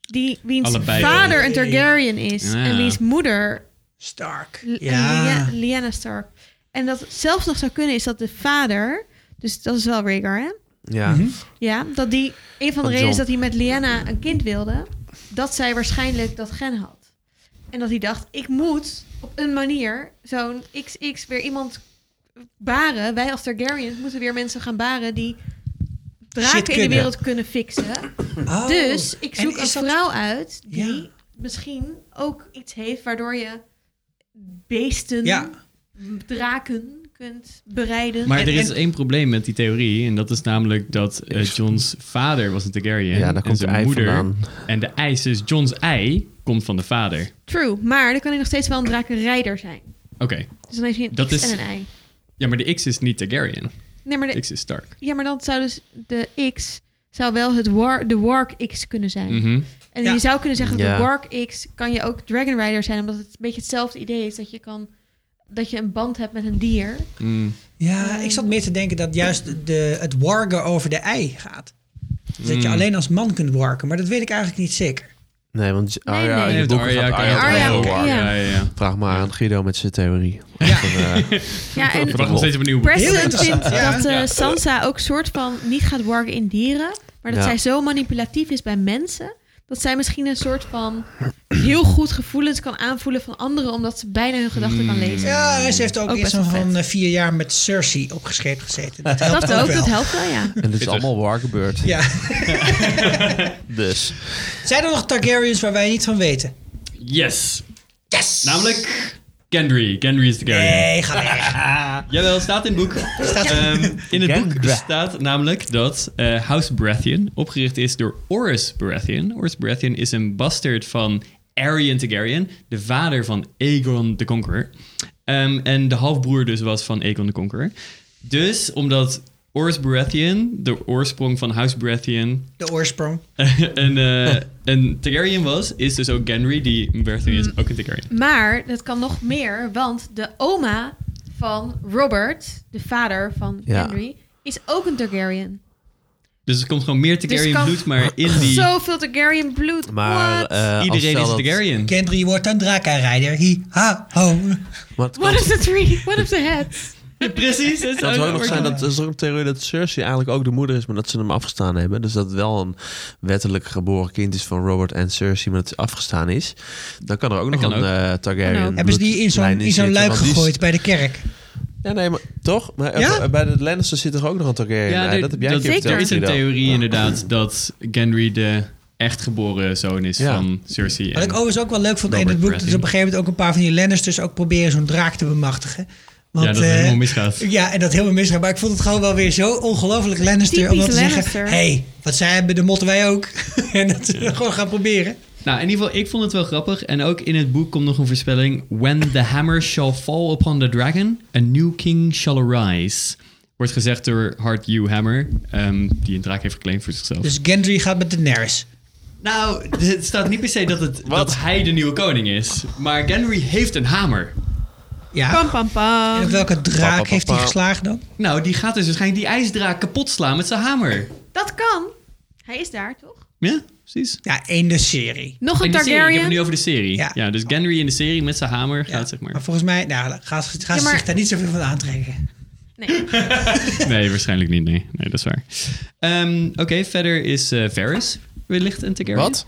E: die, wiens
F: Allebei
E: vader
A: wel.
E: een Targaryen is
F: Ja.
E: en wiens moeder
A: Stark.
E: L-
A: Ja.
E: Lya- Lyanna Stark. En dat zelfs nog zou kunnen is dat de vader, dus dat is wel Rhaegar hè?
D: Ja.
A: Mhm.
E: Ja, dat die, een van
D: John.
E: de redenen is dat hij met Lyanna een kind wilde, dat zij waarschijnlijk dat gen had. En dat hij dacht, ik moet op een manier zo'n XX weer iemand baren. Wij als Targaryens moeten weer mensen gaan baren die draken in de
A: kunnen.
E: wereld kunnen fixen.
A: Oh.
E: Dus ik
A: En
E: zoek
A: is
E: een
A: dat-
E: vrouw uit die
A: Ja.
E: misschien ook iets heeft waardoor je beesten,
A: Ja.
E: draken kunt bereiden.
F: Maar
A: En-
F: er is
A: en-
F: één probleem met die theorie. En dat is namelijk dat eh, John's vader was een Targaryen.
D: Ja, daar komt
F: en zijn
D: de ei
F: moeder.
D: vandaan.
F: En de ijs is John's ei komt van de vader.
E: True, maar dan kan hij nog steeds wel een drakenrijder zijn.
F: Oké.
E: Dus dan heeft hij een
F: Dat
E: X
F: is-
E: en een Y.
F: Ja, maar de X is niet Targaryen.
E: Nee, maar, de,
F: X is
D: Oh,
F: Stark.
E: ja, maar dan zou dus de X zou wel het war, de Warg X kunnen zijn.
F: Mhm.
E: En
A: Ja.
E: je zou kunnen zeggen dat
D: Ja.
E: de Warg X kan je ook Dragon Rider zijn, omdat het een beetje hetzelfde idee is dat je kan dat je een band hebt met een dier.
F: Mm.
A: Ja, ik zat meer te denken dat juist de, het wargen over de ei gaat. Dus dat
D: Hmm.
A: je alleen als man kunt warken, maar dat weet ik eigenlijk niet zeker.
D: Nee, want
E: Nee,
D: Arya,
E: nee.
D: in
F: Ja,
D: je
F: de
D: boeken
F: Arya
D: gaat
F: kan
D: Arya
F: je
E: Arya
D: ook
F: ook-
E: ook,
D: warm.
E: ja.
F: ja, ja. ja.
D: Vraag maar aan Guido met zijn theorie. Of er, eh,
E: Ja, en
F: Ik wacht nog steeds op een nieuwe boek.
A: Heel
E: Preston
A: interessant,
E: vindt
A: ja.
E: dat eh,
F: Ja.
E: Sansa ook soort van niet gaat wargen in dieren, maar dat
D: Ja.
E: zij zo manipulatief is bij mensen, dat zij misschien een soort van heel goed gevoelens kan aanvoelen van anderen, omdat ze bijna hun gedachten
F: Hmm.
E: kan lezen.
D: Hmm.
A: Ja, en ze heeft ook,
E: Ook
A: eerst
E: best
A: zo'n
E: wel
A: van
E: vet.
A: eh, vier jaar met Cersei opgeschreven gezeten. Dat helpt
E: Dat
A: ook,
E: ook,
A: wel.
E: dat helpt wel, ja.
D: en dit is allemaal waar gebeurd.
A: Ja.
D: Dus.
A: Zijn er nog Targaryens waar wij niet van weten?
F: Yes.
A: Yes!
F: Namelijk Gendry. Gendry is Targaryen.
A: Nee, ga weg.
F: Jawel, staat in het boek. Ehm, in het boek staat namelijk dat eh, House Baratheon opgericht is door Oris Baratheon. Oris Baratheon is een bastard van Aryan Targaryen, de vader van Aegon the Conqueror. Ehm, en de halfbroer dus was van Aegon the Conqueror. Dus omdat Oris Baratheon, de oorsprong van House Baratheon,
A: De oorsprong.
F: een, eh, een Targaryen was, is dus ook Gendry, die Baratheon
D: Mm.
F: is, ook een Targaryen.
E: Maar dat kan nog meer, want de oma van Robert, de vader van
D: Ja.
E: Henry, is ook een Targaryen.
F: Dus er komt gewoon meer Targaryen
E: kan-
F: bloed, maar in die...
E: Zoveel Targaryen bloed.
D: Maar
E: What?
D: eh, als
F: Iedereen
D: stel
F: is
D: dat-
F: Targaryen.
A: Gendry wordt een draka-rijder. Hi, ha, ho.
D: Maar het
E: What
D: kan,
E: of the three? What of the heads?
F: Precies. Het
D: kan ook nog zijn dat er is ook een theorie dat Cersei eigenlijk ook de moeder is, maar dat ze hem afgestaan hebben. Dus dat het wel een wettelijk geboren kind is van Robert en Cersei, maar dat hij afgestaan is. Dan kan er ook nog
F: kan
D: een
F: ook.
D: eh,
E: Kan
D: Targaryen.
E: ook.
A: Hebben ze die in zo'n
D: bloedlijn
A: in zo'n
D: zitten,
A: luik
D: want die is-
A: gegooid bij de kerk?
D: Ja, nee, maar toch? Maar
A: Ja?
D: eh, bij de Lannister zit er ook nog een Targaryen. Ja,
F: er-
D: dat heb jij een keer
E: Zeker.
F: Er
D: verteld,
F: is een
D: Guido. Oh.
F: theorie
D: Ja.
F: inderdaad dat Gendry de echtgeboren zoon is
D: Ja.
F: van Cersei.
A: Wat ik
F: En,
A: overigens ook wel leuk vond in
F: Robert
A: het boek... dat ze op
F: Baratheon.
A: een gegeven moment ook een paar van die Lannisters... ook proberen zo'n draak te bemachtigen. Want,
F: ja, dat het
A: eh,
F: helemaal misgaat.
A: Ja, en dat helemaal misgaat. Maar ik vond het gewoon wel weer zo ongelooflijk Lannister. Om
E: Typisch
A: dan te zeggen,
E: Lannister.
A: hey, wat zij hebben, dat motten wij ook. en dat we gewoon gaan proberen.
F: Nou, in ieder geval, ik vond het wel grappig. En ook in het boek komt nog een voorspelling. When the hammer shall fall upon the dragon, a new king shall arise. Wordt gezegd door Hard Hugh Hammer, ehm, die een draak heeft geclaimd voor zichzelf.
A: Dus Gendry gaat met Daenerys.
F: nou, het staat niet per se dat, het, dat hij de nieuwe koning is. Maar Gendry heeft een hamer.
A: Ja.
E: Pam, pam,
A: En op
E: pam.
A: welke draak
D: Pa, pa, pa,
A: heeft hij
D: pa.
A: geslagen dan?
F: Nou, die gaat dus waarschijnlijk die ijsdraak kapot slaan met zijn hamer.
E: Dat kan. Hij is daar, toch?
F: Ja, precies.
A: Ja, één de serie.
E: Nog
F: In
E: een
F: de serie, ik heb het
E: Targaryen.
F: nu over de serie.
A: Ja.
F: Ja. dus Gendry in de serie met zijn hamer
A: Ja,
F: gaat, zeg maar.
A: volgens mij, nou, gaan ze, gaan
E: Ja,
A: ze
E: maar-
A: zich daar niet zoveel van aantrekken.
E: Nee.
F: Nee, waarschijnlijk niet. Nee, nee dat is waar. Ehm, Oké, verder is eh Varys wellicht een Targaryen.
D: Wat?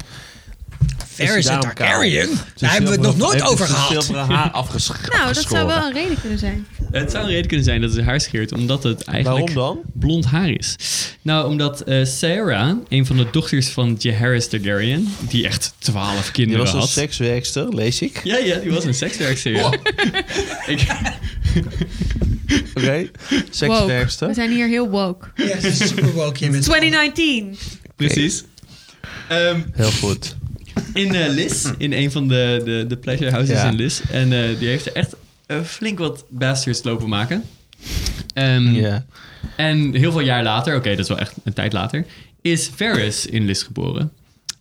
A: Varys en
D: daarom kaal?
A: Targaryen? Daar hebben we het nog nooit over
D: Heeft
A: gehad.
D: zijn zilveren haar afgeschoren.
E: Nou, dat zou wel een reden kunnen zijn.
F: Het zou een reden kunnen zijn dat ze haar scheert, omdat het eigenlijk
D: Waarom
F: blond haar is. Nou, omdat eh, Sarah, een van de dochters van Jaehaerys Targaryen, die echt twaalf
D: Die
F: kinderen
D: was een
F: had.
D: sekswerkster, lees ik.
F: ja, ja, die was een sekswerkster. ja. Ik,
D: Oké,
E: Woke.
D: sekswerkster.
E: We zijn hier heel woke.
A: Ja, super woke. Je bent
E: 2019.
F: precies. Ehm,
D: Heel goed.
F: in eh Lis, in een van de, de, de pleasure houses
D: Ja.
F: in Lis. En eh, die heeft er echt eh, flink wat bastards lopen maken. Ehm,
D: Ja.
F: En heel veel jaar later, oké, dat is wel echt een tijd later, is Ferris in Lis geboren.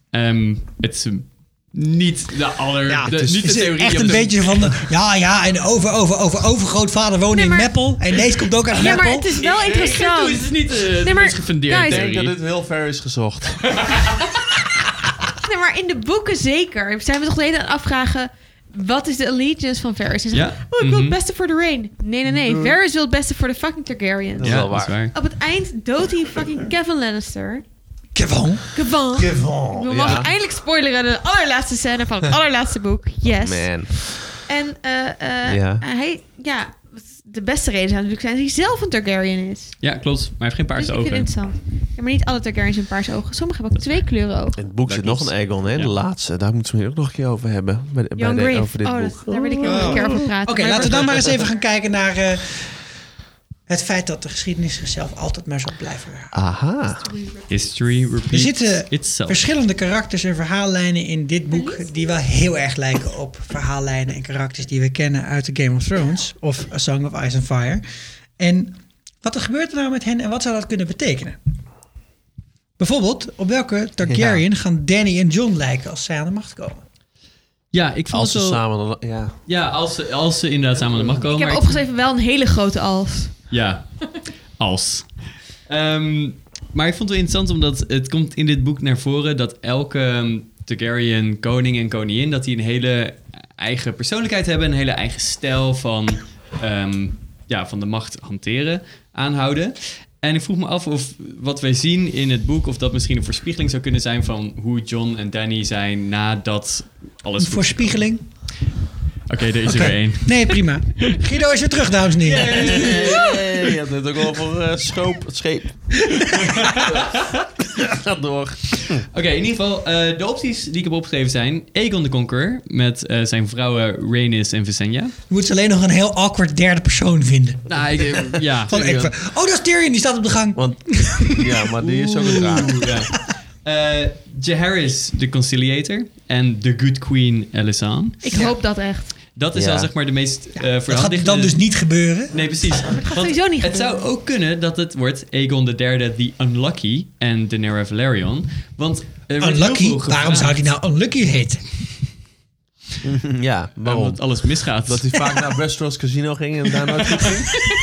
F: Ehm, het is een- niet de aller...
A: Ja,
F: de-
A: het is,
F: niet de theorie
A: echt
F: op
A: een
F: de-
A: beetje van de, ja, ja, en over, over, over, overgrootvader woonde
E: Nee, maar-
A: in Meppel. En deze komt ook uit
E: Ja, maar
A: Meppel.
E: het is wel
F: Nee, Het
E: interessant.
F: is niet eh, de
E: maar,
F: meest gefundeerde
E: guys,
D: Ik denk
F: theorie.
D: dat dit heel ver is gezocht.
E: Nee, maar in de boeken zeker. Zijn we toch de hele tijd aan het afvragen... Wat is de allegiance van Varys? Ze zeggen,
F: Ja.
E: oh, ik wil
D: Mhm.
E: het beste voor de Rain. Nee, nee, nee. Varys wil het beste voor de fucking Targaryens.
D: is
F: ja,
D: wel
F: dat is waar.
E: Op het eind doodt hij fucking Kevin Lannister.
A: Kevin.
E: Kevin.
A: Kevin.
E: We mogen
D: Ja.
E: eindelijk spoileren de allerlaatste scène van het allerlaatste boek. Yes.
D: Man.
E: En eh, eh,
D: Ja.
E: hij, ja, de beste reden zou natuurlijk zijn dat hij zelf een Targaryen is.
F: Ja, klopt. Maar hij heeft geen
E: Dus
F: paarse
E: ik vind het
F: ogen.
E: interessant. Ja, maar niet alle Targaryens hebben paarse ogen. Sommigen hebben ook twee kleuren ogen.
D: In het boek
F: Dat
D: zit
F: klopt.
D: nog een Aegon, hè?
F: Ja.
D: De laatste. Daar moeten we het ook nog een keer over hebben. Bij, de- bij
E: Young
D: de,
E: Grave.
D: over dit
E: oh, dat-
D: boek.
E: daar wil ik heel een keer over praten.
A: Oké,
E: Maar-
A: laten we dan maar eens even gaan kijken naar eh, het feit dat de geschiedenis zichzelf altijd maar zal blijven herhalen.
D: Aha.
F: History repeats
A: Er zitten
F: itself.
A: verschillende karakters en verhaallijnen in dit boek die wel heel erg lijken op verhaallijnen en karakters die we kennen uit de Game of Thrones of A Song of Ice and Fire. En wat er gebeurt er nou met hen en wat zou dat kunnen betekenen? Bijvoorbeeld, op welke Targaryen gaan Danny en John lijken als zij aan de macht komen?
F: Ja, ik vond
D: Als ze
F: het wel...
D: samen... Ja.
F: Ja, als ze, als ze inderdaad samen aan de macht komen.
E: Ik heb
F: maar
E: opgeschreven wel een hele grote als.
F: Ja, als. Ehm, maar ik vond het wel interessant omdat het komt in dit boek naar voren dat elke ehm, Targaryen koning en koningin dat die een hele eigen persoonlijkheid hebben, een hele eigen stijl van, ehm, ja, van de macht hanteren, aanhouden. En ik vroeg me af of wat wij zien in het boek, of dat misschien een voorspiegeling zou kunnen zijn van hoe John en Danny zijn nadat alles.
A: Een
F: goed-
A: voorspiegeling?
F: Oké, er is er weer één.
A: Nee, prima. Guido is weer terug, dames en heren.
D: Je hebt het ook over eh, schoop, scheep. Gaat door.
F: Oké, in ieder geval, eh, de opties die ik heb opgeschreven zijn... Aegon de Conqueror met eh, zijn vrouwen Rhaenys en Visenya.
A: Je moet ze alleen nog een heel awkward derde persoon vinden.
F: Nou, ik, eh, ja.
A: Van
F: Ja.
A: ik van, oh, dat is Tyrion, die staat op de gang.
D: Want, ja, maar die is ook een draak.
F: Oeh, ja. Eh, Jaehaerys de Conciliator en The Good Queen Elisane.
E: Ik
A: Ja.
E: hoop dat echt.
F: Dat is
D: Ja.
F: wel zeg maar de meest eh voor de
A: Dat
F: hand
A: gaat
F: liggende-
A: dan dus niet gebeuren.
F: Nee, precies. Dat
E: gaat sowieso niet
F: Het
E: gebeuren.
F: zou ook kunnen dat het wordt Aegon de Derde, The Unlucky en Daenerys Valerion. Want er wordt heel
A: Unlucky,
F: veel
A: waarom zou die nou Unlucky heten?
D: Ja,
A: nou-
F: gevraagd,
D: waarom?
F: Omdat alles misgaat.
D: Dat hij vaak naar Westeros Casino ging en daar nooit goed ging?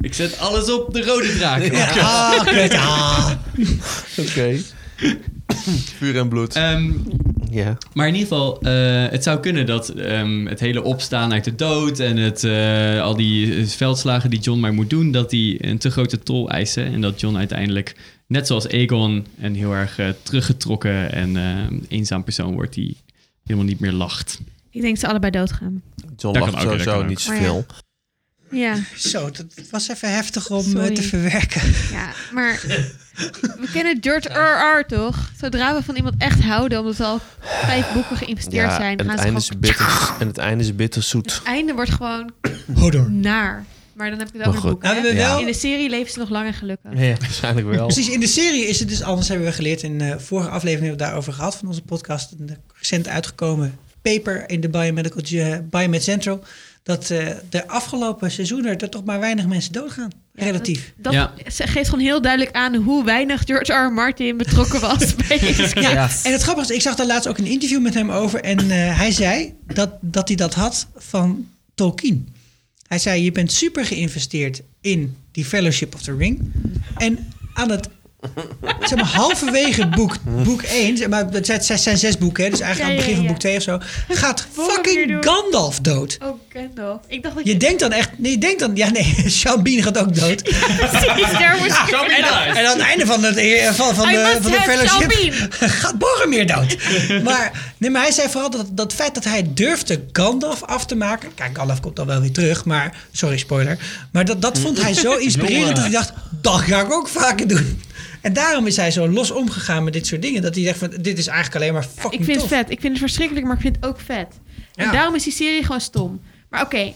F: Ik zet alles op de rode draak.
A: Ah, kut, ah.
D: Oké. Vuur en bloed.
F: Ehm,
D: ja.
F: Maar in ieder geval, eh, het zou kunnen dat ehm, het hele opstaan uit de dood en het, eh, al die eh, veldslagen die John maar moet doen, dat die een te grote tol eisen. En dat John uiteindelijk, net zoals Aegon, een heel erg eh, teruggetrokken en eh, eenzaam persoon wordt die helemaal niet meer lacht.
E: Ik denk dat ze allebei doodgaan.
D: John
F: Dat
D: lacht
F: kan ook, dat
D: sowieso
F: kan ook.
D: niet
E: Maar
D: zoveel.
E: Ja,
A: Zo, dat was even heftig om eh,
E: Sorry.
A: te verwerken.
E: ja. Maar we kennen George R.R. toch? Zodra we van iemand echt houden, omdat we al vijf boeken geïnvesteerd zijn,
D: en,
E: gaan
D: het
E: ze
D: einde
E: gewoon...
D: is bitter, en het einde is bitterzoet.
E: Het einde wordt gewoon
A: Hodor.
E: naar. Maar dan heb ik het
D: Maar
E: over het
D: goed.
E: boek.
A: Nou, we hebben
E: hè?
A: wel-
E: In de serie leven ze nog lang en gelukkig.
D: Ja, waarschijnlijk wel.
A: Precies, in de serie is het dus anders, hebben we geleerd. In de vorige aflevering hebben we het daarover gehad van onze podcast. Een recent uitgekomen paper in de Biomedical Ge- Biomed Central. Dat eh, de afgelopen seizoenen er toch maar weinig mensen doodgaan. Relatief.
E: Dat
F: Ja.
E: ze- geeft gewoon heel duidelijk aan hoe weinig George R. R. Martin betrokken was bij deze script.
A: Ja, en het grappige is, ik zag daar laatst ook een interview met hem over. En eh, hij zei dat, dat hij dat had van Tolkien. Hij zei, je bent super geïnvesteerd in die Fellowship of the Ring. En aan het, zeg maar, halverwege boek, boek 1, zeg maar, het zijn- het zijn zes boeken, hè, dus eigenlijk
E: Ja,
A: aan het begin
E: ja,
A: van
E: ja.
A: boek 2 of zo, gaat
E: Volgende keer
A: fucking
E: doen.
A: Gandalf dood.
E: Oh Kendall. Ik dacht dat
A: Je denkt dan echt... Nee, je denkt dan... Ja, nee, Sean Bean gaat ook dood.
E: precies daar moest ik-
F: Sean Bean
E: En dan-
F: dies.
A: En aan het einde van, het, eh, van, van,
E: I
A: de,
E: must
A: van de
E: have
A: fellowship
E: Sean
A: gaat Boromir dood. Maar, nee, maar hij zei vooral dat dat feit dat hij durfde Gandalf af te maken. Kijk, Gandalf komt dan wel weer terug, maar sorry spoiler. Maar dat, dat vond hij zo inspirerend dat hij dacht, dat ga ik ook vaker doen. En daarom is hij zo los omgegaan met dit soort dingen. Dat hij zegt van, dit is eigenlijk alleen maar fucking
E: Ik vind
A: tof.
E: het vet. Ik vind het verschrikkelijk, maar ik vind het ook vet. En
A: Ja.
E: daarom is die serie gewoon stom. Maar oké,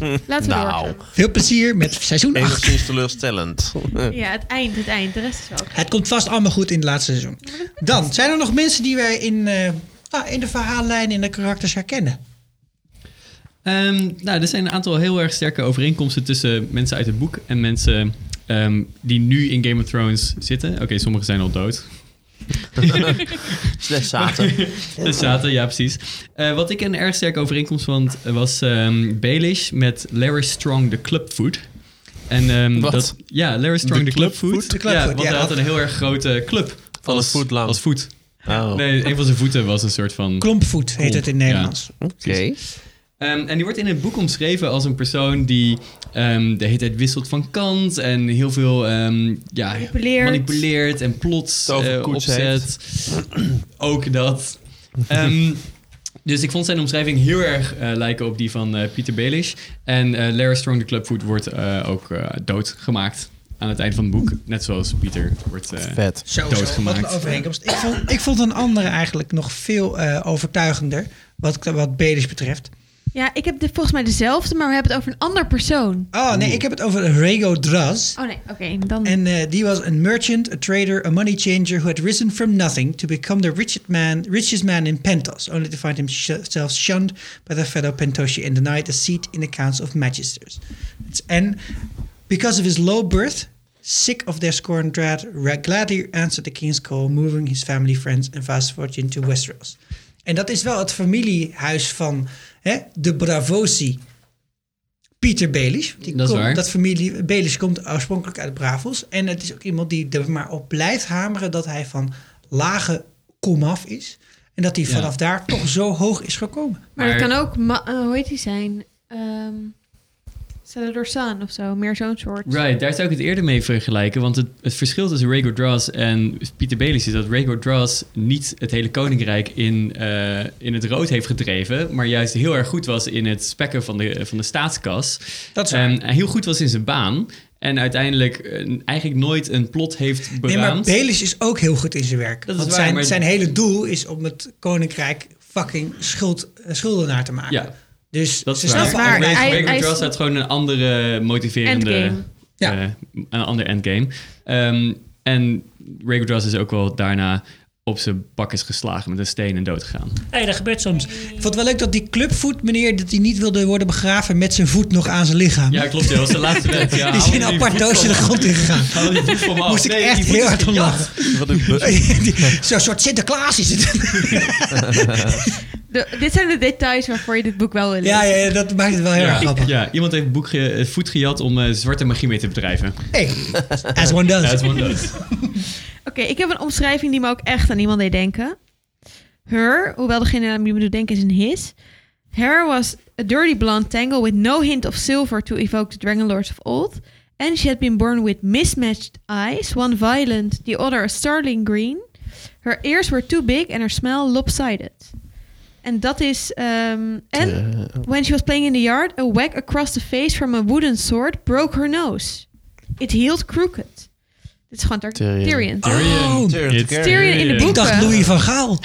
E: laten
D: Nou,
E: we doorgaan.
A: Veel plezier met seizoen 8.
D: enigszins teleurstellend.
E: Ja, het eind, het eind. De rest is wel oké.
A: Het komt vast allemaal goed in het laatste seizoen. Dan, zijn er nog mensen die wij in, eh, ah, in de verhaallijn, in de karakters herkennen?
F: Ehm, nou, er zijn een aantal heel erg sterke overeenkomsten tussen mensen uit het boek en mensen ehm, die nu in Game of Thrones zitten. Oké, sommigen zijn al dood.
D: Slechts zaten.
F: Dus zaten, ja, precies. Eh, wat ik een erg sterke overeenkomst vond, was ehm Baelish met Larry Strong, de Clubfoot. En, ehm,
D: Wat?
F: Dat, ja, Larry Strong, de, Clubfoot.
A: De Clubfoot,
F: ja, want
A: ja,
F: hij had
A: dat-
F: een heel erg grote club.
D: Van
F: als-
D: een voet lang.
F: Als voet.
D: Oh, oké.
F: Nee, een van zijn voeten was een soort van...
A: Klompvoet heet het in
F: Ja.
A: Nederlands.
F: Ehm, en die wordt in het boek omschreven als een persoon die ehm, de hele tijd wisselt van kant en heel veel ehm, ja,
E: Manipuleert.
F: manipuleert en plots eh
D: Toverkoets
F: opzet. Ook dat. Ehm, dus ik vond zijn omschrijving heel erg eh, lijken op die van eh, Peter Baelish. En eh Lara Strong, de clubfoot, wordt eh, ook eh, doodgemaakt aan het eind van het boek. Net zoals Peter wordt... eh,
D: Vet.
A: Zo, zo, wat
F: Doodgemaakt.
A: een overeenkomst. Ik vond, ik vond een andere eigenlijk nog veel eh, overtuigender, wat, wat Belis betreft.
E: Ja, ik heb de, volgens mij dezelfde, maar we hebben het over een ander persoon.
A: Oh nee, ik heb het over Rego Draz.
E: Oh nee, oké, dan...
A: En eh, die was een merchant, a trader, a money changer who had risen from nothing to become the richest man, richest man in Pentos, only to find himself shunned by their fellow Pentoshi and denied a seat in the Council of Magisters. It's- En because of his low birth, sick of their scorn and dread, Ra- gladly answered the king's call, moving his family, friends and vast fortune to Westeros. En dat is wel het familiehuis van hè, de Bravosi. Pieter Belisch. Die
F: Dat is
A: komt-
F: waar.
A: Dat familie Belisch komt oorspronkelijk uit Bravos. En het is ook iemand die er maar op blijft hameren dat hij van lage komaf is. En dat hij
F: Ja.
A: vanaf daar toch zo hoog is gekomen.
E: maar
F: maar-
E: dat kan ook, ma- eh, hoe heet die zijn? Ehm Salador San of zo, meer zo'n soort.
F: Right, daar zou ik het eerder mee vergelijken. Want het, het verschil tussen Rhaego Dras en Peter Baelish is dat Rhaego Dras niet het hele koninkrijk in, eh, in het rood heeft gedreven. Maar juist heel erg goed was in het spekken van de, van de staatskas.
A: Dat is waar.
F: En hij heel goed was in zijn baan. En uiteindelijk eh, eigenlijk nooit een plot heeft
A: Nee, maar
F: beraamd.
A: Belisch is ook heel goed in zijn werk.
F: Dat is
A: Want
F: waar,
A: zijn,
F: maar-
A: zijn hele doel is om het koninkrijk fucking schuld, eh, schuldenaar te maken.
F: Ja.
A: Dus
F: dat
A: ze
F: is waar.
A: snappen
E: Maar
A: allebei-
E: hij-
F: Rhaego
E: is-
F: Dras had gewoon een andere eh, motiverende...
E: Endgame.
A: Ja.
F: eh, een ander endgame. Ehm, en Rhaego Dras is ook wel daarna op zijn bak is geslagen met een steen en dood gegaan.
A: Hé, dat gebeurt soms. Ik vond het wel leuk dat die clubvoet meneer... dat hij niet wilde worden begraven met zijn voet nog aan zijn lichaam.
F: Ja, klopt. Dat was de laatste wet. Ja,
A: die is in een apart doosje de grond ingegaan.
F: Oh,
A: Moest ik echt heel hard om lachen.
D: Wat een bu-
A: Die- Zo'n soort Sinterklaas is het.
E: De- dit zijn de details waarvoor je dit boek wel wil lezen.
A: Ja, ja, ja, dat maakt het wel heel erg
F: Ja,
A: grappig.
F: ja, iemand heeft het boek ge- het voet gejat om eh, zwarte magie mee te bedrijven.
A: Hey, as one does.
F: Ja, dat is gewoon dood.
E: Oké, ik heb een omschrijving die me ook echt aan iemand deed denken. Her, hoewel degene aan wie me doet denken is een his. Her was a dirty blonde tangle with no hint of silver to evoke the Dragon Lords of old. And she had been born with mismatched eyes, one violent, the other a starling green. Her ears were too big and her smell lopsided. En dat is... ehm and when she was playing in the yard, a whack across the face from a wooden sword broke her nose. It healed crooked. Dit is gewoon Dark
D: Tyrion.
E: Tyrion.
A: Oh,
D: Tyrion.
E: Tyrion in de
A: ik
E: boeken.
A: dacht Louis van Gaal.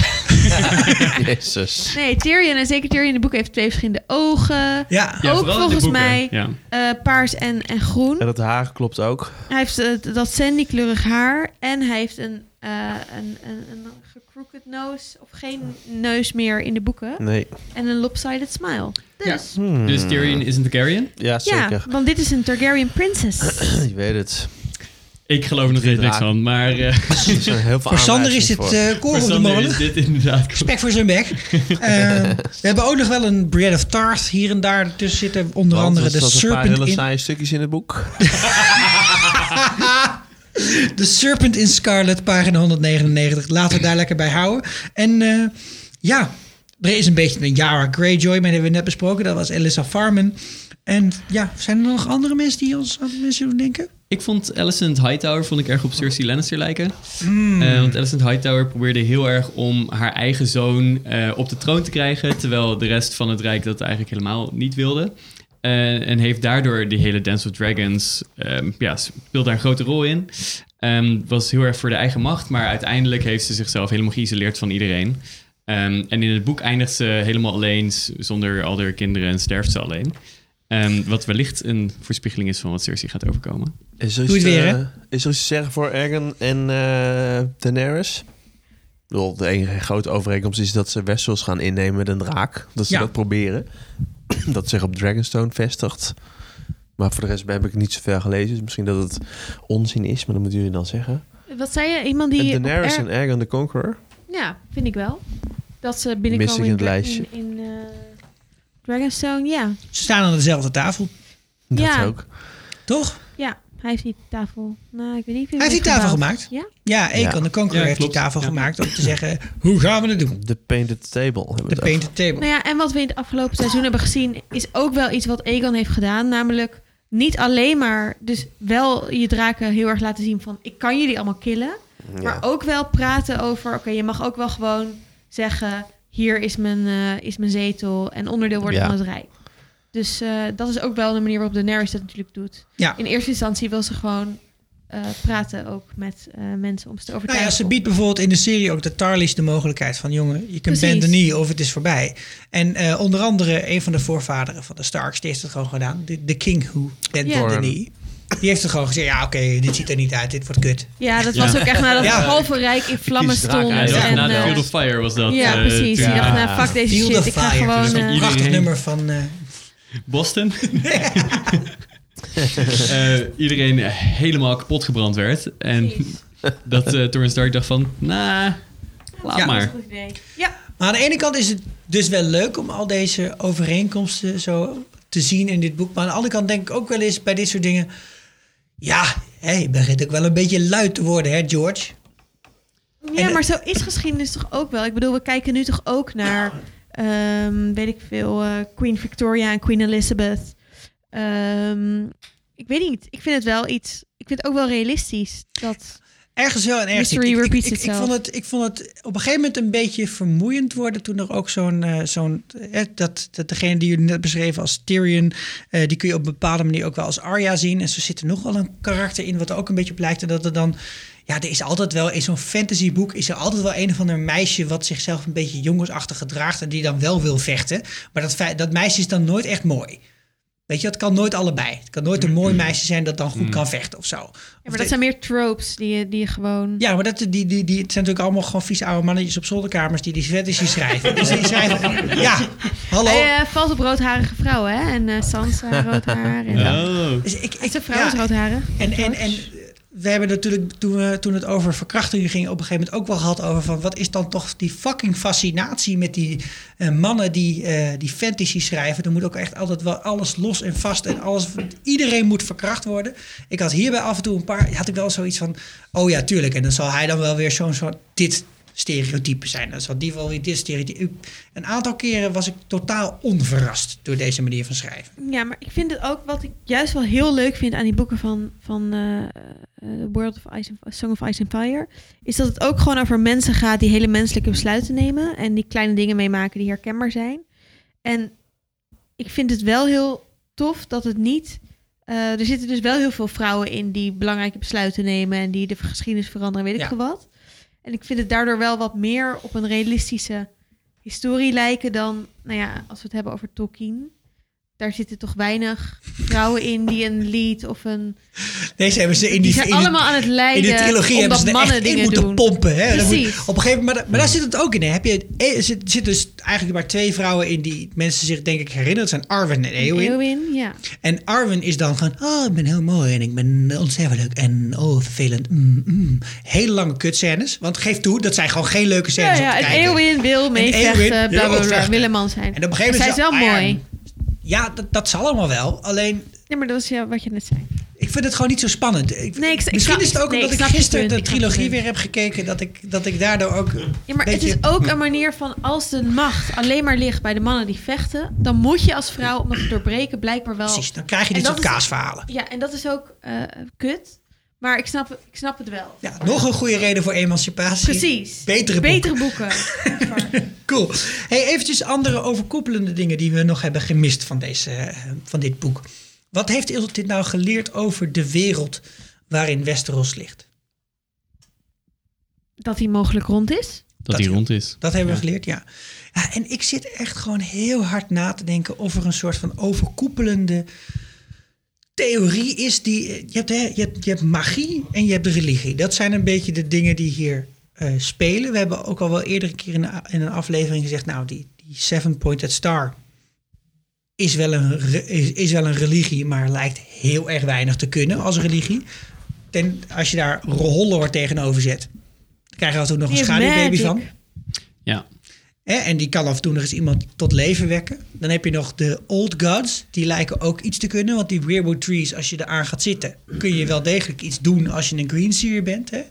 D: Jezus.
E: Nee, Tyrion en zeker Tyrion in de boeken heeft twee verschillende ogen.
A: Ja,
F: Ja,
E: ook
F: vooral in de
E: volgens
F: boeken.
E: mij
F: Ja.
E: eh, paars en, en groen.
D: En het haar klopt ook.
E: Hij heeft eh, dat sandykleurig haar en hij heeft een, eh een, een, een gecrooked nose of geen neus meer in de boeken.
D: Nee.
E: En een lopsided smile. Dus
F: Dus Tyrion is een Targaryen?
D: Ja,
E: ja,
D: zeker.
E: want dit is een Targaryen princess.
D: Je weet het.
F: Ik geloof nog steeds niks van, maar... eh,
D: Er zijn heel veel
A: voor Sander is
D: aanwijzingen
A: het eh
F: voor
A: koren op de
F: Sander
A: molen.
F: is dit inderdaad...
A: Respect voor zijn bek. Eh, we hebben ook nog wel een Bread of Tart hier en daar tussen zitten. Onder
D: Want
A: andere
D: er
A: de
D: zat een paar
A: Serpent,
D: hele
A: in,
D: saaie stukjes in het boek.
A: de Serpent in Scarlet, pagina 199. Laten we daar lekker bij houden. En eh, ja, Er is een beetje een Yara Greyjoy, maar die hebben we net besproken. Dat was Elissa Farman. En ja, zijn er nog andere mensen die ons aan mensen doen denken?
F: Ik vond Alicent Hightower vond ik erg op Cersei Lannister lijken. Eh, want Alicent Hightower probeerde heel erg om haar eigen zoon eh, op de troon te krijgen. Terwijl de rest van het Rijk dat eigenlijk helemaal niet wilde. Eh, en heeft daardoor die hele Dance of Dragons. ehm ja, speelt daar een grote rol in. Ehm, was heel erg voor de eigen macht. Maar uiteindelijk heeft ze zichzelf helemaal geïsoleerd van iedereen. Ehm, en in het boek eindigt ze helemaal alleen. z- Zonder al haar kinderen en sterft ze alleen. Ehm, wat wellicht een voorspiegeling is van wat Cersei gaat overkomen.
D: Is eh,
A: Doe het weer, hè?
D: Is zoiets te zeggen voor Ergen en eh Daenerys? Ik bedoel, de enige grote overeenkomst is dat ze Westeros gaan innemen met een draak. Dat ze
A: Ja.
D: dat proberen. dat zich op Dragonstone vestigt. Maar voor de rest heb ik niet zoveel gelezen. Dus misschien dat het onzin is, maar dat moeten jullie dan zeggen.
E: Wat zei je? Iemand die...
D: en
E: op
D: Daenerys
E: er-
D: en Ergen de Conqueror.
E: Ja, vind ik wel. Dat ze
D: Mis ik
E: binnenkomen
D: in
E: in,
D: het
E: Dra-
D: lijstje.
E: in, in eh, Dragonstone. Ja.
A: Ze staan aan dezelfde tafel,
D: Dat
E: Ja.
D: ook.
A: toch?
E: ja, hij heeft die tafel... Nou, ik weet niet. wie
A: Hij heeft die tafel gemaakt.
E: Ja?
A: Ja, Ekan
D: Ja.
A: de Conqueror
F: Ja,
A: heeft die
F: klopt.
A: tafel
F: Ja.
A: gemaakt om te zeggen... hoe gaan we het doen?
D: The Painted Table. hebben we
A: De
D: het over.
A: painted table.
E: Nou ja, en wat we in het afgelopen seizoen hebben gezien... is ook wel iets wat Egon heeft gedaan. Namelijk niet alleen maar... dus wel je draken heel erg laten zien van... ik kan jullie allemaal killen. Maar
A: Ah.
E: ook wel praten over... oké, je mag ook wel gewoon zeggen... hier is mijn, eh, is mijn zetel... en onderdeel worden
D: Ja.
E: van het Rijk. Dus eh, dat is ook wel de manier waarop Daenerys dat natuurlijk doet.
A: Ja.
E: In eerste instantie wil ze gewoon eh, praten ook met eh, mensen om ze te
A: Nou
E: overtuigen.
A: ja, ze biedt bijvoorbeeld in de serie ook de Tarlys de mogelijkheid van... jongen, je kunt
E: Precies.
A: benden niet of het is voorbij. En eh, onder andere een van de voorvaderen van de Starks... die heeft het gewoon gedaan. De, de King Who, bent
E: Ja.
A: the knee. Die heeft er gewoon gezegd... ja, oké, dit ziet er niet uit, dit wordt kut.
E: Ja, dat
F: Ja.
E: was ook echt nadat
A: Ja.
E: het halve rijk in vlammen
D: draken
E: stond.
F: Ja,
D: uit.
E: en,
F: dat
D: Ja,
F: was na de
E: eh,
F: Field of Fire was dat.
E: ja,
F: eh,
E: precies.
F: toen-
E: Die dacht,
F: Ja.
E: nou, fuck deze
A: Field
E: shit.
A: of
E: Ik ga
A: Fire.
E: gewoon...
A: Dat is
E: eh,
A: een prachtig
F: Iedereen-
A: nummer van... eh,
F: Boston. Eh, iedereen helemaal kapot gebrand werd. En
E: Precies.
F: dat eh Torrance Stark dacht van, nou, laat
A: Ja.
F: maar.
E: Goed idee. eh, Ja,
A: Maar aan de ene kant is het dus wel leuk om al deze overeenkomsten zo te zien in dit boek. Maar aan de andere kant denk ik ook wel eens bij dit soort dingen. Ja, hé, je begint ook wel een beetje luid te worden, hè, George?
E: ja
A: En- eh,
E: maar zo is geschiedenis toch ook wel. Ik bedoel, we kijken nu toch ook naar, ehm, weet ik veel, eh, Queen Victoria en Queen Elizabeth. Ehm, ik weet niet. Ik vind het wel iets. Ik vind het ook wel realistisch. Dat,
A: Ergens wel en ergens
E: History
A: niet. Ik- ik,
E: repeats
A: ik, ik,
E: itself.
A: vond het, ik vond het op een gegeven moment een beetje vermoeiend worden toen er ook zo'n... eh, zo'n eh, dat, dat degene die jullie net beschreven als Tyrion... eh, die kun je op een bepaalde manier ook wel als Arya zien. En zo zit er nogal een karakter in wat er ook een beetje op lijkt. En dat er dan... Ja, er is altijd wel in zo'n fantasyboek... is er altijd wel een of ander meisje... wat zichzelf een beetje jongensachtig gedraagt... en die dan wel wil vechten. Maar dat, fei- dat meisje is dan nooit echt mooi. Weet je, het kan nooit allebei. Het kan nooit een mooi meisje zijn dat dan goed kan vechten of zo.
E: ja, maar dat zijn meer tropes die je, die je gewoon. Eh,
A: Ja, maar dat, die, die, die, het zijn natuurlijk allemaal gewoon vieze oude mannetjes op zolderkamers die die fetishes schrijven. Dus die schrijven, ja, hallo.
E: Hij eh, valt op roodharige vrouwen, hè? En eh, Sansa, rood haar. En
F: Oh.
A: Dus ik, ik,
E: Zijn vrouw is
A: ja,
E: roodharig.
A: en, en, en we hebben natuurlijk toen, we, toen het over verkrachtingen ging op een gegeven moment ook wel gehad over van wat is dan toch die fucking fascinatie met die eh, mannen die, eh die fantasy schrijven. Er moet ook echt altijd wel alles los en vast en alles, iedereen moet verkracht worden. Ik had hierbij af en toe een paar, had ik wel zoiets van, oh ja tuurlijk en dan zal hij dan wel weer zo'n soort dit stereotype zijn. Dan zal die wel weer dit stereotype. Een aantal keren was ik totaal onverrast door deze manier van schrijven.
E: Ja, maar ik vind het ook wat ik juist wel heel leuk vind aan die boeken van, van eh, eh, World of Ice and, Song of Ice and Fire. Is dat het ook gewoon over mensen gaat die hele menselijke besluiten nemen. En die kleine dingen meemaken die herkenbaar zijn. En ik vind het wel heel tof dat het niet. eh, er zitten dus wel heel veel vrouwen in die belangrijke besluiten nemen. En die de geschiedenis veranderen, weet ik
A: Ja.
E: veel wat. En ik vind het daardoor wel wat meer op een realistische historie lijken dan. Nou ja, als we het hebben over Tolkien daar zitten toch weinig vrouwen in die een lied of een...
A: Deze hebben ze in die,
E: Die
A: in
E: zijn
A: die-
E: allemaal aan het
A: In
E: lijden
A: de trilogie hebben
E: omdat
A: ze er
E: mannen
A: echt in
E: dingen
A: moeten
E: doen.
A: pompen. Hè? Dan
E: Precies.
A: moet- op een gegeven moment, maar, da- maar daar zit het ook in. Hè? Heb je, er zit, zit dus eigenlijk maar twee vrouwen in die mensen zich denk ik herinneren. Dat zijn Arwen en Eowyn.
E: Eeuwin, ja.
A: En Arwen is dan gewoon, oh, ik ben heel mooi en ik ben ontzettend en oh, vervelend. Mm, mm. Hele lange kutscènes. Want geef toe, dat zijn gewoon geen leuke
E: Ja,
A: scènes om
E: ja,
A: te
E: en
A: kijken.
E: Eeuwin wil meevechten,
A: Eowyn
E: bla
A: wil
E: bla
A: ook
E: bla,
A: vechten.
E: wil een man zijn.
A: En op een gegeven moment
E: Zij is wel
A: ah ja,
E: mooi.
A: Ja, dat, dat zal allemaal wel. Alleen,
E: Ja, maar dat was ja, wat je net zei.
A: Ik vind het gewoon niet zo spannend. Ik,
E: Nee, ik- ik
A: misschien
E: snap-
A: is het ook
E: nee, ik
A: omdat ik
E: snap je
A: gisteren
E: punt,
A: de
E: ik snap je
A: trilogie
E: punt.
A: weer heb gekeken... dat ik, dat ik daardoor ook...
E: Ja, maar
A: Beetje-
E: het is ook een manier van als de macht alleen maar ligt bij de mannen die vechten, dan moet je als vrouw om dat te doorbreken blijkbaar wel.
A: Precies, dan krijg je
E: Oh. En
A: dit
E: dat
A: soort
E: is-
A: kaasverhalen.
E: Ja, en dat is ook eh, kut. Maar ik snap, ik snap het wel.
A: Ja, nog een goede reden voor emancipatie.
E: Precies.
A: Betere boeken.
E: Betere boeken. Voor-
A: Cool. Hey, eventjes andere overkoepelende dingen die we nog hebben gemist van, deze, eh, van dit boek. Wat heeft Ilse dit nou geleerd over de wereld waarin Westeros ligt?
E: dat hij mogelijk rond is.
F: Dat hij
A: Dat-
F: rond is.
A: Dat hebben we geleerd, ja. ja. En ik zit echt gewoon heel hard na te denken of er een soort van overkoepelende theorie is die... eh, Je hebt, hè, je hebt, je hebt magie en je hebt religie. Dat zijn een beetje de dingen die hier eh, spelen. We hebben ook al wel eerder een keer in een, in een aflevering gezegd... nou, die, die Seven-Pointed Star is wel, een, re- is, is wel een religie... maar lijkt heel erg weinig te kunnen als religie. Ten, als je daar Rollor tegenover zet... dan krijg je altijd ook nog een
E: Die
A: schaduwbaby
E: magic.
A: van.
F: Ja.
A: Hè, en die kan af en toe nog eens iemand tot leven wekken. Dan heb je nog de Old Gods. Die lijken ook iets te kunnen. Want die Weirwood Trees, als je eraan gaat zitten... kun je wel degelijk iets doen als je een Green Seer bent. Hè?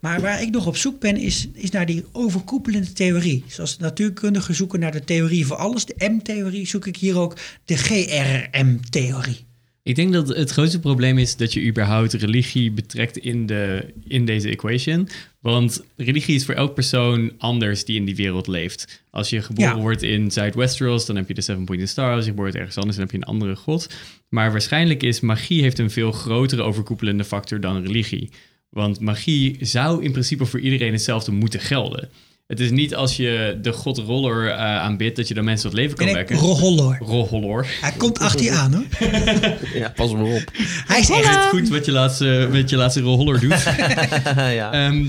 A: Maar waar ik nog op zoek ben, is, is naar die overkoepelende theorie. Zoals de natuurkundigen zoeken naar de theorie voor alles. De M-theorie zoek ik hier ook de GRM-theorie.
F: Ik denk dat het grootste probleem is dat je überhaupt religie betrekt in, de, in deze equation. Want religie is voor elk persoon anders die in die wereld leeft. Als je geboren
A: Ja.
F: wordt in Zuid-Westeros, dan heb je de Seven Pointed Star. Als je geboren wordt ergens anders, dan heb je een andere god. Maar waarschijnlijk is magie heeft een veel grotere overkoepelende factor dan religie. Want magie zou in principe voor iedereen hetzelfde moeten gelden. Het is niet als je de god Roller eh, aanbidt dat je dan mensen tot leven kan
A: En ik
F: wekken.
A: Rohollor.
F: Rollor.
A: Hij komt achter je aan, hoor.
D: Ja, pas maar op.
A: Hij is
F: Is
A: echt...
F: het goed wat je laatste, wat je laatste roller doet?
D: ja.
F: Ehm,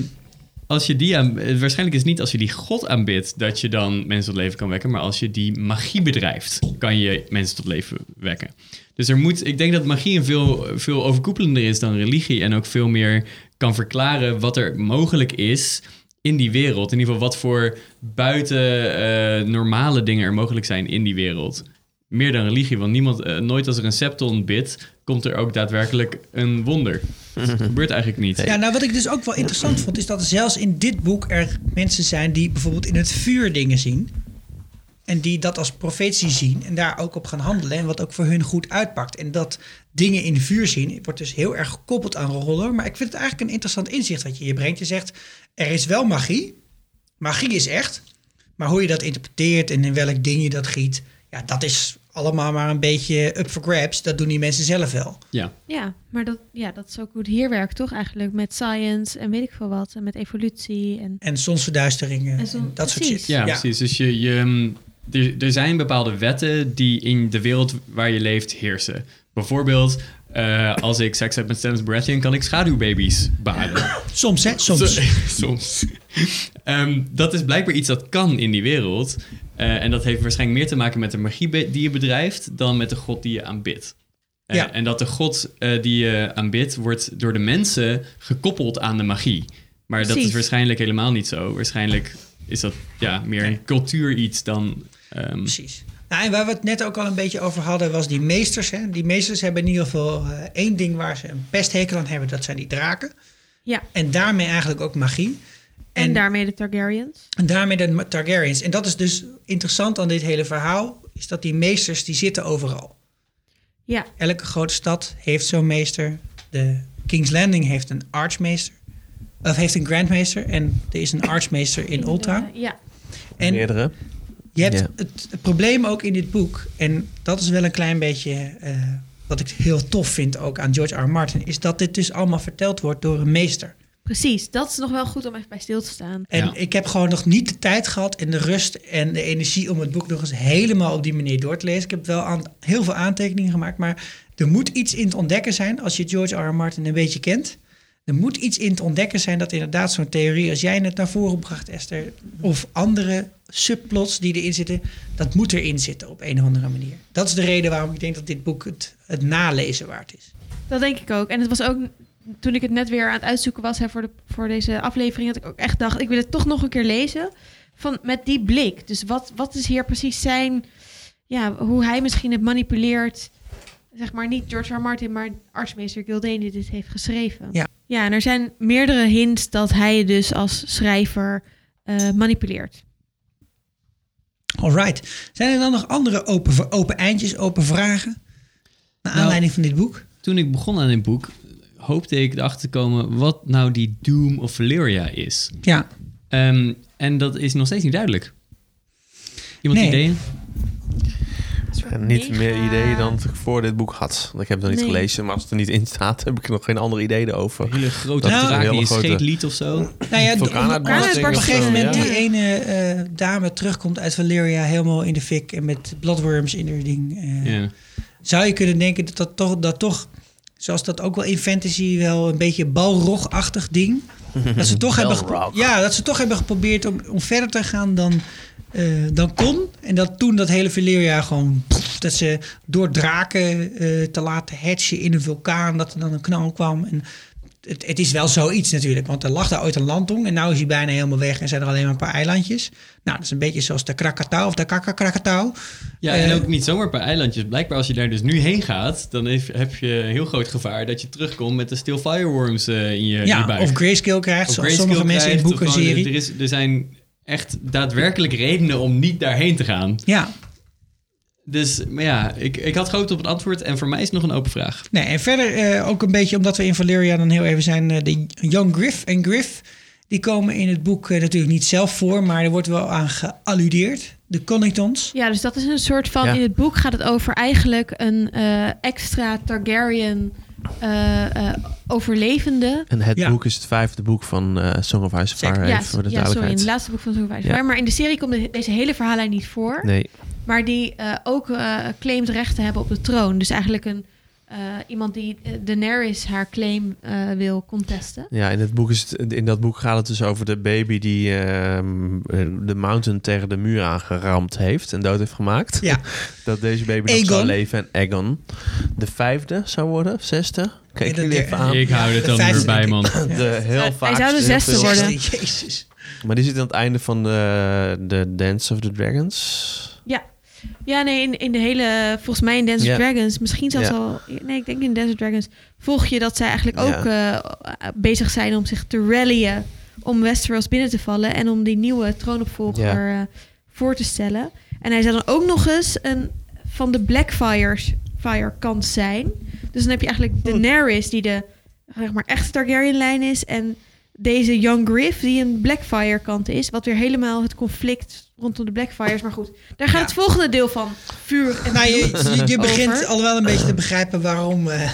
F: als je die aan, eh, waarschijnlijk is het niet als je die god aanbidt dat je dan mensen tot leven kan wekken, maar als je die magie bedrijft, kan je mensen tot leven wekken. Dus er moet, ik denk dat magie een veel, veel overkoepelender is dan religie en ook veel meer kan verklaren wat er mogelijk is in die wereld. In ieder geval wat voor buiten eh, normale dingen er mogelijk zijn in die wereld. Meer dan religie, want niemand, eh, nooit als er een septon bidt, komt er ook daadwerkelijk een wonder. Dat gebeurt eigenlijk niet.
A: Ja, nou wat ik dus ook wel interessant vond, is dat er zelfs in dit boek er mensen zijn die bijvoorbeeld in het vuur dingen zien. En die dat als profetie zien en daar ook op gaan handelen. En wat ook voor hun goed uitpakt. En dat dingen in vuur zien, wordt dus heel erg gekoppeld aan roller. Maar ik vind het eigenlijk een interessant inzicht wat je hier brengt. Je zegt, er is wel magie. Magie is echt. Maar hoe je dat interpreteert en in welk ding je dat giet. Ja, dat is allemaal maar een beetje up for grabs. Dat doen die mensen zelf wel.
F: Ja.
E: Ja, maar dat, ja, dat is ook hoe het hier werkt, toch? Eigenlijk met science en weet ik veel wat. En met evolutie. En
A: En zonsverduisteringen en,
E: En zon-
A: dat soort
E: precies.
A: shit.
F: Ja, precies. Dus je, je, mm, er, er zijn bepaalde wetten die in de wereld waar je leeft heersen. Bijvoorbeeld, eh, als ik seks heb met Stannis Baratheon, kan ik schaduwbaby's baren.
A: Soms, hè? Soms.
F: Soms. Ehm, dat is blijkbaar iets dat kan in die wereld. Eh, en dat heeft waarschijnlijk meer te maken met de magie be- die je bedrijft dan met de god die je aanbidt. Eh,
A: Ja.
F: En dat de god eh, die je aanbidt wordt door de mensen gekoppeld aan de magie. Maar dat
E: Precies.
F: is waarschijnlijk helemaal niet zo. Waarschijnlijk is dat ja, meer een cultuur iets dan... ehm,
A: Precies. Nou, en waar we het net ook al een beetje over hadden, was die meesters. Hè? Die meesters hebben in ieder geval eh, één ding waar ze een pesthekel aan hebben, dat zijn die draken.
E: ja,
A: En daarmee eigenlijk ook magie.
E: en,
A: En-
E: daarmee de Targaryens.
A: En daarmee de Ma- Targaryens. En dat is dus interessant aan dit hele verhaal, is dat die meesters die zitten overal.
E: Ja,
A: Elke grote stad heeft zo'n meester. De King's Landing heeft een archmeester. Of heeft een grandmeester. En er is een archmeester in Oldtown.
E: eh, ja.
A: En
D: Meerdere.
A: Je hebt
D: Ja.
A: het, het probleem ook in dit boek, en dat is wel een klein beetje eh, wat ik heel tof vind ook aan George R. R. Martin, is dat dit dus allemaal verteld wordt door een meester.
E: Precies, dat is nog wel goed om even bij stil te staan.
A: En
F: Ja.
A: ik heb gewoon nog niet de tijd gehad en de rust en de energie om het boek nog eens helemaal op die manier door te lezen. Ik heb wel aan, heel veel aantekeningen gemaakt, maar er moet iets in te ontdekken zijn als je George R. R. Martin een beetje kent. Er moet iets in te ontdekken zijn dat inderdaad zo'n theorie, als jij het naar voren bracht, Esther, of andere subplots die erin zitten, dat moet erin zitten op een of andere manier. Dat is de reden waarom ik denk dat dit boek het, het nalezen waard is.
E: Dat denk ik ook. En het was ook toen ik het net weer aan het uitzoeken was hè, voor, de, voor deze aflevering, dat ik ook echt dacht, ik wil het toch nog een keer lezen. Van, met die blik. Dus wat, wat is hier precies zijn, ja, hoe hij misschien het manipuleert. zeg maar niet George R. R. Martin, maar artsmeester Gildane die dit heeft geschreven.
A: Ja.
E: ja, en er zijn meerdere hints dat hij je dus als schrijver eh, manipuleert.
A: Alright. Zijn er dan nog andere open, open eindjes, open vragen? Naar aanleiding van dit boek?
F: Toen ik begon aan dit boek, hoopte ik erachter te komen wat nou die Doom of Valyria is.
A: Ja.
F: Ehm, en dat is nog steeds niet duidelijk. Iemand
A: Nee.
F: ideeën?
D: niet
E: Mega.
D: meer ideeën dan ik voor dit boek had. Ik heb het nog niet
E: Nee.
D: gelezen, maar als het er niet in staat, heb ik er nog geen andere ideeën over.
F: Hele grote
D: Dat
A: is Nou, een
F: draak
D: hele
F: die een
D: grote-
F: scheetlied of zo.
A: Nou ja, d- op,
D: Vulkaanuitbarsting
A: op een
E: of
A: gegeven
E: zo,
A: moment
E: ja.
A: die ene eh, dame terugkomt uit Valeria helemaal in de fik en met bloodworms in haar ding. eh,
F: Ja.
A: Zou je kunnen denken dat dat toch, dat toch, zoals dat ook wel in fantasy wel een beetje balrog-achtig ding. Dat ze toch hebben, gepro-
D: Balrog.
A: ja, dat ze toch hebben geprobeerd om, om verder te gaan dan, eh, dan kon. En dat toen dat hele Valeria gewoon, pff, dat ze door draken eh, te laten hatchen in een vulkaan, dat er dan een knal kwam. En het, het is wel zoiets natuurlijk, want er lag daar ooit een landtong en nu is hij bijna helemaal weg en zijn er alleen maar een paar eilandjes. Nou, dat is een beetje zoals de Krakatau of de Kakakrakatau.
F: Ja, en
A: Eh,
F: ook niet zomaar per eilandjes. Blijkbaar als je daar dus nu heen gaat, dan hef- heb je een heel groot gevaar dat je terugkomt met de still fireworms eh, in je, in je
A: Ja,
F: buik.
A: of grayscale krijgt,
F: Of
A: zoals
F: grayscale
A: sommige mensen in
F: krijgt,
A: boeken en
F: of gewoon,
A: serie.
F: Er, is, er zijn echt daadwerkelijk redenen om niet daarheen te gaan.
A: Ja,
F: Dus maar ja, ik, ik had gehoopt op een antwoord en voor mij is het nog een open vraag.
A: nee, en verder eh, ook een beetje, omdat we in Valeria dan heel even zijn, eh, de Young Griff en Griff, die komen in het boek eh, natuurlijk niet zelf voor, maar er wordt wel aan gealludeerd. De Conningtons.
E: Ja, dus dat is een soort van.
D: Ja.
E: In het boek gaat het over eigenlijk een eh, extra Targaryen eh, eh, overlevende.
D: En het
A: Ja.
D: boek is het vijfde boek van eh Song of Ice and Fire,
E: ja,
D: even voor de
E: ja, sorry, in
D: duidelijkheid.
E: het laatste boek van Song of Ice.
D: Ja.
E: Maar- Maar in de serie komt de- deze hele verhaallijn niet voor.
D: nee,
E: Maar die eh, ook eh, claimt recht te hebben op de troon. Dus eigenlijk een, eh, iemand die eh, Daenerys haar claim eh, wil contesten.
D: ja, in, het boek is het, in dat boek gaat het dus over de baby die ehm, eh, de mountain tegen de muur aangeramd heeft en dood heeft gemaakt.
A: Ja,
D: Dat deze baby nog zou
A: Aegon.
D: leven en Egon de vijfde zou worden, of zesde. Kijk
A: Nee, dat-
D: jullie even aan.
F: Ik hou er
A: dan
F: dan
A: Vijf-
F: weer
A: weer bij,
F: bij,
A: man.
F: man.
D: De heel vaak.
E: zou de
D: heel
E: zesde
D: veel-
E: worden.
A: Jezus.
D: Maar die zit aan het einde van de, de Dance of the Dragons.
E: Ja, nee, in, in de hele, volgens mij in Dance
D: Ja.
E: of Dragons, misschien zelfs
D: Ja.
E: al, nee, ik denk in Dance of Dragons, volg je dat zij eigenlijk
D: Ja.
E: ook eh, bezig zijn om zich te rallyen om Westeros binnen te vallen en om die nieuwe troonopvolger eh, voor te stellen. En hij zou dan ook nog eens een van de Blackfires fire kant zijn. Dus dan heb je eigenlijk Daenerys die de zeg maar echte Targaryen lijn is en deze Young Griff die een Blackfire kant is, wat weer helemaal het conflict rondom de Blackfires. Maar goed, daar gaat
A: Ja.
E: het volgende deel van vuur en
A: Nou, je, je, je begint
E: Over.
A: al wel een beetje te begrijpen waarom eh,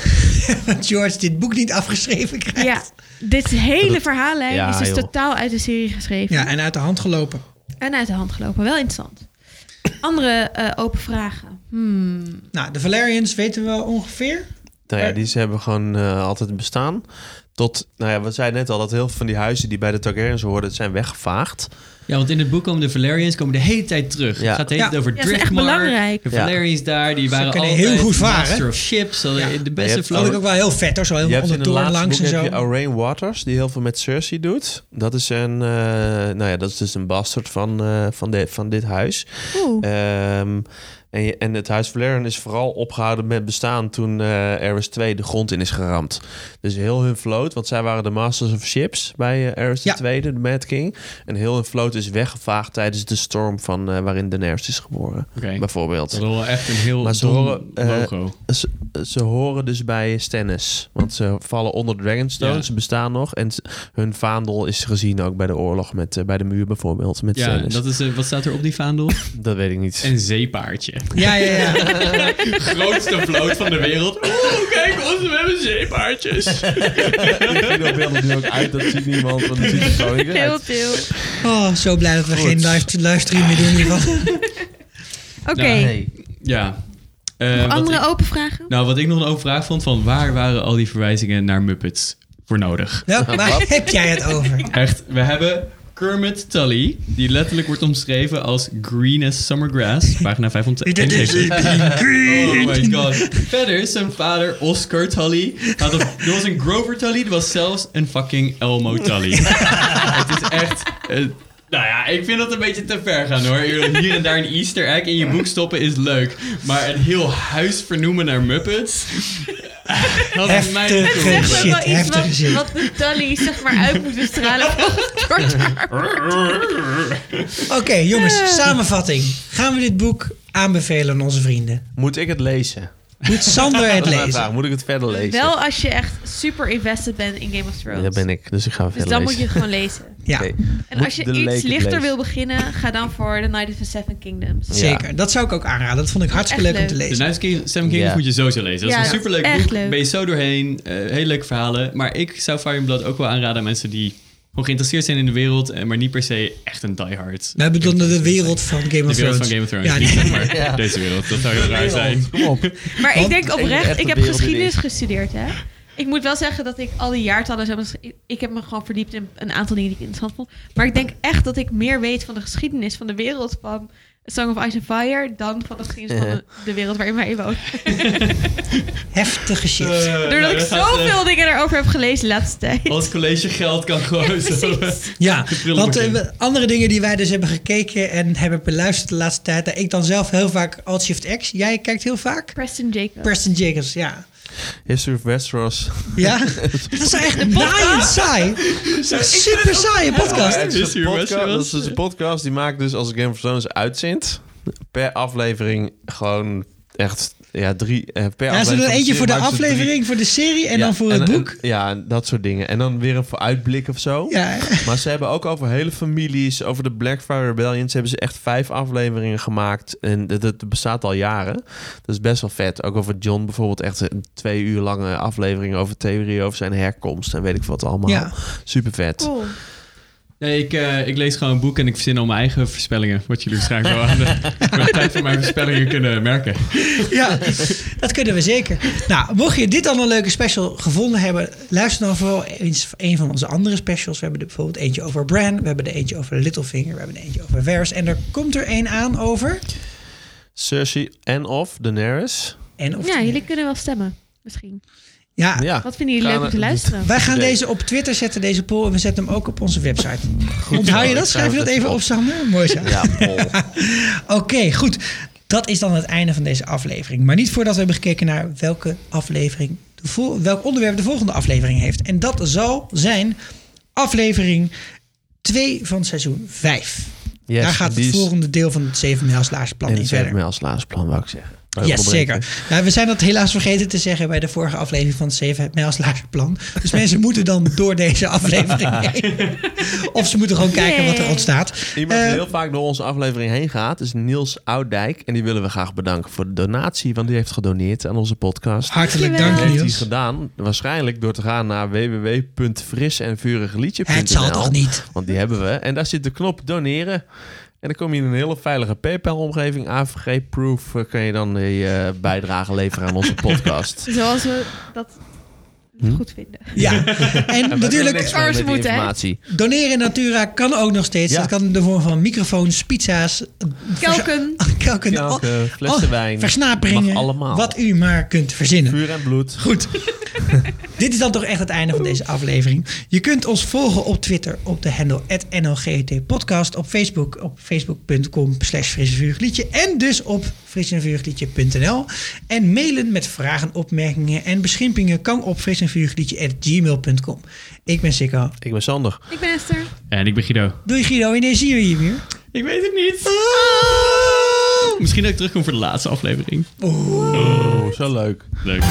A: George dit boek niet afgeschreven krijgt.
E: Ja, dit hele verhaallijn
D: Ja,
E: is dus
D: joh.
E: totaal uit de serie geschreven
A: Ja, en uit de hand gelopen.
E: en uit de hand gelopen. Wel interessant. Andere eh, open vragen. Hmm.
A: Nou, de Valerians weten we wel ongeveer.
D: Nou ja,
A: Maar-
D: die ze hebben gewoon eh, altijd bestaan. Tot, nou ja, we zeiden net al dat heel veel van die huizen die bij de Targaryens hoorden zijn weggevaagd.
F: Ja, want in het boek komen de Valerians komen de hele tijd terug.
D: Ja.
F: Het gaat de hele
A: Ja.
F: tijd over
E: Ja, ze zijn echt
F: Driftmark.
E: belangrijk.
F: De
D: Ja.
F: Valerians daar, die waren
A: kunnen
F: altijd
A: heel goed varen.
F: master of ships. Ze hadden
A: Ja.
F: de
D: Je
F: beste
D: hebt
A: Vond ik
F: vloot.
A: ook wel heel vet hoor, zo
D: Oh. Je
A: helemaal onder
D: hebt in de
A: toren
D: laatste
A: langs
D: boek
A: en zo.
D: heb je Orain Waters, die heel veel met Cersei doet. Dat is een, eh, nou ja, dat is dus een bastard van, eh, van, de, van dit huis.
E: Oeh.
D: Ehm, en, je- en het Huis Valerian is vooral opgehouden met bestaan toen eh Ares 2 de grond in is geramd. Dus heel hun vloot, want zij waren de Masters of Ships bij eh Ares
A: Ja.
D: 2, de Mad King. En heel hun vloot is weggevaagd tijdens de storm van, eh waarin Daenerys is geboren,
F: Oké.
D: bijvoorbeeld.
F: Dat is wel echt een heel
D: Maar ze
F: dom
D: horen, eh,
F: logo.
D: Ze, ze horen dus bij Stannis, want ze vallen onder Dragonstone,
F: Ja.
D: ze bestaan nog. En ze- hun vaandel is gezien ook bij de oorlog, met, eh, bij de muur bijvoorbeeld, met
F: Ja,
D: Stannis.
F: dat is, eh, wat staat er op die vaandel?
D: dat weet ik niet.
F: Een zeepaardje.
A: Ja, ja, ja.
F: Grootste vloot van de wereld. Oeh, kijk ons, we hebben zeepaardjes.
D: Ik vind dat beeld er nu ook uit, dat ziet niemand, want dat ziet er zo niet
E: Heel
D: uit.
E: veel.
A: Oh, zo blij dat we
D: Goed.
A: geen live, livestream meer doen in ieder geval.
E: Oké,
F: Nou, Ja. Eh, wat
E: andere
F: ik-
E: open vragen?
F: Nou, wat ik nog een open vraag vond, van waar waren al die verwijzingen naar Muppets voor nodig?
A: Nou, waar heb jij het over?
F: Echt, we hebben Kermit Tully, die letterlijk wordt omschreven als green as summer grass, pagina 571. Oh my god. Verder, zijn vader Oscar Tully had een, er was een Grover Tully, er was zelfs een fucking Elmo Tully. Het is echt... eh, Nou ja, ik vind dat een beetje te ver gaan hoor. Hier en daar een easter egg in je boek stoppen is leuk. Maar een heel huis vernoemen naar Muppets... Dat is mij
A: Heftig. Heftig. Shit,
E: Zeg maar
F: niet cool.
E: wel iets
A: heftige shit.
E: wat, wat de Tully zeg maar uit moeten stralen volgens George R. R.
A: Oké, jongens, samenvatting. Gaan we dit boek aanbevelen aan onze vrienden?
D: Moet ik het lezen?
A: Moet Sander het
D: Dat is mijn vraag.
A: lezen?
D: Moet ik het verder lezen?
E: Wel als je echt super invested bent in Game of Thrones.
D: Dat ben ik, dus ik ga het
E: Dus
D: verder
E: dan moet
D: lezen.
E: je het gewoon lezen.
A: Ja,
D: Oké.
E: En
D: Moet
E: als je
D: de leek
E: iets
D: het
E: lichter
D: lezen?
E: wil beginnen, ga dan voor The Night of the Seven Kingdoms.
A: zeker. Dat zou ik ook aanraden. Dat vond ik hartstikke
E: Echt
A: leuk om te
E: leuk.
F: De
A: lezen.
F: Night King, Seven Kings
D: Ja.
F: moet je sowieso lezen. Dat
E: Ja,
F: is een superleuk
E: echt
F: boek.
E: leuk.
F: Ben je zo doorheen. eh hele leuke verhalen. Maar ik zou Fire and Blood ook wel aanraden aan mensen die gewoon geïnteresseerd zijn in de wereld. eh, Maar niet per se echt een diehard.
A: Wij bedoelden de wereld van Game
F: De
A: of
F: wereld
A: Thrones.
F: van Game of Thrones.
A: Ja,
F: niet
A: die-
F: zeg maar deze wereld. Dat zou heel raar zijn.
D: Kom op.
E: Maar
A: Want-
E: ik denk
D: echt
E: oprecht,
D: de
E: ik heb
D: wereld in
E: geschiedenis
D: is.
E: gestudeerd, hè? Ik moet wel zeggen dat ik al die jaartallen zo... ik- Ik heb me gewoon verdiept in een aantal dingen die ik interessant vond. Maar ik denk echt dat ik meer weet van de geschiedenis van de wereld van A Song of Ice and Fire... dan van de geschiedenis van
D: Ja.
E: de, de wereld waarin wij wonen.
A: Heftige shit.
F: Eh, nou,
E: Doordat ik zoveel dingen erover heb gelezen de laatste
A: Oh,
E: tijd.
F: Ons eh, college geld kan gewoon zo.
E: Precies.
A: Ja,
F: prullenbak
A: want eh,
F: in.
A: we- andere dingen die wij dus hebben gekeken en hebben beluisterd de laatste tijd. eh, Ik dan zelf heel vaak Alt Shift X. Jij kijkt heel vaak?
E: Preston Jacob.
A: Preston Jacobs, ja.
D: History of Westeros.
A: Ja? Dat is echt naaiend saai. Dat is echt super saaie podcast.
D: Het is een
F: History of
D: podcast, dat
F: Westeros.
D: is dus een podcast die maakt dus als Game of Thrones uitzendt. Per aflevering gewoon echt ja, drie. eh, per
A: Ja, ze doen
D: aflevering
A: eentje voor de
D: maakt ze drie-
A: aflevering, voor de serie en
D: Ja,
A: dan voor het
D: en-
A: boek.
D: en- ja, en dat soort dingen. En dan weer een vooruitblik of zo.
A: Ja,
D: Maar ze hebben ook over hele families, over de Blackfire Rebellions, hebben ze echt vijf afleveringen gemaakt. En dat, dat bestaat al jaren. Dat is best wel vet. Ook over John bijvoorbeeld, echt een twee uur lange aflevering over theorie over zijn herkomst en weet ik wat allemaal.
A: Ja.
D: Super vet.
E: Cool.
F: Nee, ik, eh, ik lees gewoon een boek en ik verzin al mijn eigen voorspellingen. Wat jullie waarschijnlijk wel aan de, aan de tijd van mijn voorspellingen kunnen merken.
A: ja, dat kunnen we zeker. Nou, mocht je dit dan een leuke special gevonden hebben, luister dan vooral eens een van onze andere specials. We hebben er bijvoorbeeld eentje over Bran, we hebben er eentje over Littlefinger, we hebben er eentje over Varys. En er komt er een aan over.
D: Cersei en of Daenerys.
A: En of
E: Ja, jullie kunnen wel stemmen. Misschien.
A: Ja,
D: Ja.
E: Wat vinden jullie leuk om te luisteren?
A: Wij gaan
D: Idee.
A: deze op Twitter zetten, deze poll. En we zetten hem ook op onze website. Onthoud je dat?
D: zo, nou, ik
A: Schrijf je
D: schrijf
A: dat
D: het
A: even
D: op.
A: op, Sander? Mooi zo.
D: Ja, bol.
A: Oké, goed. Dat is dan het einde van deze aflevering. Maar niet voordat we hebben gekeken naar welke aflevering, de vol- welk onderwerp de volgende aflevering heeft. En dat zal zijn aflevering 2 van seizoen 5.
D: Yes,
A: Daar gaat
D: die
A: het
D: is
A: volgende deel van het 7 mijls plan
D: in
A: in
D: het verder.
A: verder.
D: mij als laatste plan, wou ik zeggen.
A: Ja, yes, zeker. Nou, we zijn dat helaas vergeten te zeggen bij de vorige aflevering van het 7 mijls plan. Dus mensen moeten dan door deze aflevering heen. Of ze moeten gewoon kijken wat er
E: Yay.
A: ontstaat.
D: Iemand die
A: Eh,
D: heel vaak door onze aflevering heen gaat is Niels Oudijk. En die willen we graag bedanken voor de donatie, want die heeft gedoneerd aan onze podcast.
A: hartelijk
E: Dankjewel.
A: dank,
D: heeft hij
A: Niels.
D: gedaan, waarschijnlijk door te gaan naar www.frisenvurigliedje.nl.
A: Het zal toch niet?
D: Want die hebben we. En daar zit de knop doneren. En dan kom je in een hele veilige PayPal-omgeving. AVG-proof eh, kan je dan je eh, bijdrage leveren aan onze podcast.
E: Zoals we dat
A: Hm?
E: goed vinden.
A: Ja, en natuurlijk
E: niks mee met die
D: moet
E: informatie.
A: Doneren in Natura kan ook nog steeds.
D: Ja.
A: Dat kan in de vorm van microfoons, pizza's,
E: Kelken.
A: kelken,
D: Kelken,
A: al-
D: flessen
A: al-
D: wijn.
A: versnaperingen,
D: Mag allemaal.
A: wat u maar kunt verzinnen.
D: Vuur en bloed.
A: Goed. Dit is dan toch echt het einde van deze aflevering. Je kunt ons volgen op Twitter op de handle NLGT Podcast. Op Facebook op facebook.com slash fris en vurig liedje. En dus op frisenvurigliedje.nl. En mailen met vragen, opmerkingen en beschimpingen kan op frisenvurigliedje.gmail.com. Ik ben Sikko.
D: Ik ben Sander.
E: Ik ben Esther.
F: En ik ben Guido.
A: Doei Guido, ineens zien we je weer.
F: Ik weet het niet.
E: Ah.
F: Misschien dat ik terugkom voor de laatste aflevering.
D: Oh, zo leuk.
F: Leuk.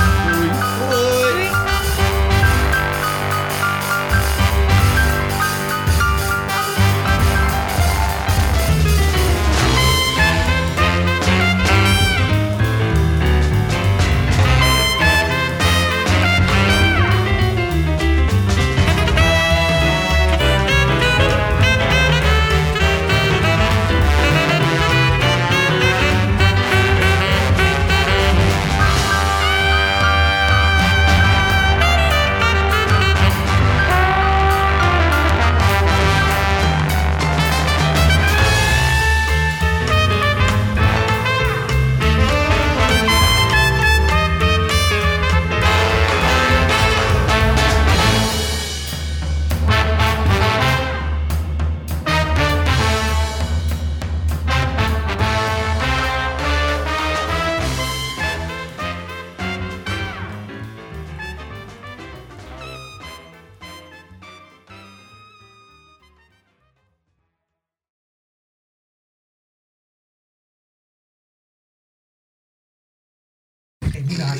A: Kijk, nu naar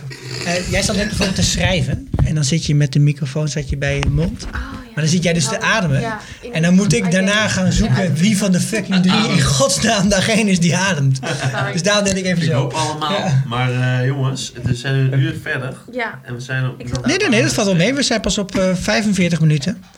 A: Eh, jij zat net bijvoorbeeld te schrijven. En dan zit je met de microfoon zat je bij je mond. Maar dan zit jij dus te ademen.
G: Oh, Ja, in- Oh,
A: en dan moet ik daarna gaan zoeken wie van de fucking drie in godsnaam daarheen is die ademt. Dus daarom deed ik even
D: Ik
A: zo.
D: hoop allemaal, maar eh, jongens, het is zijn een uur verder
G: Ja.
D: en we zijn op...
G: Ik zat-
A: Nee, nee, nee, dat valt wel mee. We zijn pas op eh, 45 minuten.